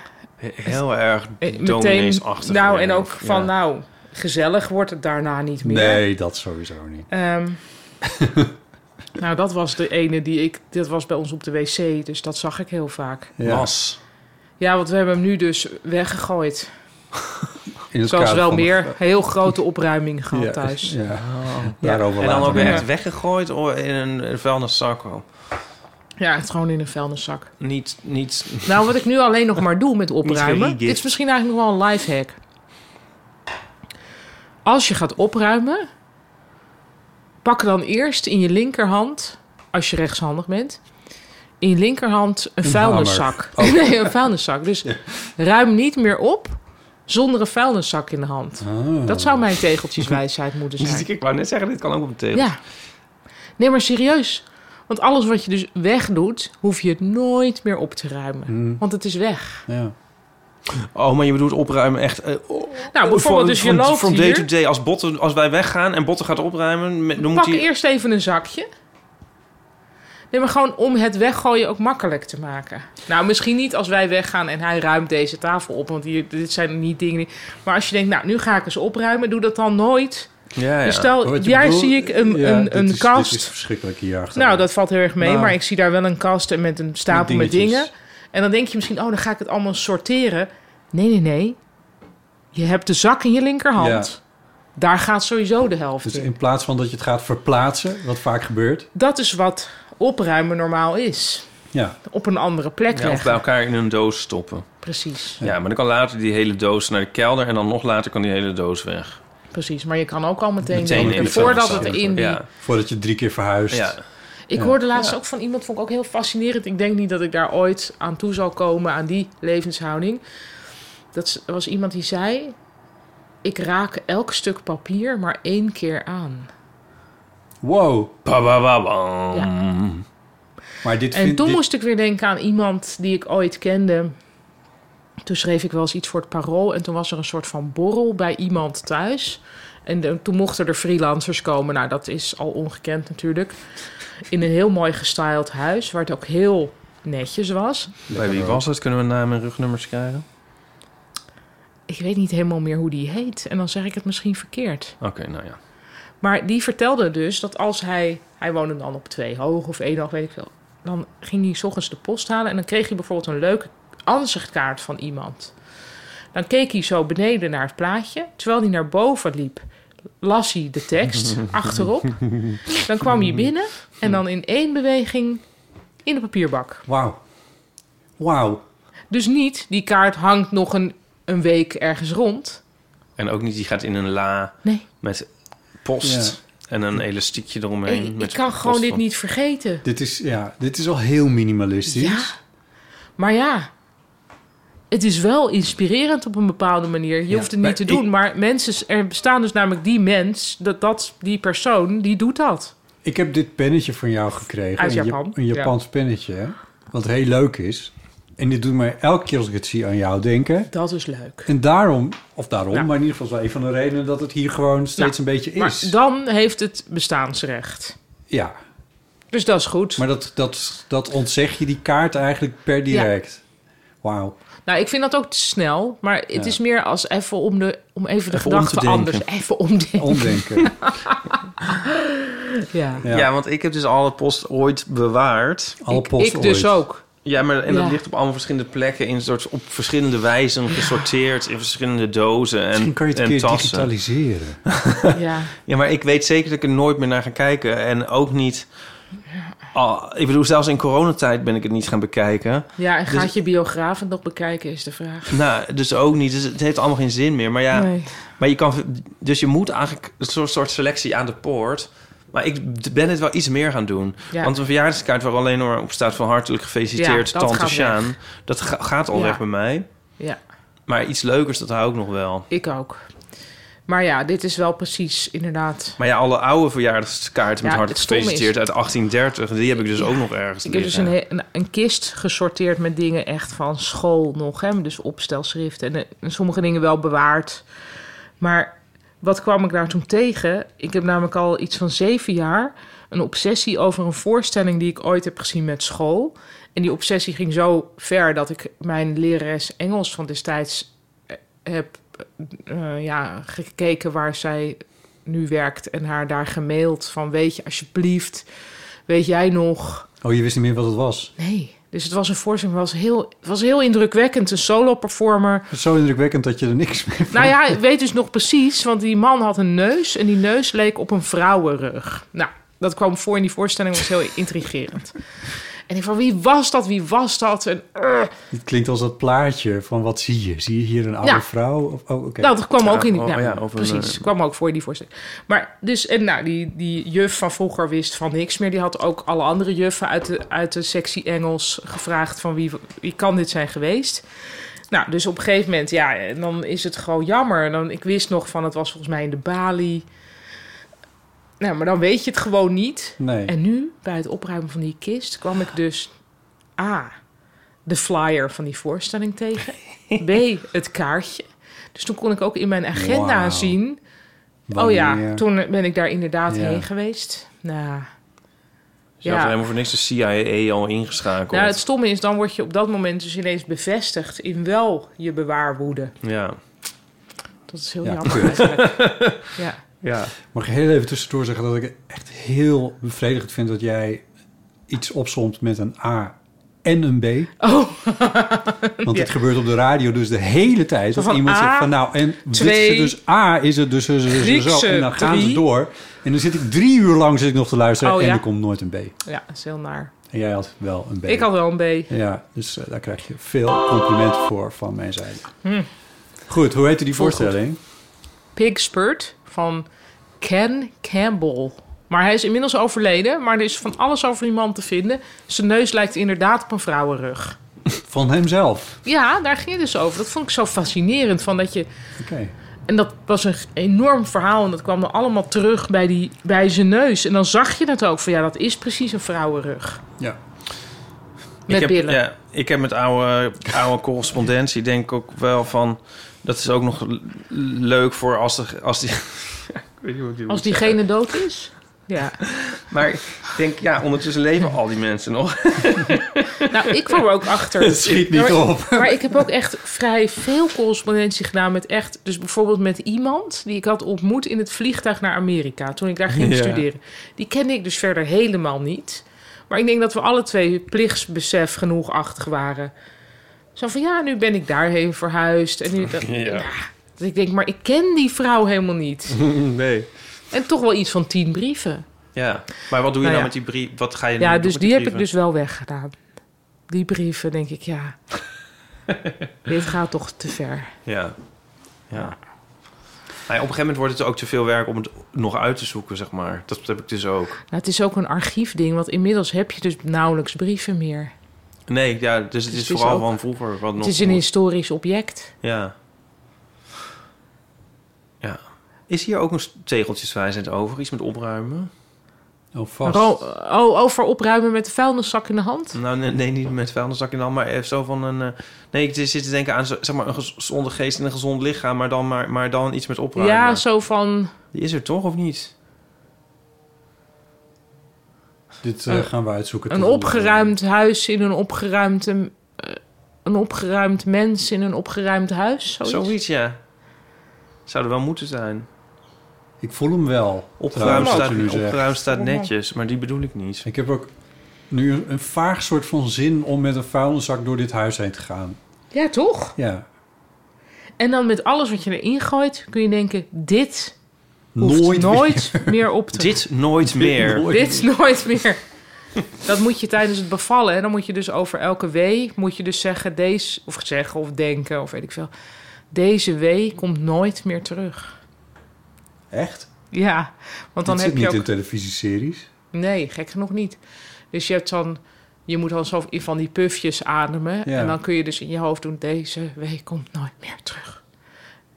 Speaker 6: Heel erg
Speaker 4: eh, meteen...
Speaker 6: domineesachtig.
Speaker 4: Nou, en
Speaker 6: werk.
Speaker 4: ook van,
Speaker 6: Ja.
Speaker 4: nou, gezellig wordt het daarna niet meer.
Speaker 2: Nee, dat sowieso niet.
Speaker 4: Ehm, nou, dat was de ene die ik... Dit was bij ons op de wc, dus dat zag ik heel vaak.
Speaker 2: Ja,
Speaker 6: Was.
Speaker 4: Ja, want we hebben hem nu dus weggegooid.
Speaker 2: in het
Speaker 4: Zoals
Speaker 2: kader
Speaker 4: wel
Speaker 2: van de-
Speaker 4: meer. Heel grote opruiming gehad
Speaker 2: Ja,
Speaker 4: thuis.
Speaker 2: Ja. Daarover
Speaker 6: En dan
Speaker 2: later
Speaker 6: ook weer
Speaker 2: nog.
Speaker 6: echt weggegooid o- in een vuilniszak. wel.
Speaker 4: Ja, het gewoon in een vuilniszak.
Speaker 6: Niet, niet...
Speaker 4: Nou, wat ik nu alleen nog maar doe met opruimen.
Speaker 6: geregift.
Speaker 4: Dit is misschien eigenlijk nog wel een life hack. Als je gaat opruimen, pak dan eerst in je linkerhand, als je rechtshandig bent, in je linkerhand een,
Speaker 2: Een
Speaker 4: vuilniszak. Nee, een vuilniszak. Dus ruim niet meer op zonder een vuilniszak in de hand.
Speaker 2: Ah.
Speaker 4: Dat zou mijn tegeltjeswijsheid moeten zijn.
Speaker 6: Ik wou net zeggen, dit kan ook op de tegel.
Speaker 4: Ja. Nee, maar serieus. Want alles wat je dus wegdoet, hoef je het nooit meer op te ruimen.
Speaker 2: Mm.
Speaker 4: Want het is weg.
Speaker 2: Ja.
Speaker 6: Oh, maar je bedoelt opruimen echt... eh, oh,
Speaker 4: Nou, bijvoorbeeld
Speaker 6: van-
Speaker 4: dus je
Speaker 6: van-
Speaker 4: loopt
Speaker 6: From day to
Speaker 4: hier.
Speaker 6: day. Als, botten, als wij weggaan en Botten gaat opruimen... met- dan moet
Speaker 4: Pak
Speaker 6: hij...
Speaker 4: eerst even een zakje. Nee, maar gewoon om het weggooien ook makkelijk te maken. Nou, misschien niet als wij weggaan en hij ruimt deze tafel op. Want hier, dit zijn niet dingen die... Maar als je denkt, nou, nu ga ik eens opruimen. Doe dat dan nooit.
Speaker 6: Ja, ja.
Speaker 4: Dus
Speaker 2: Oh,
Speaker 4: stel, daar zie ik een,
Speaker 2: Ja, dit
Speaker 4: een, een
Speaker 2: is-
Speaker 4: kast.
Speaker 2: Dit is verschrikkelijk hierachter.
Speaker 4: Nou, dat valt heel erg mee,
Speaker 2: Nou.
Speaker 4: maar ik zie daar wel een kast en met een stapel
Speaker 2: Met
Speaker 4: met
Speaker 2: dingetjes.
Speaker 4: dingen. En dan denk je misschien, oh, dan ga ik het allemaal sorteren. Nee, nee, nee. Je hebt de zak in je linkerhand. Daar gaat sowieso de helft
Speaker 2: Dus
Speaker 4: in.
Speaker 2: in plaats van dat je het gaat verplaatsen, wat vaak gebeurt.
Speaker 4: Dat is wat opruimen normaal is.
Speaker 2: Ja,
Speaker 4: Op een andere plek
Speaker 6: Ja, of bij
Speaker 4: leggen.
Speaker 6: elkaar in een doos stoppen.
Speaker 4: Precies,
Speaker 6: Ja, maar dan kan later die hele doos naar de kelder... en dan nog later kan die hele doos weg.
Speaker 4: precies. Maar je kan ook al meteen,
Speaker 6: Meteen
Speaker 4: doen,
Speaker 6: in de
Speaker 4: voordat
Speaker 6: vuilniszak.
Speaker 4: het in die...
Speaker 6: Ja,
Speaker 2: voordat je drie keer verhuist.
Speaker 6: ja.
Speaker 4: Ik hoorde laatst ook van iemand, vond ik ook heel fascinerend. Ik denk niet dat ik daar ooit aan toe zal komen, aan die levenshouding. Dat s- was iemand die zei: Ik raak elk stuk papier maar één keer aan.
Speaker 2: Wow.
Speaker 6: Ba, ba, ba, bam.
Speaker 2: Maar dit
Speaker 4: En
Speaker 2: vind-
Speaker 4: toen
Speaker 2: dit-
Speaker 4: moest ik weer denken aan iemand die ik ooit kende. Toen schreef ik wel eens iets voor het parool. En toen was er een soort van borrel bij iemand thuis. En de- toen mochten er freelancers komen. Nou, dat is al ongekend natuurlijk. In een heel mooi gestyled huis, waar het ook heel netjes was.
Speaker 6: Bij wie was het? Kunnen we naam en rugnummers krijgen?
Speaker 4: ik weet niet helemaal meer hoe die heet. En dan zeg ik het misschien verkeerd.
Speaker 6: Oké, nou ja.
Speaker 4: Maar die vertelde dus dat als hij... Hij woonde dan op twee hoog of één hoog, weet ik veel. Dan ging hij 's ochtends de post halen. En dan kreeg hij bijvoorbeeld een leuke aanzichtkaart van iemand. Dan keek hij zo beneden naar het plaatje. Terwijl hij naar boven liep, las hij de tekst achterop. Dan kwam hij binnen en dan in één beweging in de papierbak.
Speaker 2: Wauw. Wauw.
Speaker 4: Dus niet, die kaart hangt nog een, een week ergens rond.
Speaker 6: En ook niet, die gaat in een la
Speaker 4: Nee,
Speaker 6: met post en een elastiekje eromheen.
Speaker 4: Ik,
Speaker 6: met
Speaker 4: ik kan
Speaker 6: post
Speaker 4: gewoon dit
Speaker 6: van-
Speaker 4: niet vergeten.
Speaker 2: Dit is, ja, dit is al heel minimalistisch.
Speaker 4: Ja. Maar ja, het is wel inspirerend op een bepaalde manier. Je hoeft het niet te
Speaker 2: maar
Speaker 4: doen.
Speaker 2: ik-
Speaker 4: Maar mensen, er bestaan dus namelijk die mens, dat, dat, die persoon, die doet dat.
Speaker 2: Ik heb dit pennetje van jou gekregen.
Speaker 4: Uit
Speaker 2: een Ja-
Speaker 4: Japan.
Speaker 2: Een Japans pennetje, hè? Wat wat heel leuk is. En dit doet mij elke keer als ik het zie aan jou denken.
Speaker 4: Dat is leuk.
Speaker 2: En daarom, of daarom,
Speaker 4: Ja.
Speaker 2: maar in ieder geval is wel een van de redenen dat het hier gewoon steeds
Speaker 4: Nou,
Speaker 2: een beetje
Speaker 4: maar
Speaker 2: is.
Speaker 4: dan heeft het bestaansrecht.
Speaker 2: Ja,
Speaker 4: Dus dat is goed.
Speaker 2: maar dat, dat, dat ontzeg je die kaart eigenlijk per direct. Wauw.
Speaker 4: Nou, ik vind dat ook te snel. Maar het is meer als even om, de, om even de
Speaker 6: Even om
Speaker 4: gedachten
Speaker 6: te denken.
Speaker 4: anders. Even omdenken.
Speaker 2: Omdenken.
Speaker 4: ja.
Speaker 2: Ja.
Speaker 6: Ja. want ik heb dus alle post ooit bewaard.
Speaker 2: Alle
Speaker 4: ik,
Speaker 2: post
Speaker 4: ik dus
Speaker 2: ooit.
Speaker 4: ook.
Speaker 6: Ja, maar en
Speaker 4: Ja.
Speaker 6: dat ligt op allemaal verschillende plekken in soort op verschillende wijzen gesorteerd in verschillende dozen en,
Speaker 2: Misschien kan je het een
Speaker 6: en
Speaker 2: keer
Speaker 6: tassen.
Speaker 2: digitaliseren.
Speaker 4: Ja.
Speaker 6: Ja, maar ik weet zeker dat ik er nooit meer naar ga kijken en ook niet. Ah, ik bedoel, zelfs in coronatijd ben ik het niet gaan bekijken.
Speaker 4: ja, en gaat
Speaker 6: Dus-
Speaker 4: je biograaf het nog bekijken, is de vraag.
Speaker 6: Nou, dus ook niet. Dus het heeft allemaal geen zin meer. Maar ja,
Speaker 4: Nee.
Speaker 6: maar je kan, dus je moet eigenlijk een soort, soort selectie aan de poort. Maar ik ben het wel iets meer gaan doen.
Speaker 4: Ja.
Speaker 6: Want een verjaardagskaart waar alleen maar op staat van hartelijk gefeliciteerd,
Speaker 4: Ja, dat
Speaker 6: tante
Speaker 4: gaat
Speaker 6: Sjaan. Dat ga- gaat al
Speaker 4: Ja.
Speaker 6: weg bij mij.
Speaker 4: Ja,
Speaker 6: Maar iets leukers, dat hou ik nog wel.
Speaker 4: ik ook. Maar ja, dit is wel precies inderdaad.
Speaker 6: Maar ja, alle oude verjaardagskaarten met
Speaker 4: Ja,
Speaker 6: hartelijk
Speaker 4: het stomme is-
Speaker 6: gefeliciteerd uit 1830... die heb ik dus ook nog ergens
Speaker 4: Ik heb dus
Speaker 6: liggen.
Speaker 4: een, he- een, een kist gesorteerd met dingen echt van school nog. Hè? Dus opstelschriften en, eh, en sommige dingen wel bewaard. Maar wat kwam ik daar toen tegen? Ik heb namelijk al iets van zeven jaar een obsessie over een voorstelling die ik ooit heb gezien met school. En die obsessie ging zo ver dat ik mijn lerares Engels van destijds eh, heb eh, ja, gekeken waar zij nu werkt en haar daar gemaild van weet je alsjeblieft, weet jij nog
Speaker 2: Oh, je wist niet meer wat het was.
Speaker 4: Nee. Dus het was een voorstelling, het was heel, het was heel indrukwekkend. Een solo-performer.
Speaker 2: Het is zo indrukwekkend dat je er niks mee van...
Speaker 4: Nou ja, ik weet dus nog precies, want die man had een neus... en die neus leek op een vrouwenrug. Nou, dat kwam voor in die voorstelling, was heel intrigerend. En ik van, wie was dat, wie was dat? En, eh,
Speaker 2: Het klinkt als dat plaatje van wat zie je? Zie je hier een oude
Speaker 4: Ja.
Speaker 2: vrouw? Of, oh, oké.
Speaker 4: Nou, dat kwam
Speaker 6: Ja,
Speaker 4: ook in die...
Speaker 6: oh,
Speaker 4: nou,
Speaker 6: ja, of een,
Speaker 4: precies,
Speaker 6: eh,
Speaker 4: kwam ook voor in die voorstelling. Maar dus, en nou, die, die juf van vroeger wist van niks meer. Die had ook alle andere juffen uit de, uit de sectie Engels gevraagd van wie, wie kan dit zijn geweest. Nou, dus op een gegeven moment, ja, en dan is het gewoon jammer. Dan, ik wist nog van, het was volgens mij in de Bali. Nou, maar dan weet je het gewoon niet.
Speaker 2: Nee.
Speaker 4: En nu, bij het opruimen van die kist, kwam ik dus... A, de flyer van die voorstelling tegen. B, het kaartje. Dus toen kon ik ook in mijn agenda
Speaker 2: Wauw.
Speaker 4: zien... Oh
Speaker 2: Wanneer-
Speaker 4: ja, toen ben ik daar inderdaad
Speaker 2: Ja.
Speaker 4: heen geweest. Nou,
Speaker 6: Je had helemaal voor niks de CIA E al ingeschakeld.
Speaker 4: nou, het stomme is, dan word je op dat moment dus ineens bevestigd... in wel je bewaarwoede.
Speaker 6: Ja.
Speaker 4: Dat is heel
Speaker 2: Ja,
Speaker 4: jammer. eigenlijk. ja.
Speaker 6: ja.
Speaker 2: Mag ik heel even tussendoor zeggen dat ik het echt heel bevredigend vind dat jij iets opzomt met een A en een B.
Speaker 4: Oh,
Speaker 2: Want dit gebeurt op de radio dus de hele tijd.
Speaker 4: Zo
Speaker 2: Dat
Speaker 4: van
Speaker 2: iemand
Speaker 4: A,
Speaker 2: zegt van nou, en dit
Speaker 4: twee,
Speaker 2: is het dus A is het dus zo, zo, zo, zo, zo.
Speaker 4: Griekse
Speaker 2: En dan gaan ze
Speaker 4: drie.
Speaker 2: door. En dan zit ik drie uur lang zit ik nog te luisteren
Speaker 4: Oh,
Speaker 2: en
Speaker 4: ja.
Speaker 2: er komt nooit een B.
Speaker 4: ja, dat is heel naar.
Speaker 2: En jij had wel een B.
Speaker 4: Ik had wel een B.
Speaker 2: Ja, dus eh, daar krijg je veel complimenten voor van mijn zijde.
Speaker 4: Hmm.
Speaker 2: Goed, hoe heette die voorstelling?
Speaker 4: Pig Spurt van Ken Campbell. Maar hij is inmiddels overleden, maar er is van alles over die man te vinden. Zijn neus lijkt inderdaad op een vrouwenrug.
Speaker 2: Van hemzelf.
Speaker 4: Ja, daar ging het dus over. Dat vond ik zo fascinerend. Van dat je,
Speaker 2: Oké.
Speaker 4: en dat was een g- enorm verhaal en dat kwam dan allemaal terug bij, die, bij zijn neus. En dan zag je het ook van ja, dat is precies een vrouwenrug.
Speaker 2: Ja.
Speaker 4: Met
Speaker 6: ik heb,
Speaker 4: billen.
Speaker 6: Ja, ik heb met oude, oude correspondentie denk ik ook wel van... Dat is ook nog l- leuk voor als, de, als die... ik weet niet hoe ik dit
Speaker 4: Als
Speaker 6: moet zeggen.
Speaker 4: diegene dood is. Ja.
Speaker 6: Maar ik denk, ja, ondertussen leven al die mensen nog.
Speaker 4: Nou, ik kwam er ook achter.
Speaker 2: Het schiet niet
Speaker 4: Ja, maar-
Speaker 2: op.
Speaker 4: Maar ik heb ook echt vrij veel correspondentie gedaan met echt... Dus bijvoorbeeld met iemand die ik had ontmoet in het vliegtuig naar Amerika... toen ik daar ging
Speaker 6: Ja.
Speaker 4: studeren. Die kende ik dus verder helemaal niet. Maar ik denk dat we alle twee plichtsbesef genoeg achtig waren. Zo van, ja, nu ben ik daarheen verhuisd. En nu dat,
Speaker 6: Ja.
Speaker 4: ja. dat ik denk, maar ik ken die vrouw helemaal niet.
Speaker 6: Nee.
Speaker 4: En toch wel iets van tien brieven.
Speaker 6: Ja, maar wat doe je
Speaker 4: Nou
Speaker 6: nou,
Speaker 4: ja.
Speaker 6: met die brief? Wat ga je nu
Speaker 4: Ja,
Speaker 6: doen
Speaker 4: dus
Speaker 6: met
Speaker 4: die heb ik
Speaker 6: brieven?
Speaker 4: dus wel weggedaan. Die brieven, denk ik, ja... Dit gaat toch te ver.
Speaker 6: Ja. ja. Maar ja, op een gegeven moment wordt het ook te veel werk om het nog uit te zoeken, zeg maar. Dat heb ik dus ook.
Speaker 4: Nou, het is ook een archiefding, want inmiddels heb je dus nauwelijks brieven meer.
Speaker 6: Nee, ja, dus het
Speaker 4: Dus
Speaker 6: is,
Speaker 4: het is
Speaker 6: vooral
Speaker 4: ook-
Speaker 6: van vroeger. Wat nog
Speaker 4: het is een
Speaker 6: moet.
Speaker 4: historisch object.
Speaker 6: Ja. Ja. Is hier ook een s- tegeltjeswijsheid over? Iets met opruimen?
Speaker 2: Oh, vast.
Speaker 4: Ro- oh, over opruimen met de vuilniszak in de hand.
Speaker 6: Nou, nee, nee, niet met vuilniszak in de hand, maar even zo van een... eh, nee, ik zit te denken aan zo- zeg maar, een gezonde geest en een gezond lichaam, maar dan, maar, maar dan iets met opruimen.
Speaker 4: Ja, zo van.
Speaker 6: Die is er toch, of niet?
Speaker 2: Dit eh, gaan we uitzoeken.
Speaker 4: Een opgeruimd huis in een opgeruimd... eh, een opgeruimd mens in een opgeruimd huis. Zoiets.
Speaker 6: Zoiets, ja. Zou er wel moeten zijn.
Speaker 2: Ik voel hem wel.
Speaker 6: Opgeruimd
Speaker 2: trouwens, wat
Speaker 6: staat,
Speaker 2: je nu zegt.
Speaker 6: opgeruimd staat netjes, maar die bedoel ik niet.
Speaker 2: Ik heb ook nu een vaag soort van zin om met een vuilniszak door dit huis heen te gaan.
Speaker 4: Ja, toch?
Speaker 2: Ja.
Speaker 4: En dan met alles wat je erin gooit, kun je denken... Dit hoeft
Speaker 2: Nooit
Speaker 4: nooit,
Speaker 2: meer.
Speaker 4: meer. op te...
Speaker 6: Dit nooit meer.
Speaker 2: nooit.
Speaker 4: Dit nooit meer. Dat moet je tijdens het bevallen. En dan moet je dus over elke wee... moet je dus zeggen, deze... of zeggen of denken of weet ik veel. Deze wee komt nooit meer terug.
Speaker 2: Echt?
Speaker 4: Ja, want dan
Speaker 2: Dit
Speaker 4: heb
Speaker 2: zit
Speaker 4: je
Speaker 2: niet
Speaker 4: ook...
Speaker 2: in televisieseries.
Speaker 4: Nee, gek genoeg niet. Dus je hebt dan... Je moet dan zo van die pufjes ademen.
Speaker 2: Ja.
Speaker 4: En dan kun je dus in je hoofd doen... Deze week komt nooit meer terug.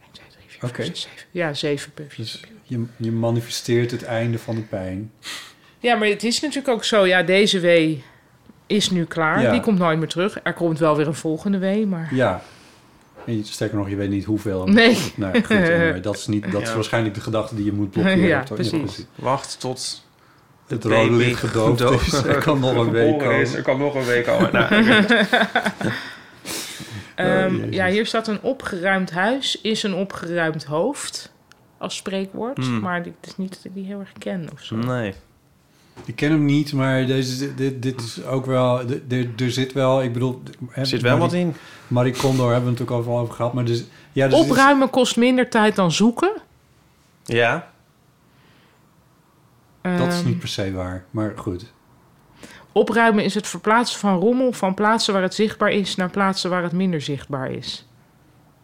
Speaker 4: 1, 2, 3, 4,
Speaker 2: Oké.
Speaker 4: 5, 6, 7. Ja, zeven pufjes.
Speaker 2: Dus je, je manifesteert het einde van de pijn.
Speaker 4: Ja, maar het is natuurlijk ook zo. Ja, deze wee is nu klaar.
Speaker 2: Ja.
Speaker 4: Die komt nooit meer terug. Er komt wel weer een volgende wee, maar...
Speaker 2: Ja. En je, sterker nog, je weet niet hoeveel.
Speaker 4: Nee.
Speaker 2: Nou, goed, anyway, dat is, niet, dat is
Speaker 6: Ja.
Speaker 2: waarschijnlijk de gedachte die je moet blokkeren.
Speaker 4: Ja,
Speaker 2: Toch?
Speaker 4: precies.
Speaker 6: Wacht tot
Speaker 2: Het rode
Speaker 6: baby
Speaker 2: licht gedoofd is.
Speaker 6: gedoofd-
Speaker 2: Er kan nog een week
Speaker 6: geboren is.
Speaker 2: komen.
Speaker 6: Er kan nog een week komen. Nou, oké.
Speaker 4: Ehm,
Speaker 2: Oh, Jezus.
Speaker 4: ja, hier staat een opgeruimd huis is een opgeruimd hoofd. Als spreekwoord.
Speaker 6: Hmm.
Speaker 4: Maar het is niet dat ik die heel erg ken of zo.
Speaker 6: nee.
Speaker 2: Ik ken hem niet, maar deze, dit, dit is ook wel... d- d- Er zit wel, ik bedoel...
Speaker 6: Er zit wel wat in.
Speaker 2: Marie Kondo hebben we het ook overal over gehad. Maar dus, ja, dus dit is-
Speaker 4: Opruimen kost minder tijd dan zoeken.
Speaker 6: Ja.
Speaker 2: dat is
Speaker 4: Ehm,
Speaker 2: niet per se waar. Maar goed.
Speaker 4: Opruimen is het verplaatsen van rommel van plaatsen waar het zichtbaar is naar plaatsen waar het minder zichtbaar is.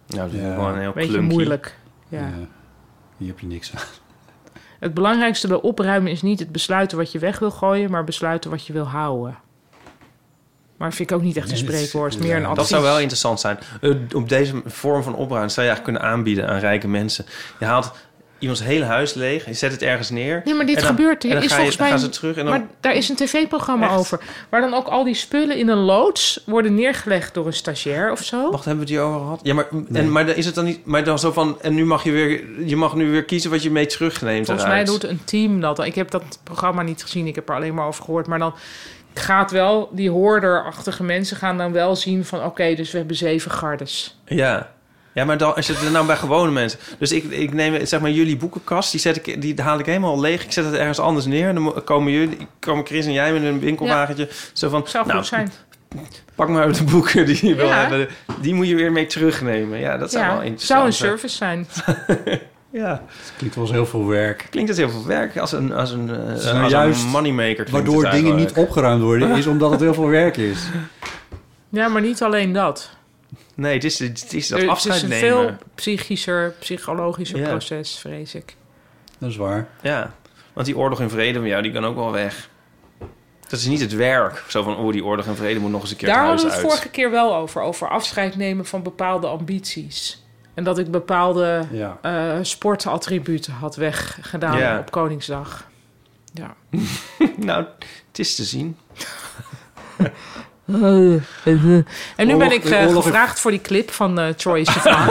Speaker 6: Nou, dat is
Speaker 2: Ja.
Speaker 6: gewoon een heel
Speaker 4: Beetje
Speaker 6: klunky.
Speaker 4: moeilijk. Ja.
Speaker 2: Ja. eh, Hier heb je niks aan.
Speaker 4: Het belangrijkste bij opruimen is niet het besluiten wat je weg wil gooien, maar besluiten wat je wil houden. Maar vind ik ook niet echt een
Speaker 2: Nee, dat is-
Speaker 4: spreekwoord,
Speaker 2: ja,
Speaker 4: meer een
Speaker 2: dat
Speaker 4: advies.
Speaker 6: Dat zou wel interessant zijn. Eh, op deze vorm van opruimen zou je eigenlijk kunnen aanbieden aan rijke mensen. Je haalt iemands hele huis leeg, je zet het ergens neer.
Speaker 4: Nee, maar dit
Speaker 6: en dan-
Speaker 4: gebeurt.
Speaker 6: en
Speaker 4: Er
Speaker 6: dan
Speaker 4: is
Speaker 6: ga je-
Speaker 4: volgens mij.
Speaker 6: gaan ze terug en dan-
Speaker 4: Maar daar is een tv-programma
Speaker 6: Echt?
Speaker 4: over. Waar dan ook al die spullen in een loods worden neergelegd door een stagiair of zo.
Speaker 6: Wacht, hebben we het hier over gehad? Ja, maar, en, maar dan is het dan niet... Maar dan zo van... En nu mag je weer... Je mag nu weer kiezen wat je mee terugneemt
Speaker 4: Volgens mij
Speaker 6: eruit.
Speaker 4: doet een team dat. Ik heb dat programma niet gezien. Ik heb er alleen maar over gehoord. Maar dan gaat wel, die hoorderachtige mensen gaan dan wel zien van... oké, dus we hebben zeven gardes.
Speaker 6: Ja. Ja, maar dan als je het nou bij gewone mensen. Dus ik, ik neem zeg maar jullie boekenkast, die, zet ik, die haal ik helemaal leeg. Ik zet het ergens anders neer. En dan mo- komen jullie, komen Chris en jij met een winkelwagentje. Zo van,
Speaker 4: Zou goed
Speaker 6: nou,
Speaker 4: zijn.
Speaker 6: pak maar de boeken die je wil
Speaker 4: Ja.
Speaker 6: hebben. Die moet je weer mee terugnemen. Ja, dat zou wel
Speaker 4: Ja,
Speaker 6: interessant
Speaker 4: zou een
Speaker 6: zijn.
Speaker 4: service zijn.
Speaker 6: Ja,
Speaker 2: Het klinkt wel eens heel veel werk.
Speaker 6: klinkt als heel veel werk. Als een, als een, eh,
Speaker 2: is
Speaker 6: als
Speaker 2: nou juist
Speaker 6: een moneymaker. klinkt
Speaker 2: Waardoor
Speaker 6: het
Speaker 2: dingen niet
Speaker 6: eigenlijk.
Speaker 2: opgeruimd worden, is omdat het heel veel werk is.
Speaker 4: Ja, maar niet alleen dat.
Speaker 6: Nee, het is, het is dat
Speaker 4: Er-
Speaker 6: afscheid
Speaker 4: het is een
Speaker 6: nemen.
Speaker 4: veel psychischer, psychologischer
Speaker 6: Ja.
Speaker 4: proces, vrees ik.
Speaker 2: Dat is waar.
Speaker 6: Ja, want die oorlog en vrede van jou, die kan ook wel weg. Dat is niet het werk. Zo van, oh, die oorlog en vrede moet nog eens een keer
Speaker 4: Daar
Speaker 6: het huis
Speaker 4: hadden we het
Speaker 6: uit.
Speaker 4: vorige keer wel over. Over afscheid nemen van bepaalde ambities. En dat ik bepaalde
Speaker 2: Ja.
Speaker 4: eh, sportattributen had weggedaan
Speaker 6: Ja.
Speaker 4: op Koningsdag. Ja.
Speaker 6: Nou, het is te zien.
Speaker 4: En nu
Speaker 2: Oorlog-
Speaker 4: ben ik eh,
Speaker 2: oorlog-
Speaker 4: gevraagd voor die clip van eh Troy Sivan.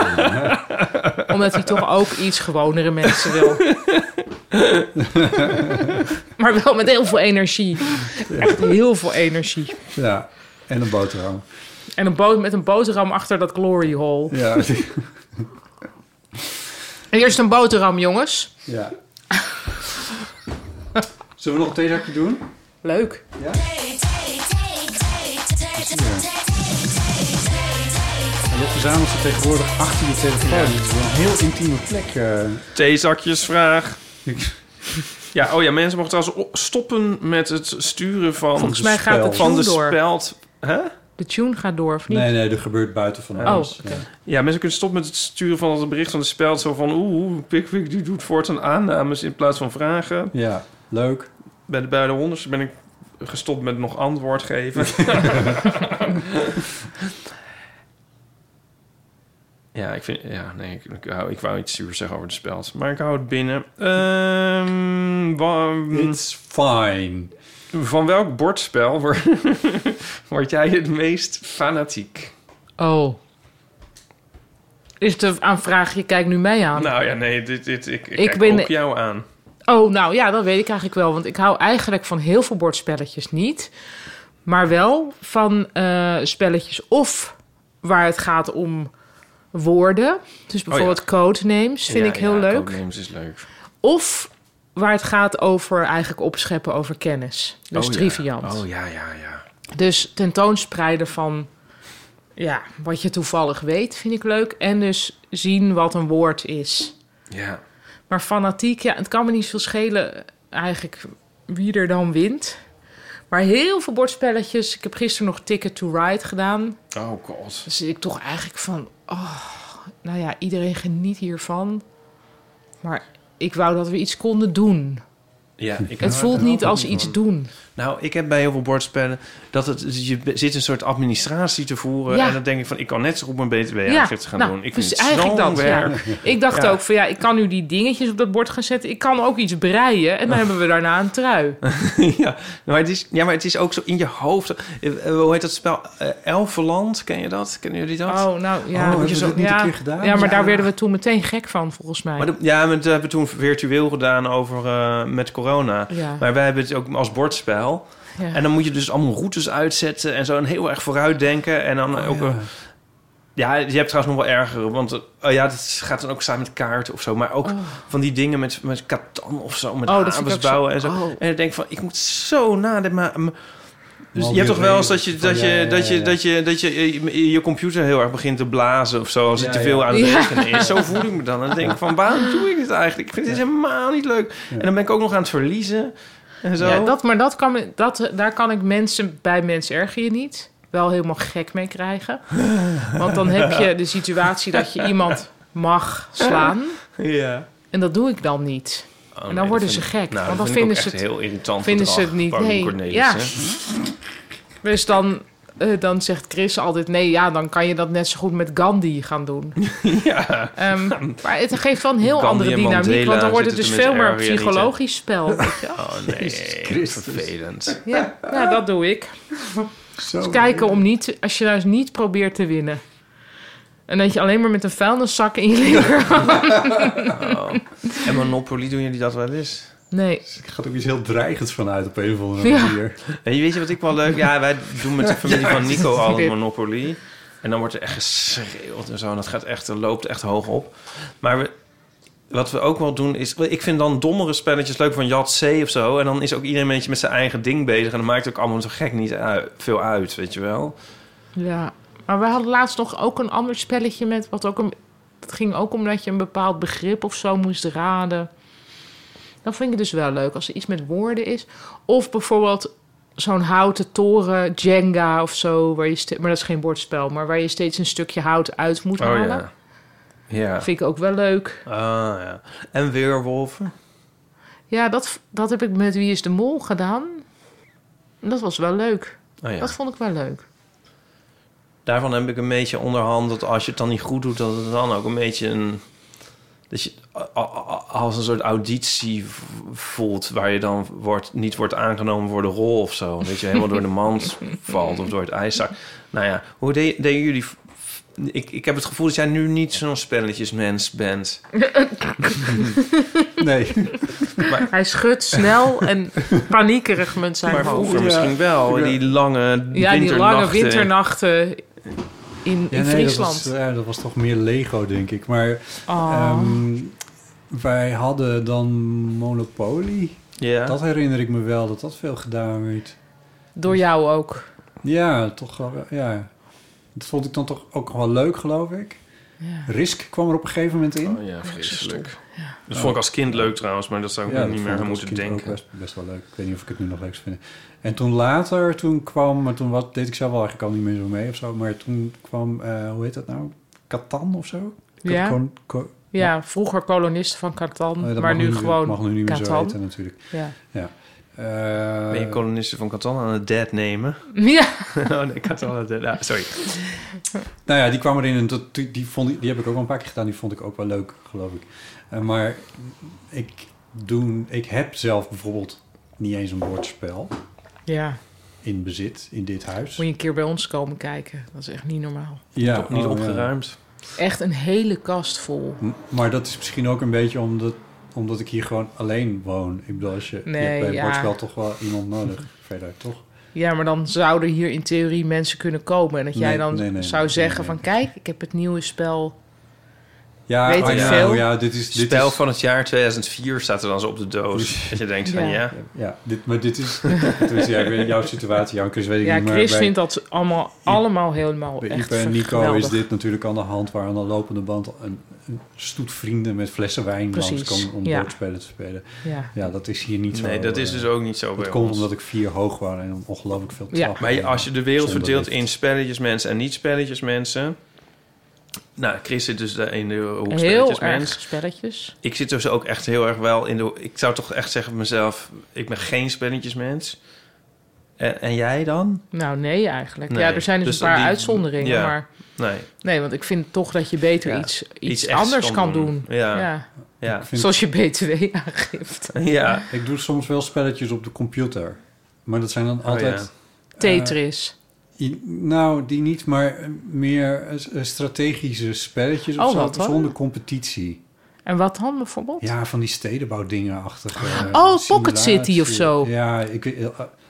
Speaker 4: Omdat hij toch ook iets gewonere mensen wil. maar wel met heel veel energie. Echt heel veel energie.
Speaker 2: ja. En een boterham.
Speaker 4: En een boot met een boterham achter dat glory hole.
Speaker 2: Ja.
Speaker 4: En eerst een boterham, jongens.
Speaker 2: ja. Zullen we nog een theezakje doen?
Speaker 4: Leuk.
Speaker 2: En dat verzamelt ze tegenwoordig achter je telefoon. Het is wel een heel intieme plek. eh.
Speaker 6: Theezakjesvraag. Ja, oh ja, mensen mogen trouwens o- stoppen met het sturen van,
Speaker 4: Volgens mij gaat
Speaker 2: spel.
Speaker 4: de
Speaker 6: van
Speaker 4: tune
Speaker 6: de
Speaker 4: door.
Speaker 6: speld. Hè?
Speaker 4: De tune gaat door, of niet?
Speaker 2: Nee, nee, dat gebeurt buiten van
Speaker 4: Oh,
Speaker 2: ons.
Speaker 4: oké.
Speaker 2: Ja.
Speaker 6: Ja, mensen kunnen stoppen met het sturen van het bericht van de speld. Zo van, oeh, Pickwick die doet voortaan aannames in plaats van vragen.
Speaker 2: Ja, leuk.
Speaker 6: Bij de, bij de honderdste ben ik gestopt met nog antwoord geven. Ja, ik vind... Ja, nee, ik, ik, wou, ik wou iets zuur zeggen over de speld. Maar ik hou het binnen. Ehm, wa-
Speaker 2: It's fine.
Speaker 6: van welk bordspel word, word jij het meest fanatiek?
Speaker 4: Oh. Is de aanvraag, je kijkt nu mij aan.
Speaker 6: Nou ja, nee, dit, dit, ik, ik,
Speaker 4: Ik
Speaker 6: kijk
Speaker 4: ben-
Speaker 6: ook jou aan.
Speaker 4: Oh, nou ja, dat weet ik eigenlijk wel. Want ik hou eigenlijk van heel veel bordspelletjes niet. Maar wel van eh, spelletjes of waar het gaat om woorden. Dus bijvoorbeeld codenames vind
Speaker 6: Oh Ja,
Speaker 4: ik heel
Speaker 6: ja,
Speaker 4: leuk.
Speaker 6: Codenames is leuk.
Speaker 4: Of waar het gaat over eigenlijk opscheppen over kennis. Dus
Speaker 6: Oh, ja.
Speaker 4: triviant.
Speaker 6: Oh ja, ja, ja.
Speaker 4: Dus tentoonspreiden van ja, wat je toevallig weet vind ik leuk. En dus zien wat een woord is.
Speaker 6: Ja,
Speaker 4: Maar fanatiek, ja, het kan me niet veel schelen eigenlijk wie er dan wint. Maar heel veel bordspelletjes. Ik heb gisteren nog Ticket to Ride gedaan.
Speaker 6: oh god.
Speaker 4: Dan zit ik toch eigenlijk van, oh, nou ja, iedereen geniet hiervan. Maar ik wou dat we iets konden doen.
Speaker 6: Ja, ik
Speaker 4: het voelt niet als iets doen.
Speaker 6: Nou, ik heb bij heel veel bordspellen dat het, je zit een soort administratie te voeren.
Speaker 4: Ja.
Speaker 6: En dan denk ik van, ik kan net zo goed mijn btw-aangifte gaan
Speaker 4: nou,
Speaker 6: doen. Ik
Speaker 4: dus
Speaker 6: vind het eigenlijk
Speaker 4: eigenlijk
Speaker 6: zo
Speaker 4: dat, ja.
Speaker 6: werk.
Speaker 4: Ik dacht
Speaker 6: Ja.
Speaker 4: ook van, ja, ik kan nu die dingetjes op dat bord gaan zetten. Ik kan ook iets breien
Speaker 6: Oh.
Speaker 4: en dan hebben we daarna een trui.
Speaker 6: Ja. Maar het is, ja, maar het is ook zo in je hoofd. Eh, eh, Hoe heet dat spel? Eh, Elfenland, ken je dat? Kennen jullie dat?
Speaker 4: Oh, nou ja.
Speaker 2: hebben we
Speaker 4: zo-
Speaker 2: dat niet
Speaker 4: ja.
Speaker 2: een keer gedaan?
Speaker 4: Ja, maar
Speaker 2: Ja.
Speaker 4: daar werden we toen meteen gek van, volgens mij.
Speaker 6: Maar dat- ja, maar dat hebben we toen virtueel gedaan over, eh, met corona.
Speaker 4: Ja.
Speaker 6: Maar wij hebben het ook als bordspel.
Speaker 4: Ja.
Speaker 6: En dan moet je dus allemaal routes uitzetten en zo. En heel erg vooruitdenken. En dan
Speaker 4: Oh,
Speaker 6: ook... eh, een- Ja, je hebt trouwens nog wel ergere, want eh, oh ja, dat gaat dan ook samen met kaarten of zo. Maar ook van die dingen met, met katan of zo, met
Speaker 4: Oh, dat
Speaker 6: oh,
Speaker 4: vind ik ook zo-
Speaker 6: bouwen en zo.
Speaker 4: oh.
Speaker 6: En ik denk van, ik moet zo nadenken. Maar, maar- dus
Speaker 2: Al
Speaker 6: je
Speaker 2: die
Speaker 6: hebt toch wel eens dat je,
Speaker 2: regels van,
Speaker 6: dat,
Speaker 2: ja, ja,
Speaker 6: je,
Speaker 2: ja,
Speaker 6: dat, je,
Speaker 2: ja.
Speaker 6: dat, je, dat je eh, je je computer heel erg begint te blazen of zo. Als het
Speaker 2: Ja,
Speaker 6: te veel
Speaker 2: ja.
Speaker 6: aan het
Speaker 4: Ja.
Speaker 6: rekenen is. Zo voel ik me dan. En dan denk ik van, waarom doe ik dit eigenlijk? Ik vind dit helemaal niet leuk. En dan ben ik ook nog aan het verliezen en zo.
Speaker 4: Ja, dat, maar dat kan, me- dat, daar kan ik mensen bij mensen erger je niet wel helemaal gek mee krijgen. Want dan heb je de situatie dat je iemand mag slaan.
Speaker 6: Ja.
Speaker 4: En dat doe ik dan niet.
Speaker 6: Oh,
Speaker 4: dan
Speaker 6: dat
Speaker 4: worden ze
Speaker 6: vind ik-
Speaker 4: gek,
Speaker 6: Nou,
Speaker 4: want
Speaker 6: dat
Speaker 4: dan
Speaker 6: vind
Speaker 4: vinden
Speaker 6: ik ook
Speaker 4: ze
Speaker 6: echt
Speaker 4: het-
Speaker 6: heel irritant
Speaker 4: vinden ze
Speaker 6: gedrag,
Speaker 4: het niet.
Speaker 6: Paulien
Speaker 4: Nee,
Speaker 6: Cornelis,
Speaker 4: ja.
Speaker 6: hè?
Speaker 4: Dus dan, eh, dan zegt Chris altijd... nee, ja, dan kan je dat net zo goed met Gandhi gaan doen.
Speaker 6: Ja.
Speaker 4: Ehm, maar het geeft wel een heel
Speaker 6: Gandhi
Speaker 4: andere
Speaker 6: en
Speaker 4: dynamiek...
Speaker 6: Mandela
Speaker 4: want dan wordt het dus
Speaker 6: zitten er
Speaker 4: veel
Speaker 6: met
Speaker 4: meer een
Speaker 6: erger niet, hè?
Speaker 4: psychologisch spel. Weet je? wel.
Speaker 6: Oh nee, vervelend.
Speaker 4: Ja, ja, dat doe ik.
Speaker 2: Zo.
Speaker 4: Dus kijken om niet, als je nou eens niet probeert te winnen. En dat je alleen maar met een vuilniszak in je linker.
Speaker 6: En Monopoly, doen jullie dat wel eens?
Speaker 4: Nee.
Speaker 2: Er gaat ook iets heel dreigends vanuit op een of andere
Speaker 4: Ja.
Speaker 2: manier.
Speaker 6: En je weet je wat ik wel leuk... Ja, wij doen met de familie van Nico al een
Speaker 4: Dit.
Speaker 6: Monopoly. En dan wordt er echt geschreeuwd en zo. En dat gaat echt, er loopt echt hoog op. Maar we, wat we ook wel doen is... Ik vind dan dommere spelletjes leuk van Jat C of zo. En dan is ook iedereen een beetje met zijn eigen ding bezig. En dan maakt het ook allemaal zo gek niet uit- veel uit, weet je wel.
Speaker 4: Ja. Maar we hadden laatst nog ook een ander spelletje met. Wat ook een, het ging ook om dat je een bepaald begrip of zo moest raden. Dat vind ik dus wel leuk. Als er iets met woorden is. Of bijvoorbeeld zo'n houten toren, Jenga of zo. Waar je ste- maar dat is geen bordspel. Maar waar je steeds een stukje hout uit moet
Speaker 6: Oh
Speaker 4: halen.
Speaker 6: ja. Ja.
Speaker 4: Vind ik ook wel leuk.
Speaker 6: Ah, ja. En weerwolven.
Speaker 4: Ja, dat, dat heb ik met Wie is de Mol gedaan. En Dat was wel leuk.
Speaker 6: Oh, ja.
Speaker 4: Dat vond ik wel leuk.
Speaker 6: daarvan heb ik een beetje onderhand dat als je het dan niet goed doet, dat het dan ook een beetje een. Dat je a- a- a- als een soort auditie v- voelt waar je dan wordt, niet wordt aangenomen voor de rol of zo. Dat je helemaal door de mand valt of door het ijszak. Nou ja, hoe de- deden jullie. v- v- Ik, ik heb het gevoel dat jij nu niet zo'n spelletjesmens bent.
Speaker 2: Nee.
Speaker 4: Hij schudt snel en paniekerig met zijn
Speaker 6: Maar
Speaker 4: hoofd.
Speaker 6: vroeger misschien wel. Die lange
Speaker 4: Ja,
Speaker 6: winternachten.
Speaker 4: die lange winternachten in,
Speaker 2: Ja, nee,
Speaker 4: in Friesland.
Speaker 2: Dat was, eh, ja, dat was toch meer Lego, denk ik. Maar
Speaker 4: Oh.
Speaker 2: ehm, wij hadden dan Monopoly.
Speaker 6: Ja.
Speaker 2: Dat herinner ik me wel, dat dat veel gedaan werd.
Speaker 4: Door jou ook.
Speaker 2: Ja, toch wel. wel- Ja. Dat vond ik dan toch ook wel leuk, geloof ik. Risk kwam er op een gegeven moment in.
Speaker 6: Oh, ja, vreselijk. Dat vond ik als kind leuk trouwens, maar dat zou ik
Speaker 2: Ja,
Speaker 6: nu
Speaker 2: dat
Speaker 6: niet
Speaker 2: vond
Speaker 6: meer
Speaker 2: ik
Speaker 6: aan
Speaker 2: als
Speaker 6: moeten
Speaker 2: kind
Speaker 6: denken.
Speaker 2: Ook best, best wel leuk. Ik weet niet of ik het nu nog leuk vind. En toen later, toen kwam, maar toen wat, deed ik zelf wel eigenlijk al niet meer zo mee of zo. Maar toen kwam, eh, hoe heet dat nou? Catan of zo?
Speaker 4: Ja.
Speaker 2: Kon- kon-
Speaker 4: Ja, vroeger kolonisten van Catan,
Speaker 2: oh ja, dat
Speaker 4: maar
Speaker 2: mag
Speaker 4: nu
Speaker 2: niet-
Speaker 4: gewoon
Speaker 2: mag nu niet meer zo
Speaker 4: Catan.
Speaker 2: heten natuurlijk.
Speaker 4: Ja.
Speaker 2: Ja. Eh,
Speaker 6: Ben je kolonisten van Catan aan het dead nemen?
Speaker 4: Ja.
Speaker 6: oh nee, Catan aan het dead. Ah, sorry.
Speaker 2: Nou ja, die kwam erin en dat- die, die, vond, ik- die heb ik ook al een paar keer gedaan. Die vond ik ook wel leuk, geloof ik. Eh, maar ik, doe, ik heb zelf bijvoorbeeld niet eens een woordspel
Speaker 4: Ja,
Speaker 2: in bezit in dit huis.
Speaker 4: moet je een keer bij ons komen kijken. Dat is echt niet normaal.
Speaker 2: Ja,
Speaker 6: Toch
Speaker 2: oh,
Speaker 6: niet
Speaker 2: ja.
Speaker 6: opgeruimd.
Speaker 4: Echt een hele kast vol.
Speaker 2: M- Maar dat is misschien ook een beetje omdat, omdat ik hier gewoon alleen woon. Ik bedoel, als je, je
Speaker 4: Nee,
Speaker 2: hebt bij een
Speaker 4: ja.
Speaker 2: woordspel toch wel iemand nodig. Verder, toch?
Speaker 4: Ja, maar dan zouden hier in theorie mensen kunnen komen. En dat jij
Speaker 2: Nee,
Speaker 4: dan
Speaker 2: nee, nee,
Speaker 4: zou
Speaker 2: nee,
Speaker 4: zeggen
Speaker 2: nee,
Speaker 4: van... kijk, ik heb het nieuwe spel.
Speaker 2: Ja,
Speaker 4: Weet
Speaker 2: oh
Speaker 4: ik
Speaker 2: ja,
Speaker 4: veel.
Speaker 2: oh ja, dit is... Dit
Speaker 6: Spel
Speaker 2: is,
Speaker 6: van het jaar 2004 staat er dan zo op de doos. Dat je denkt van
Speaker 4: Ja.
Speaker 6: ja.
Speaker 2: Ja, dit, maar dit is... dus ja, ik weet jouw situatie, Jan, Chris, weet ik
Speaker 4: Ja,
Speaker 2: niet. Maar
Speaker 4: Chris
Speaker 2: bij-
Speaker 4: vindt dat allemaal, allemaal helemaal
Speaker 2: Bij
Speaker 4: echt
Speaker 2: Ipe en Nico
Speaker 4: geweldig.
Speaker 2: is dit natuurlijk aan de hand... waar aan de lopende band een, een stoet vrienden met flessen wijn
Speaker 4: Precies,
Speaker 2: langskomen... om
Speaker 4: ja.
Speaker 2: woordspelen te spelen.
Speaker 4: Ja.
Speaker 2: Ja, dat is hier niet zo.
Speaker 6: Nee, dat is
Speaker 2: eh,
Speaker 6: dus ook niet zo bij
Speaker 2: Dat komt
Speaker 6: ons.
Speaker 2: omdat ik vier hoog was en ongelooflijk veel
Speaker 4: Ja.
Speaker 2: trappen.
Speaker 6: Maar je- als je de wereld
Speaker 2: Zonder
Speaker 6: verdeelt
Speaker 2: lift.
Speaker 6: in spelletjesmensen en niet-spelletjesmensen... Nou, Chris zit dus daar in de hoek
Speaker 4: Heel erg
Speaker 6: spelletjesmens.
Speaker 4: spelletjes.
Speaker 6: Ik zit dus ook echt heel erg wel in de... Ik zou toch echt zeggen van mezelf, ik ben geen spelletjesmens. En, en jij dan?
Speaker 4: Nou, nee eigenlijk.
Speaker 6: Nee,
Speaker 4: Ja, er zijn dus,
Speaker 6: dus
Speaker 4: een paar
Speaker 6: die-
Speaker 4: uitzonderingen.
Speaker 6: ja.
Speaker 4: Maar
Speaker 6: Nee,
Speaker 4: nee, want ik vind toch dat je beter
Speaker 6: Ja,
Speaker 4: iets, iets,
Speaker 6: echts
Speaker 4: anders kan doen.
Speaker 6: Ja,
Speaker 4: Ja.
Speaker 6: ja. ja.
Speaker 2: Ik vind-
Speaker 4: Zoals je BTW-aangifte.
Speaker 2: Ik doe soms wel spelletjes op de computer. Maar dat zijn dan altijd...
Speaker 6: Oh, ja.
Speaker 2: Eh.
Speaker 4: Tetris.
Speaker 2: I- Nou, die niet, maar eh, meer eh, strategische spelletjes of
Speaker 4: Oh,
Speaker 2: zo,
Speaker 4: wat hoor.
Speaker 2: zonder competitie.
Speaker 4: en wat dan bijvoorbeeld?
Speaker 2: Ja, van die stedenbouwdingen achter.
Speaker 4: Oh, Pocket City of zo.
Speaker 2: Ja, ik, weet- eh,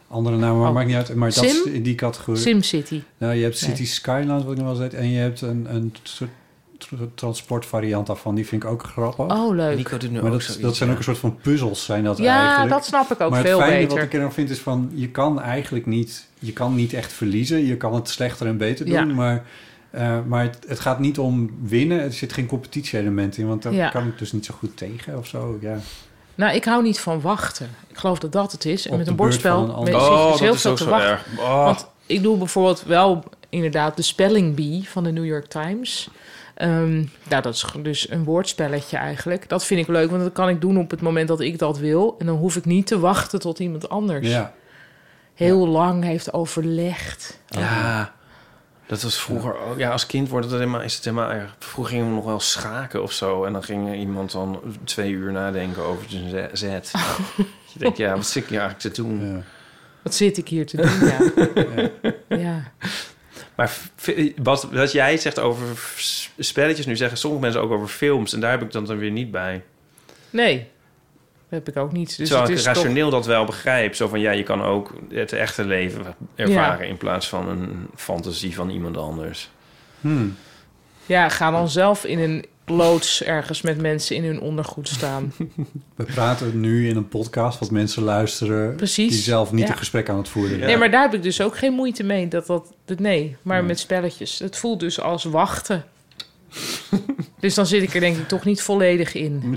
Speaker 2: andere namen, maar
Speaker 4: Oh.
Speaker 2: maakt niet uit. Maar dat is
Speaker 4: Sim?
Speaker 2: in die categorie.
Speaker 4: SimCity.
Speaker 2: Nou, je hebt
Speaker 4: Nee.
Speaker 2: City Skylines, wat ik nog wel eens heet. En je hebt een, een soort tr- transportvariant daarvan. Die vind ik ook grappig.
Speaker 4: Oh, leuk.
Speaker 6: Nico doet nu
Speaker 2: maar
Speaker 6: ook
Speaker 2: dat,
Speaker 6: zoiets,
Speaker 2: dat zijn
Speaker 6: ja.
Speaker 2: ook een soort van puzzels, zijn dat
Speaker 4: ja,
Speaker 2: eigenlijk.
Speaker 4: dat snap ik ook
Speaker 2: maar
Speaker 4: veel
Speaker 2: het fijne
Speaker 4: beter.
Speaker 2: wat ik er dan vind is van... je kan eigenlijk niet... je kan niet echt verliezen. Je kan het slechter en beter doen.
Speaker 4: Ja.
Speaker 2: Maar, eh, maar het, het gaat niet om winnen. Er zit geen competitie-element in. Want daar
Speaker 4: Ja.
Speaker 2: kan ik dus niet zo goed tegen of zo. Ja.
Speaker 4: Nou, ik hou niet van wachten. Ik geloof dat dat het is. En
Speaker 2: Op
Speaker 4: met
Speaker 2: de
Speaker 4: een
Speaker 2: beurt van
Speaker 4: bordspel
Speaker 2: een
Speaker 4: met
Speaker 2: ander.
Speaker 4: zit
Speaker 6: Oh,
Speaker 4: dus
Speaker 6: dat
Speaker 4: heel
Speaker 6: is
Speaker 4: veel
Speaker 6: ook
Speaker 4: te
Speaker 6: zo
Speaker 4: wachten.
Speaker 6: erg. Oh.
Speaker 4: Want ik doe bijvoorbeeld wel inderdaad de spelling bee van de New York Times. Ehm, nou, dat is dus een woordspelletje eigenlijk. Dat vind ik leuk, want dat kan ik doen op het moment dat ik dat wil. En dan hoef ik niet te wachten tot iemand anders
Speaker 2: ja.
Speaker 4: heel lang heeft overlegd. Oh,
Speaker 6: Ja, Oh. dat was vroeger ook. Ja, als kind wordt het helemaal, is het helemaal erg. Vroeger gingen we nog wel schaken of zo. En dan ging iemand dan twee uur nadenken over zijn ze- zet. Je denkt, ja, wat zit ik hier eigenlijk te doen?
Speaker 2: ja.
Speaker 4: Wat zit ik hier te doen? Ja. ja.
Speaker 6: Maar v- wat, wat jij zegt over s- spelletjes nu, zeggen sommige mensen ook over films. En daar heb ik dan dan weer niet bij.
Speaker 4: Nee, dat heb ik ook niet. Dus
Speaker 6: Terwijl
Speaker 4: het
Speaker 6: ik
Speaker 4: is toch...
Speaker 6: rationeel dat wel begrijp. Zo van, ja, je kan ook het echte leven ervaren... in plaats van een fantasie van iemand anders.
Speaker 2: Hmm.
Speaker 4: Ja, ga dan zelf in een loods ergens met mensen in hun ondergoed staan.
Speaker 2: We praten nu in een podcast wat mensen luisteren...
Speaker 4: Precies.
Speaker 2: die zelf niet
Speaker 4: Ja.
Speaker 2: een gesprek aan het voeren
Speaker 6: Ja.
Speaker 4: Nee, maar daar heb ik dus ook geen moeite mee. Dat, dat, dat, nee, maar met spelletjes. Het voelt dus als wachten. dus dan zit ik er denk ik toch niet volledig in.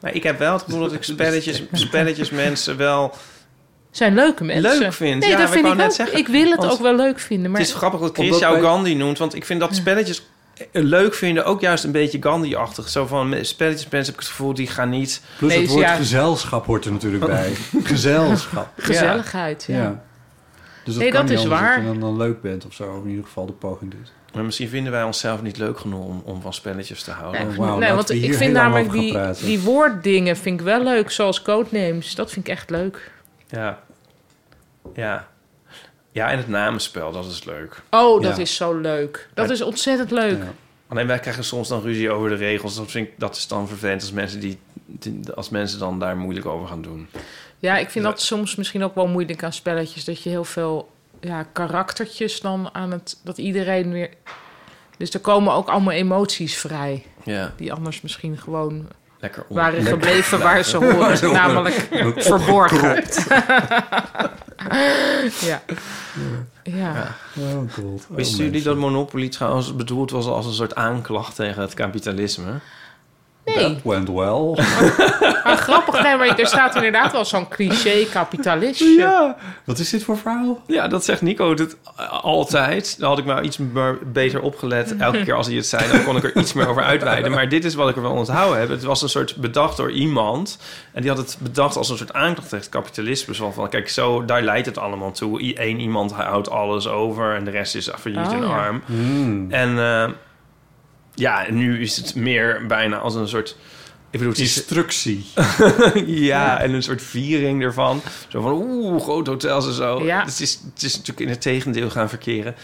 Speaker 6: Maar ik heb wel het gevoel dat ik spelletjes, spelletjes mensen wel...
Speaker 4: Zijn leuke mensen.
Speaker 6: Leuk vindt.
Speaker 4: Nee,
Speaker 6: Ja,
Speaker 4: dat
Speaker 6: ik
Speaker 4: vind
Speaker 6: wou
Speaker 4: ik
Speaker 6: net
Speaker 4: ook.
Speaker 6: zeggen,
Speaker 4: ik wil het
Speaker 6: want
Speaker 4: ook wel leuk vinden. Maar
Speaker 6: Het is grappig dat Chris
Speaker 2: Omdat
Speaker 6: jou
Speaker 2: wij-
Speaker 6: Gandhi noemt, want ik vind dat spelletjes eh, leuk vinden ook juist een beetje Gandhi-achtig. Zo van me- spelletjesmensen heb ik het gevoel, die gaan niet...
Speaker 2: Plus
Speaker 4: Nee,
Speaker 2: het
Speaker 4: dus
Speaker 2: woord
Speaker 4: ja.
Speaker 2: gezelschap hoort er natuurlijk bij. gezelschap.
Speaker 4: gezelligheid. Ja.
Speaker 2: Ja. Dus
Speaker 4: Nee,
Speaker 2: kan
Speaker 4: dat
Speaker 2: niet
Speaker 4: is
Speaker 2: anders
Speaker 4: waar.
Speaker 2: Dat je dan, dan leuk bent of zo. Of in ieder geval de poging doet.
Speaker 6: Maar misschien vinden wij onszelf niet leuk genoeg om, om van spelletjes te houden.
Speaker 4: Nee,
Speaker 2: Oh, wauw,
Speaker 4: nee,
Speaker 2: laten
Speaker 4: want
Speaker 2: we hier
Speaker 4: ik
Speaker 2: heel
Speaker 4: vind
Speaker 2: lang
Speaker 4: namelijk
Speaker 2: over gaan
Speaker 4: die,
Speaker 2: praten.
Speaker 4: die woorddingen vind ik wel leuk. Zoals codenames. Dat vind ik echt leuk.
Speaker 6: Ja. Ja. Ja, en het namenspel, dat is leuk.
Speaker 4: Oh, dat
Speaker 2: Ja.
Speaker 4: is zo leuk. Dat
Speaker 6: Maar-
Speaker 4: is ontzettend leuk.
Speaker 2: Ja.
Speaker 6: Alleen wij krijgen soms dan ruzie over de regels. Dat, vind ik, dat is dan vervelend als mensen, die, die- als mensen dan daar moeilijk over gaan doen.
Speaker 4: Ja, ik vind
Speaker 6: Ja.
Speaker 4: dat soms misschien ook wel moeilijk aan spelletjes. Dat je heel veel ja, karaktertjes dan aan het... Dat iedereen weer... Dus er komen ook allemaal emoties vrij.
Speaker 6: Ja,
Speaker 4: Die anders misschien gewoon
Speaker 6: lekker on-
Speaker 4: waren gebleven waar ze horen. namelijk verborgen. ja. Ja.
Speaker 2: Oh, god. Oh,
Speaker 6: Wisten jullie dat Monopoly trouwens bedoeld was als een soort aanklacht tegen het kapitalisme?
Speaker 4: Nee.
Speaker 2: That went well.
Speaker 4: Maar grappig, nee, maar er staat inderdaad wel zo'n cliché kapitalistje.
Speaker 6: Ja.
Speaker 2: Wat is dit voor verhaal?
Speaker 6: ja, dat zegt Nico dit altijd. Daar had ik maar iets meer- beter opgelet. Elke keer als hij het zei, dan kon ik er iets meer over uitweiden. Maar dit is wat ik ervan onthouden heb. Het was een soort bedacht door iemand. En die had het bedacht als een soort aanklacht tegen het kapitalisme. Zo van, kijk, zo, daar leidt het allemaal toe. I- Eén iemand houdt alles over en de rest is failliet
Speaker 4: Oh,
Speaker 6: en
Speaker 4: ja.
Speaker 6: arm. En eh, ja, nu is het meer bijna als een soort... Ik bedoel, het is
Speaker 2: Instructie.
Speaker 6: Eh, ja, en een soort viering ervan. Zo van, oeh, groot hotels en zo.
Speaker 4: Ja.
Speaker 6: Het, is, het is natuurlijk in het tegendeel gaan verkeren.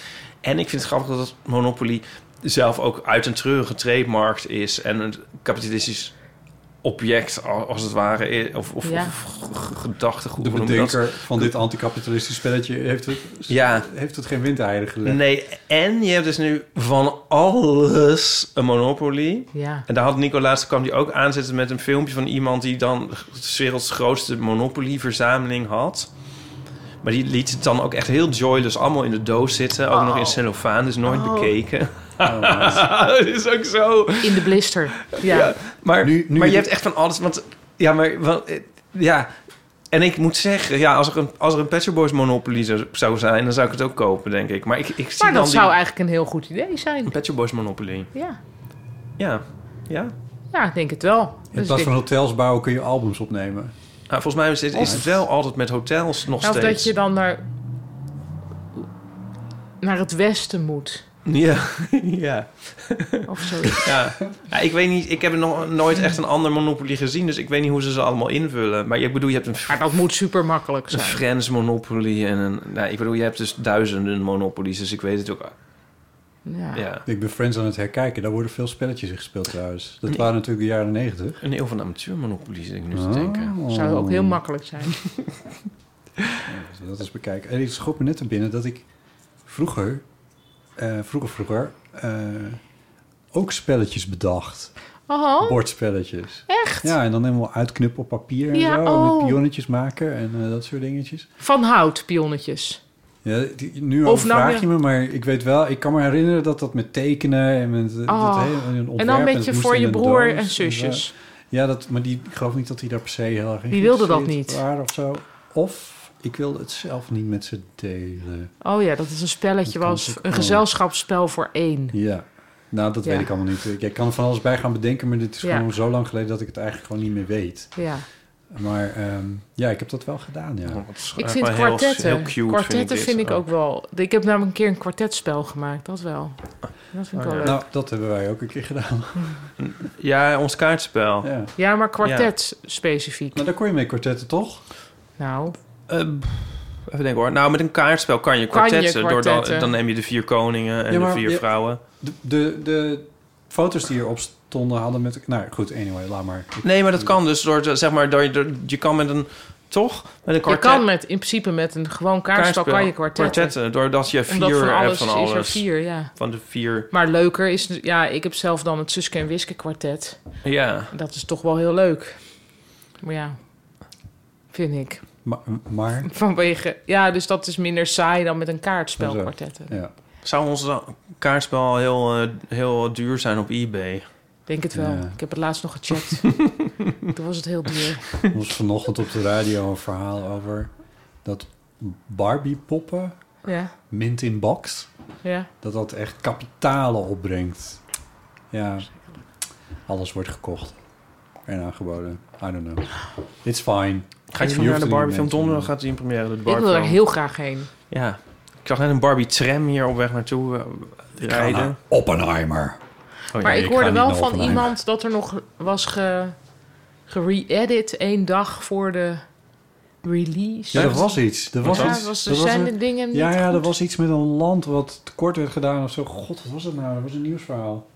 Speaker 6: En ik vind het grappig dat Monopoly zelf ook uit een treurige trademarkt is... en een kapitalistisch object, a- als het ware, i- of, of,
Speaker 4: Ja.
Speaker 6: of g- g- gedachtegoed.
Speaker 2: De
Speaker 6: hoe noem je dat?
Speaker 2: bedenker van dit anticapitalistische spelletje heeft het,
Speaker 6: Ja.
Speaker 2: heeft het geen windeieren gelegd.
Speaker 6: Nee, en je hebt dus nu van alles een Monopoly...
Speaker 4: Ja.
Speaker 6: En daar had Nico laatst, kwam die ook aanzetten met een filmpje van iemand die dan de werelds grootste Monopoly-verzameling had. Maar die liet het dan ook echt heel joyless allemaal in de doos zitten. Ook
Speaker 4: Oh.
Speaker 6: nog in cellofaan, dus nooit bekeken. dat is ook zo.
Speaker 4: In de blister. Ja.
Speaker 6: Ja, maar,
Speaker 2: Nu- nu-
Speaker 6: maar je hebt echt van alles. Want ja, maar want, eh, ja. En ik moet zeggen, ja, als er een, als er een Pet Shop Boys Monopoly zou, zou zijn, dan zou ik het ook kopen, denk ik. Maar ik, ik zie
Speaker 4: Maar
Speaker 6: dan
Speaker 4: dat zou
Speaker 6: die,
Speaker 4: eigenlijk een heel goed idee zijn.
Speaker 6: een Pet Shop Boys Monopoly.
Speaker 4: Ja,
Speaker 6: Ja, ja.
Speaker 4: ja ik denk het wel.
Speaker 2: In
Speaker 4: Dus
Speaker 2: plaats
Speaker 4: ik-
Speaker 2: van hotels bouwen kun je albums opnemen.
Speaker 6: Nou, volgens mij is, het- is het wel altijd met hotels nog
Speaker 4: Nou, of
Speaker 6: steeds.
Speaker 4: dat je dan naar, naar het westen moet.
Speaker 6: Ja, ja.
Speaker 4: Of zo.
Speaker 6: ja. Ja, ik weet niet, ik heb nog nooit echt een ander Monopoly gezien, dus ik weet niet hoe ze ze allemaal invullen. Maar ik bedoel, je hebt een, F-
Speaker 4: Maar dat moet super makkelijk
Speaker 6: een
Speaker 4: zijn.
Speaker 6: Friends Monopoly en een... Nou, ik bedoel, je hebt dus duizenden Monopolies, dus ik weet het ook.
Speaker 4: Ja.
Speaker 6: Ja,
Speaker 2: Ik ben Friends aan het herkijken. Daar worden veel spelletjes in gespeeld trouwens. Dat waren natuurlijk de jaren negentig. Oh.
Speaker 6: een eeuw van amateur Monopolies, denk ik
Speaker 4: Oh.
Speaker 6: nu te denken.
Speaker 4: Zou ook heel makkelijk zijn.
Speaker 2: Dat is bekijken. En ik schoot me net er binnen dat ik vroeger, eh, vroeger, vroeger, eh, ook spelletjes bedacht.
Speaker 4: Oh,
Speaker 2: Bordspelletjes.
Speaker 4: echt?
Speaker 2: Ja, en dan helemaal uitknippen op papier en
Speaker 4: Ja,
Speaker 2: zo. En
Speaker 4: oh.
Speaker 2: met pionnetjes maken en eh, dat soort dingetjes.
Speaker 4: Van hout, pionnetjes.
Speaker 2: Ja, die- nu
Speaker 4: Of
Speaker 2: overvraag
Speaker 4: nou, ja.
Speaker 2: je me, maar ik weet wel... Ik kan me herinneren dat dat met tekenen en met eh, dat
Speaker 4: Oh.
Speaker 2: hele en een ontwerp...
Speaker 4: En dan
Speaker 2: het
Speaker 4: met je
Speaker 2: moest
Speaker 4: voor
Speaker 2: in
Speaker 4: je
Speaker 2: een
Speaker 4: broer
Speaker 2: doos
Speaker 4: en
Speaker 2: zo.
Speaker 4: zusjes.
Speaker 2: Ja, dat, maar die, ik geloof niet dat die daar per se heel erg in
Speaker 4: Die wilde dat
Speaker 2: geïnteresseerd
Speaker 4: niet.
Speaker 2: Waren of, zo. of ik wilde het zelf niet met ze delen.
Speaker 4: Oh ja, dat is een spelletje,
Speaker 2: Dat kan
Speaker 4: was
Speaker 2: natuurlijk
Speaker 4: een
Speaker 2: wel.
Speaker 4: gezelschapsspel voor één.
Speaker 2: Ja. Nou, dat
Speaker 4: Ja.
Speaker 2: weet ik allemaal niet. Ik kan er van alles bij gaan bedenken, maar dit is
Speaker 4: Ja.
Speaker 2: gewoon zo lang geleden dat ik het eigenlijk gewoon niet meer weet.
Speaker 4: Ja.
Speaker 2: Maar ehm, ja, ik heb dat wel gedaan, ja.
Speaker 4: Ik vind kwartetten. kwartetten vind
Speaker 6: Oh.
Speaker 4: ik ook wel. Ik heb namelijk een keer een kwartetspel gemaakt, dat wel. Dat vind ik
Speaker 6: Oh,
Speaker 4: wel
Speaker 6: ja.
Speaker 4: leuk.
Speaker 2: Nou, dat hebben wij ook een keer gedaan.
Speaker 6: Ja, ons kaartspel.
Speaker 2: Ja.
Speaker 4: ja, maar kwartet specifiek.
Speaker 2: Maar daar kon je mee kwartetten, toch?
Speaker 4: Nou,
Speaker 6: Eh, even denken hoor. Nou, met een kaartspel kan je
Speaker 4: Kan je
Speaker 6: kwartetten. door dan,
Speaker 4: kwartetten.
Speaker 6: dan neem je de vier koningen en
Speaker 2: Ja, maar-
Speaker 6: de vier
Speaker 2: ja.
Speaker 6: vrouwen.
Speaker 2: De, de, de foto's die hierop stonden hadden met... Nou, goed, anyway, laat maar.
Speaker 6: Nee, maar dat kan dus door, te- zeg maar, door, je- door- je kan met een, toch? Met een
Speaker 4: je
Speaker 6: kwartet.
Speaker 4: kan met, in principe met een gewoon kaartspel kan je kwartetten.
Speaker 6: doordat je vier
Speaker 4: Omdat van alles,
Speaker 6: hebt van alles.
Speaker 4: is er vier, ja.
Speaker 6: Van de vier,
Speaker 4: Maar leuker is, ja, ik heb zelf dan het Suske en Wiske kwartet.
Speaker 6: ja.
Speaker 4: Dat is toch wel heel leuk. Maar ja, vind ik.
Speaker 2: Maar, maar
Speaker 4: Vanwege, ja, dus dat is minder saai dan met een kaartspel
Speaker 2: Zo.
Speaker 4: kwartetten.
Speaker 2: ja.
Speaker 6: Zou ons kaartspel al heel, eh, heel duur zijn op eBay?
Speaker 4: Denk het wel.
Speaker 2: Ja.
Speaker 4: Ik heb het laatst nog gecheckt. Toen was het heel duur.
Speaker 2: Er was vanochtend op de radio een verhaal over dat Barbie-poppen,
Speaker 4: Ja,
Speaker 2: mint in box...
Speaker 4: ja.
Speaker 2: dat dat echt kapitalen opbrengt. Ja, alles wordt gekocht en aangeboden. I don't know. It's fine.
Speaker 6: Ga je
Speaker 2: Je
Speaker 6: van
Speaker 2: hoeft
Speaker 6: naar de
Speaker 2: er
Speaker 6: Barbie
Speaker 2: niet
Speaker 6: film
Speaker 2: mee te
Speaker 6: donderdag?
Speaker 2: doen.
Speaker 6: Gaat die in première? De
Speaker 4: Ik
Speaker 6: Barbie
Speaker 4: wil er
Speaker 6: film?
Speaker 4: heel graag heen.
Speaker 6: Ja. Ik zag net een Barbie tram hier op weg naartoe eh, rijden.
Speaker 2: Anna Oppenheimer.
Speaker 4: Maar
Speaker 6: Oh, ja,
Speaker 4: ik
Speaker 6: je
Speaker 4: hoorde
Speaker 2: ga
Speaker 4: wel
Speaker 2: niet naar
Speaker 4: van
Speaker 2: Oppenheimer.
Speaker 4: iemand dat er nog was ge, gere-edit één dag voor de release.
Speaker 2: Ja, er was iets. Er was
Speaker 4: Ja,
Speaker 2: iets.
Speaker 4: was-
Speaker 2: er was
Speaker 4: zijn
Speaker 2: een-
Speaker 4: de dingen niet
Speaker 2: Ja, ja, er
Speaker 4: goed?
Speaker 2: was iets met een land wat tekort werd gedaan of zo. God, wat was dat nou? Dat was een nieuwsverhaal.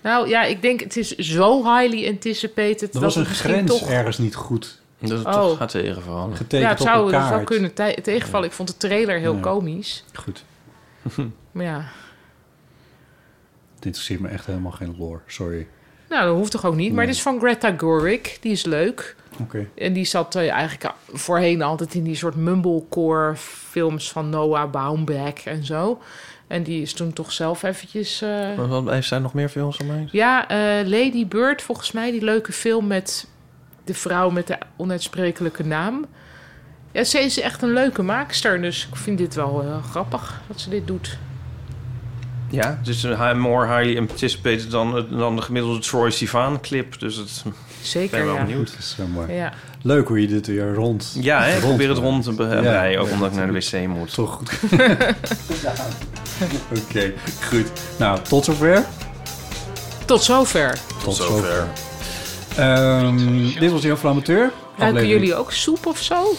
Speaker 4: Nou ja, ik denk het is zo highly anticipated
Speaker 2: Er
Speaker 4: dat
Speaker 2: was een
Speaker 4: het misschien
Speaker 2: grens
Speaker 4: toch...
Speaker 2: ergens niet goed
Speaker 6: Dat Dus het
Speaker 4: Oh.
Speaker 6: toch gaat tegenvallen.
Speaker 2: getekend
Speaker 4: Ja, het zou,
Speaker 2: op
Speaker 4: het
Speaker 2: een
Speaker 4: zou
Speaker 2: kaart.
Speaker 4: kunnen te- tegenvallen. Ik vond de trailer heel
Speaker 2: Ja.
Speaker 4: komisch.
Speaker 2: Goed.
Speaker 4: Maar ja,
Speaker 2: Dit interesseert me echt helemaal geen lore. Sorry.
Speaker 4: nou dat hoeft toch ook niet. Maar het is van Greta Gorwick. Die is leuk.
Speaker 2: Oké.
Speaker 4: En die zat eh, eigenlijk voorheen altijd in die soort mumblecore films van Noah Baumbach en zo. En die is toen toch zelf eventjes... eh,
Speaker 6: Maar wat- Heeft zij nog meer films van mij?
Speaker 4: Ja, eh, Lady Bird, volgens mij, die leuke film met de vrouw met de onuitsprekelijke naam. Ja, ze is echt een leuke maakster, dus ik vind dit wel eh, grappig dat ze dit doet.
Speaker 6: Ja, dus een high- more highly anticipated dan, het- dan de gemiddelde Troy Sivan clip. Dus het ik
Speaker 4: Zeker,
Speaker 6: ben wel
Speaker 4: ja.
Speaker 6: benieuwd.
Speaker 2: Dat is zo mooi.
Speaker 4: ja.
Speaker 2: Leuk hoe je dit weer rond.
Speaker 6: Ja, hè, ik
Speaker 2: rond-
Speaker 6: probeer het rond eh, te be-
Speaker 2: Ja,
Speaker 6: breien, ook
Speaker 2: ja,
Speaker 6: omdat ik naar de wc moet.
Speaker 2: Toch goed. Oké, goed. Nou, tot zover.
Speaker 4: Tot zover.
Speaker 2: Tot zover. Ehm, dit was heel veel amateur.
Speaker 4: Ruiken
Speaker 2: Aflevering-
Speaker 4: jullie ook soep of zo?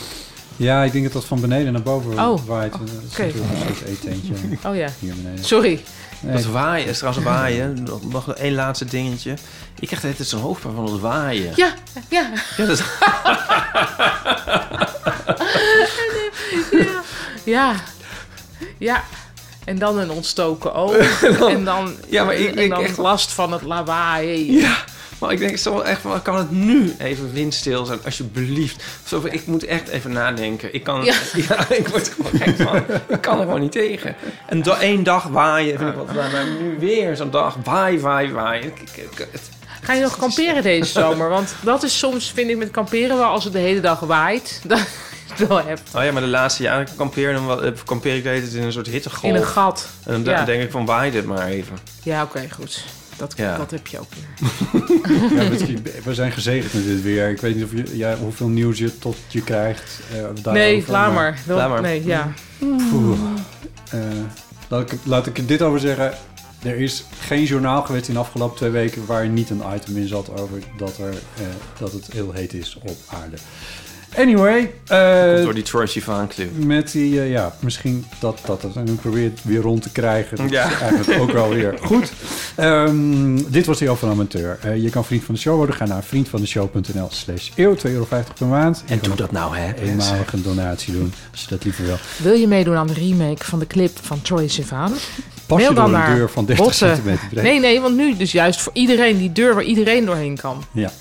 Speaker 2: Ja, ik denk dat dat van beneden naar boven
Speaker 4: Oh,
Speaker 2: waait. Dat
Speaker 4: oké.
Speaker 2: is natuurlijk een soort eetentje
Speaker 4: Oh ja,
Speaker 2: hier beneden.
Speaker 4: sorry.
Speaker 6: Dat waaien, is trouwens waaien. Nog- Nog één laatste dingetje. Ik krijg de hele tijd zo'n hoofdpijn van het waaien.
Speaker 4: Ja, ja.
Speaker 6: Ja, dat is-
Speaker 4: Ja. ja. Ja. En dan een ontstoken oog. En dan,
Speaker 6: Ja, maar ik-
Speaker 4: en
Speaker 6: ik
Speaker 4: dan
Speaker 6: echt-
Speaker 4: last van het lawaai.
Speaker 6: Ja, maar ik denk zo echt van, kan het nu even windstil zijn, alsjeblieft. Zo van, ik moet echt even nadenken. Ik kan, ja.
Speaker 4: Ja.
Speaker 6: ik word er gewoon gek van. Ik kan er gewoon niet tegen. En da- één dag waaien, vind ik wat raar, maar nu weer zo'n dag waai, waai, waai. Ik- ik- ik- het-
Speaker 4: Ga je nog kamperen deze zomer? Want dat is soms, vind ik, met kamperen wel als het de hele dag waait. Dat is wel heftig.
Speaker 6: Oh ja, maar de laatste jaren kampeer, dan wel- eh, kampeer ik de hele tijd in een soort hittegolf.
Speaker 4: In een gat.
Speaker 6: en dan da-
Speaker 4: ja.
Speaker 6: denk ik van, waai dit maar even.
Speaker 4: Ja, oké, goed. Dat,
Speaker 6: Ja.
Speaker 4: dat heb je ook. weer.
Speaker 2: Ja, misschien- we zijn gezegend met dit weer. Ik weet niet of je, ja, hoeveel nieuws je tot je krijgt. eh, daarover,
Speaker 4: Nee, laat maar. Dat-
Speaker 6: Laat maar.
Speaker 4: Nee, ja.
Speaker 2: Oeh. Eh, laat, ik, laat ik er dit over zeggen. Er is geen journaal geweest in de afgelopen twee weken waar niet een item in zat over dat, er, eh, dat het heel heet is op aarde. Anyway, eh,
Speaker 6: Door die Troy Sivan clip.
Speaker 2: met die, eh, ja, misschien dat, dat, dat. En ik probeer het weer rond te krijgen. Dat
Speaker 6: Ja.
Speaker 2: is eigenlijk ook wel weer goed. Ehm, dit was de Eeuw van Amateur. Eh, je kan vriend van de show worden. Ga naar vriendvandeshow.nl slash eeuw, 2,50 euro per maand. Je kan
Speaker 6: En doe
Speaker 2: ook
Speaker 6: dat nou, hè. mensen.
Speaker 2: eenmalig een donatie doen, als je dat liever wil.
Speaker 4: Wil je meedoen aan de remake van de clip van Troy Sivan?
Speaker 2: Pas je
Speaker 4: Mail
Speaker 2: door
Speaker 4: dan
Speaker 2: een
Speaker 4: naar
Speaker 2: deur van 30
Speaker 4: botten.
Speaker 2: centimeter breed.
Speaker 4: Nee, nee, want nu dus juist voor iedereen die deur waar iedereen doorheen kan.
Speaker 2: Ja.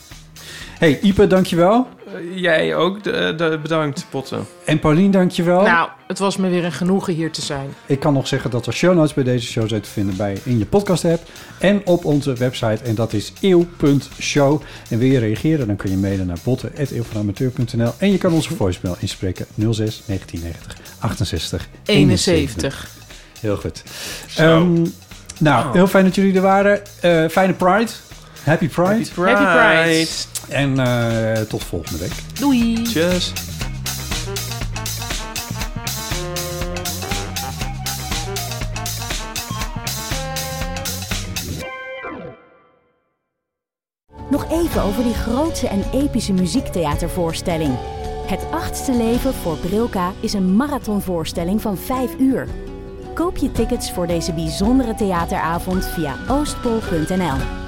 Speaker 2: Hey, Ipe, dankjewel.
Speaker 6: Eh, Jij ook, de, de- bedankt, Potten.
Speaker 2: En Paulien, dankjewel.
Speaker 4: Nou, het was me weer een genoegen hier te zijn.
Speaker 2: Ik kan nog zeggen dat er show notes bij deze show zijn te vinden bij in je podcast app en op onze website. En dat is eeuw.show. En wil je reageren, dan kun je mailen naar botten.eeuwvanamateur.nl. En je kan onze voicemail inspreken 06 1990 68
Speaker 4: 71.
Speaker 2: Heel goed. Ehm, nou, heel fijn dat jullie er waren. Eh, fijne Pride. Happy Pride.
Speaker 4: Happy Pride.
Speaker 2: En eh, tot volgende week.
Speaker 4: Doei.
Speaker 6: Tjus.
Speaker 1: Nog even over die grootse en epische muziektheatervoorstelling. Het achtste leven voor Brilka is een marathonvoorstelling van 5 uur. Koop je tickets voor deze bijzondere theateravond via oostpol.nl.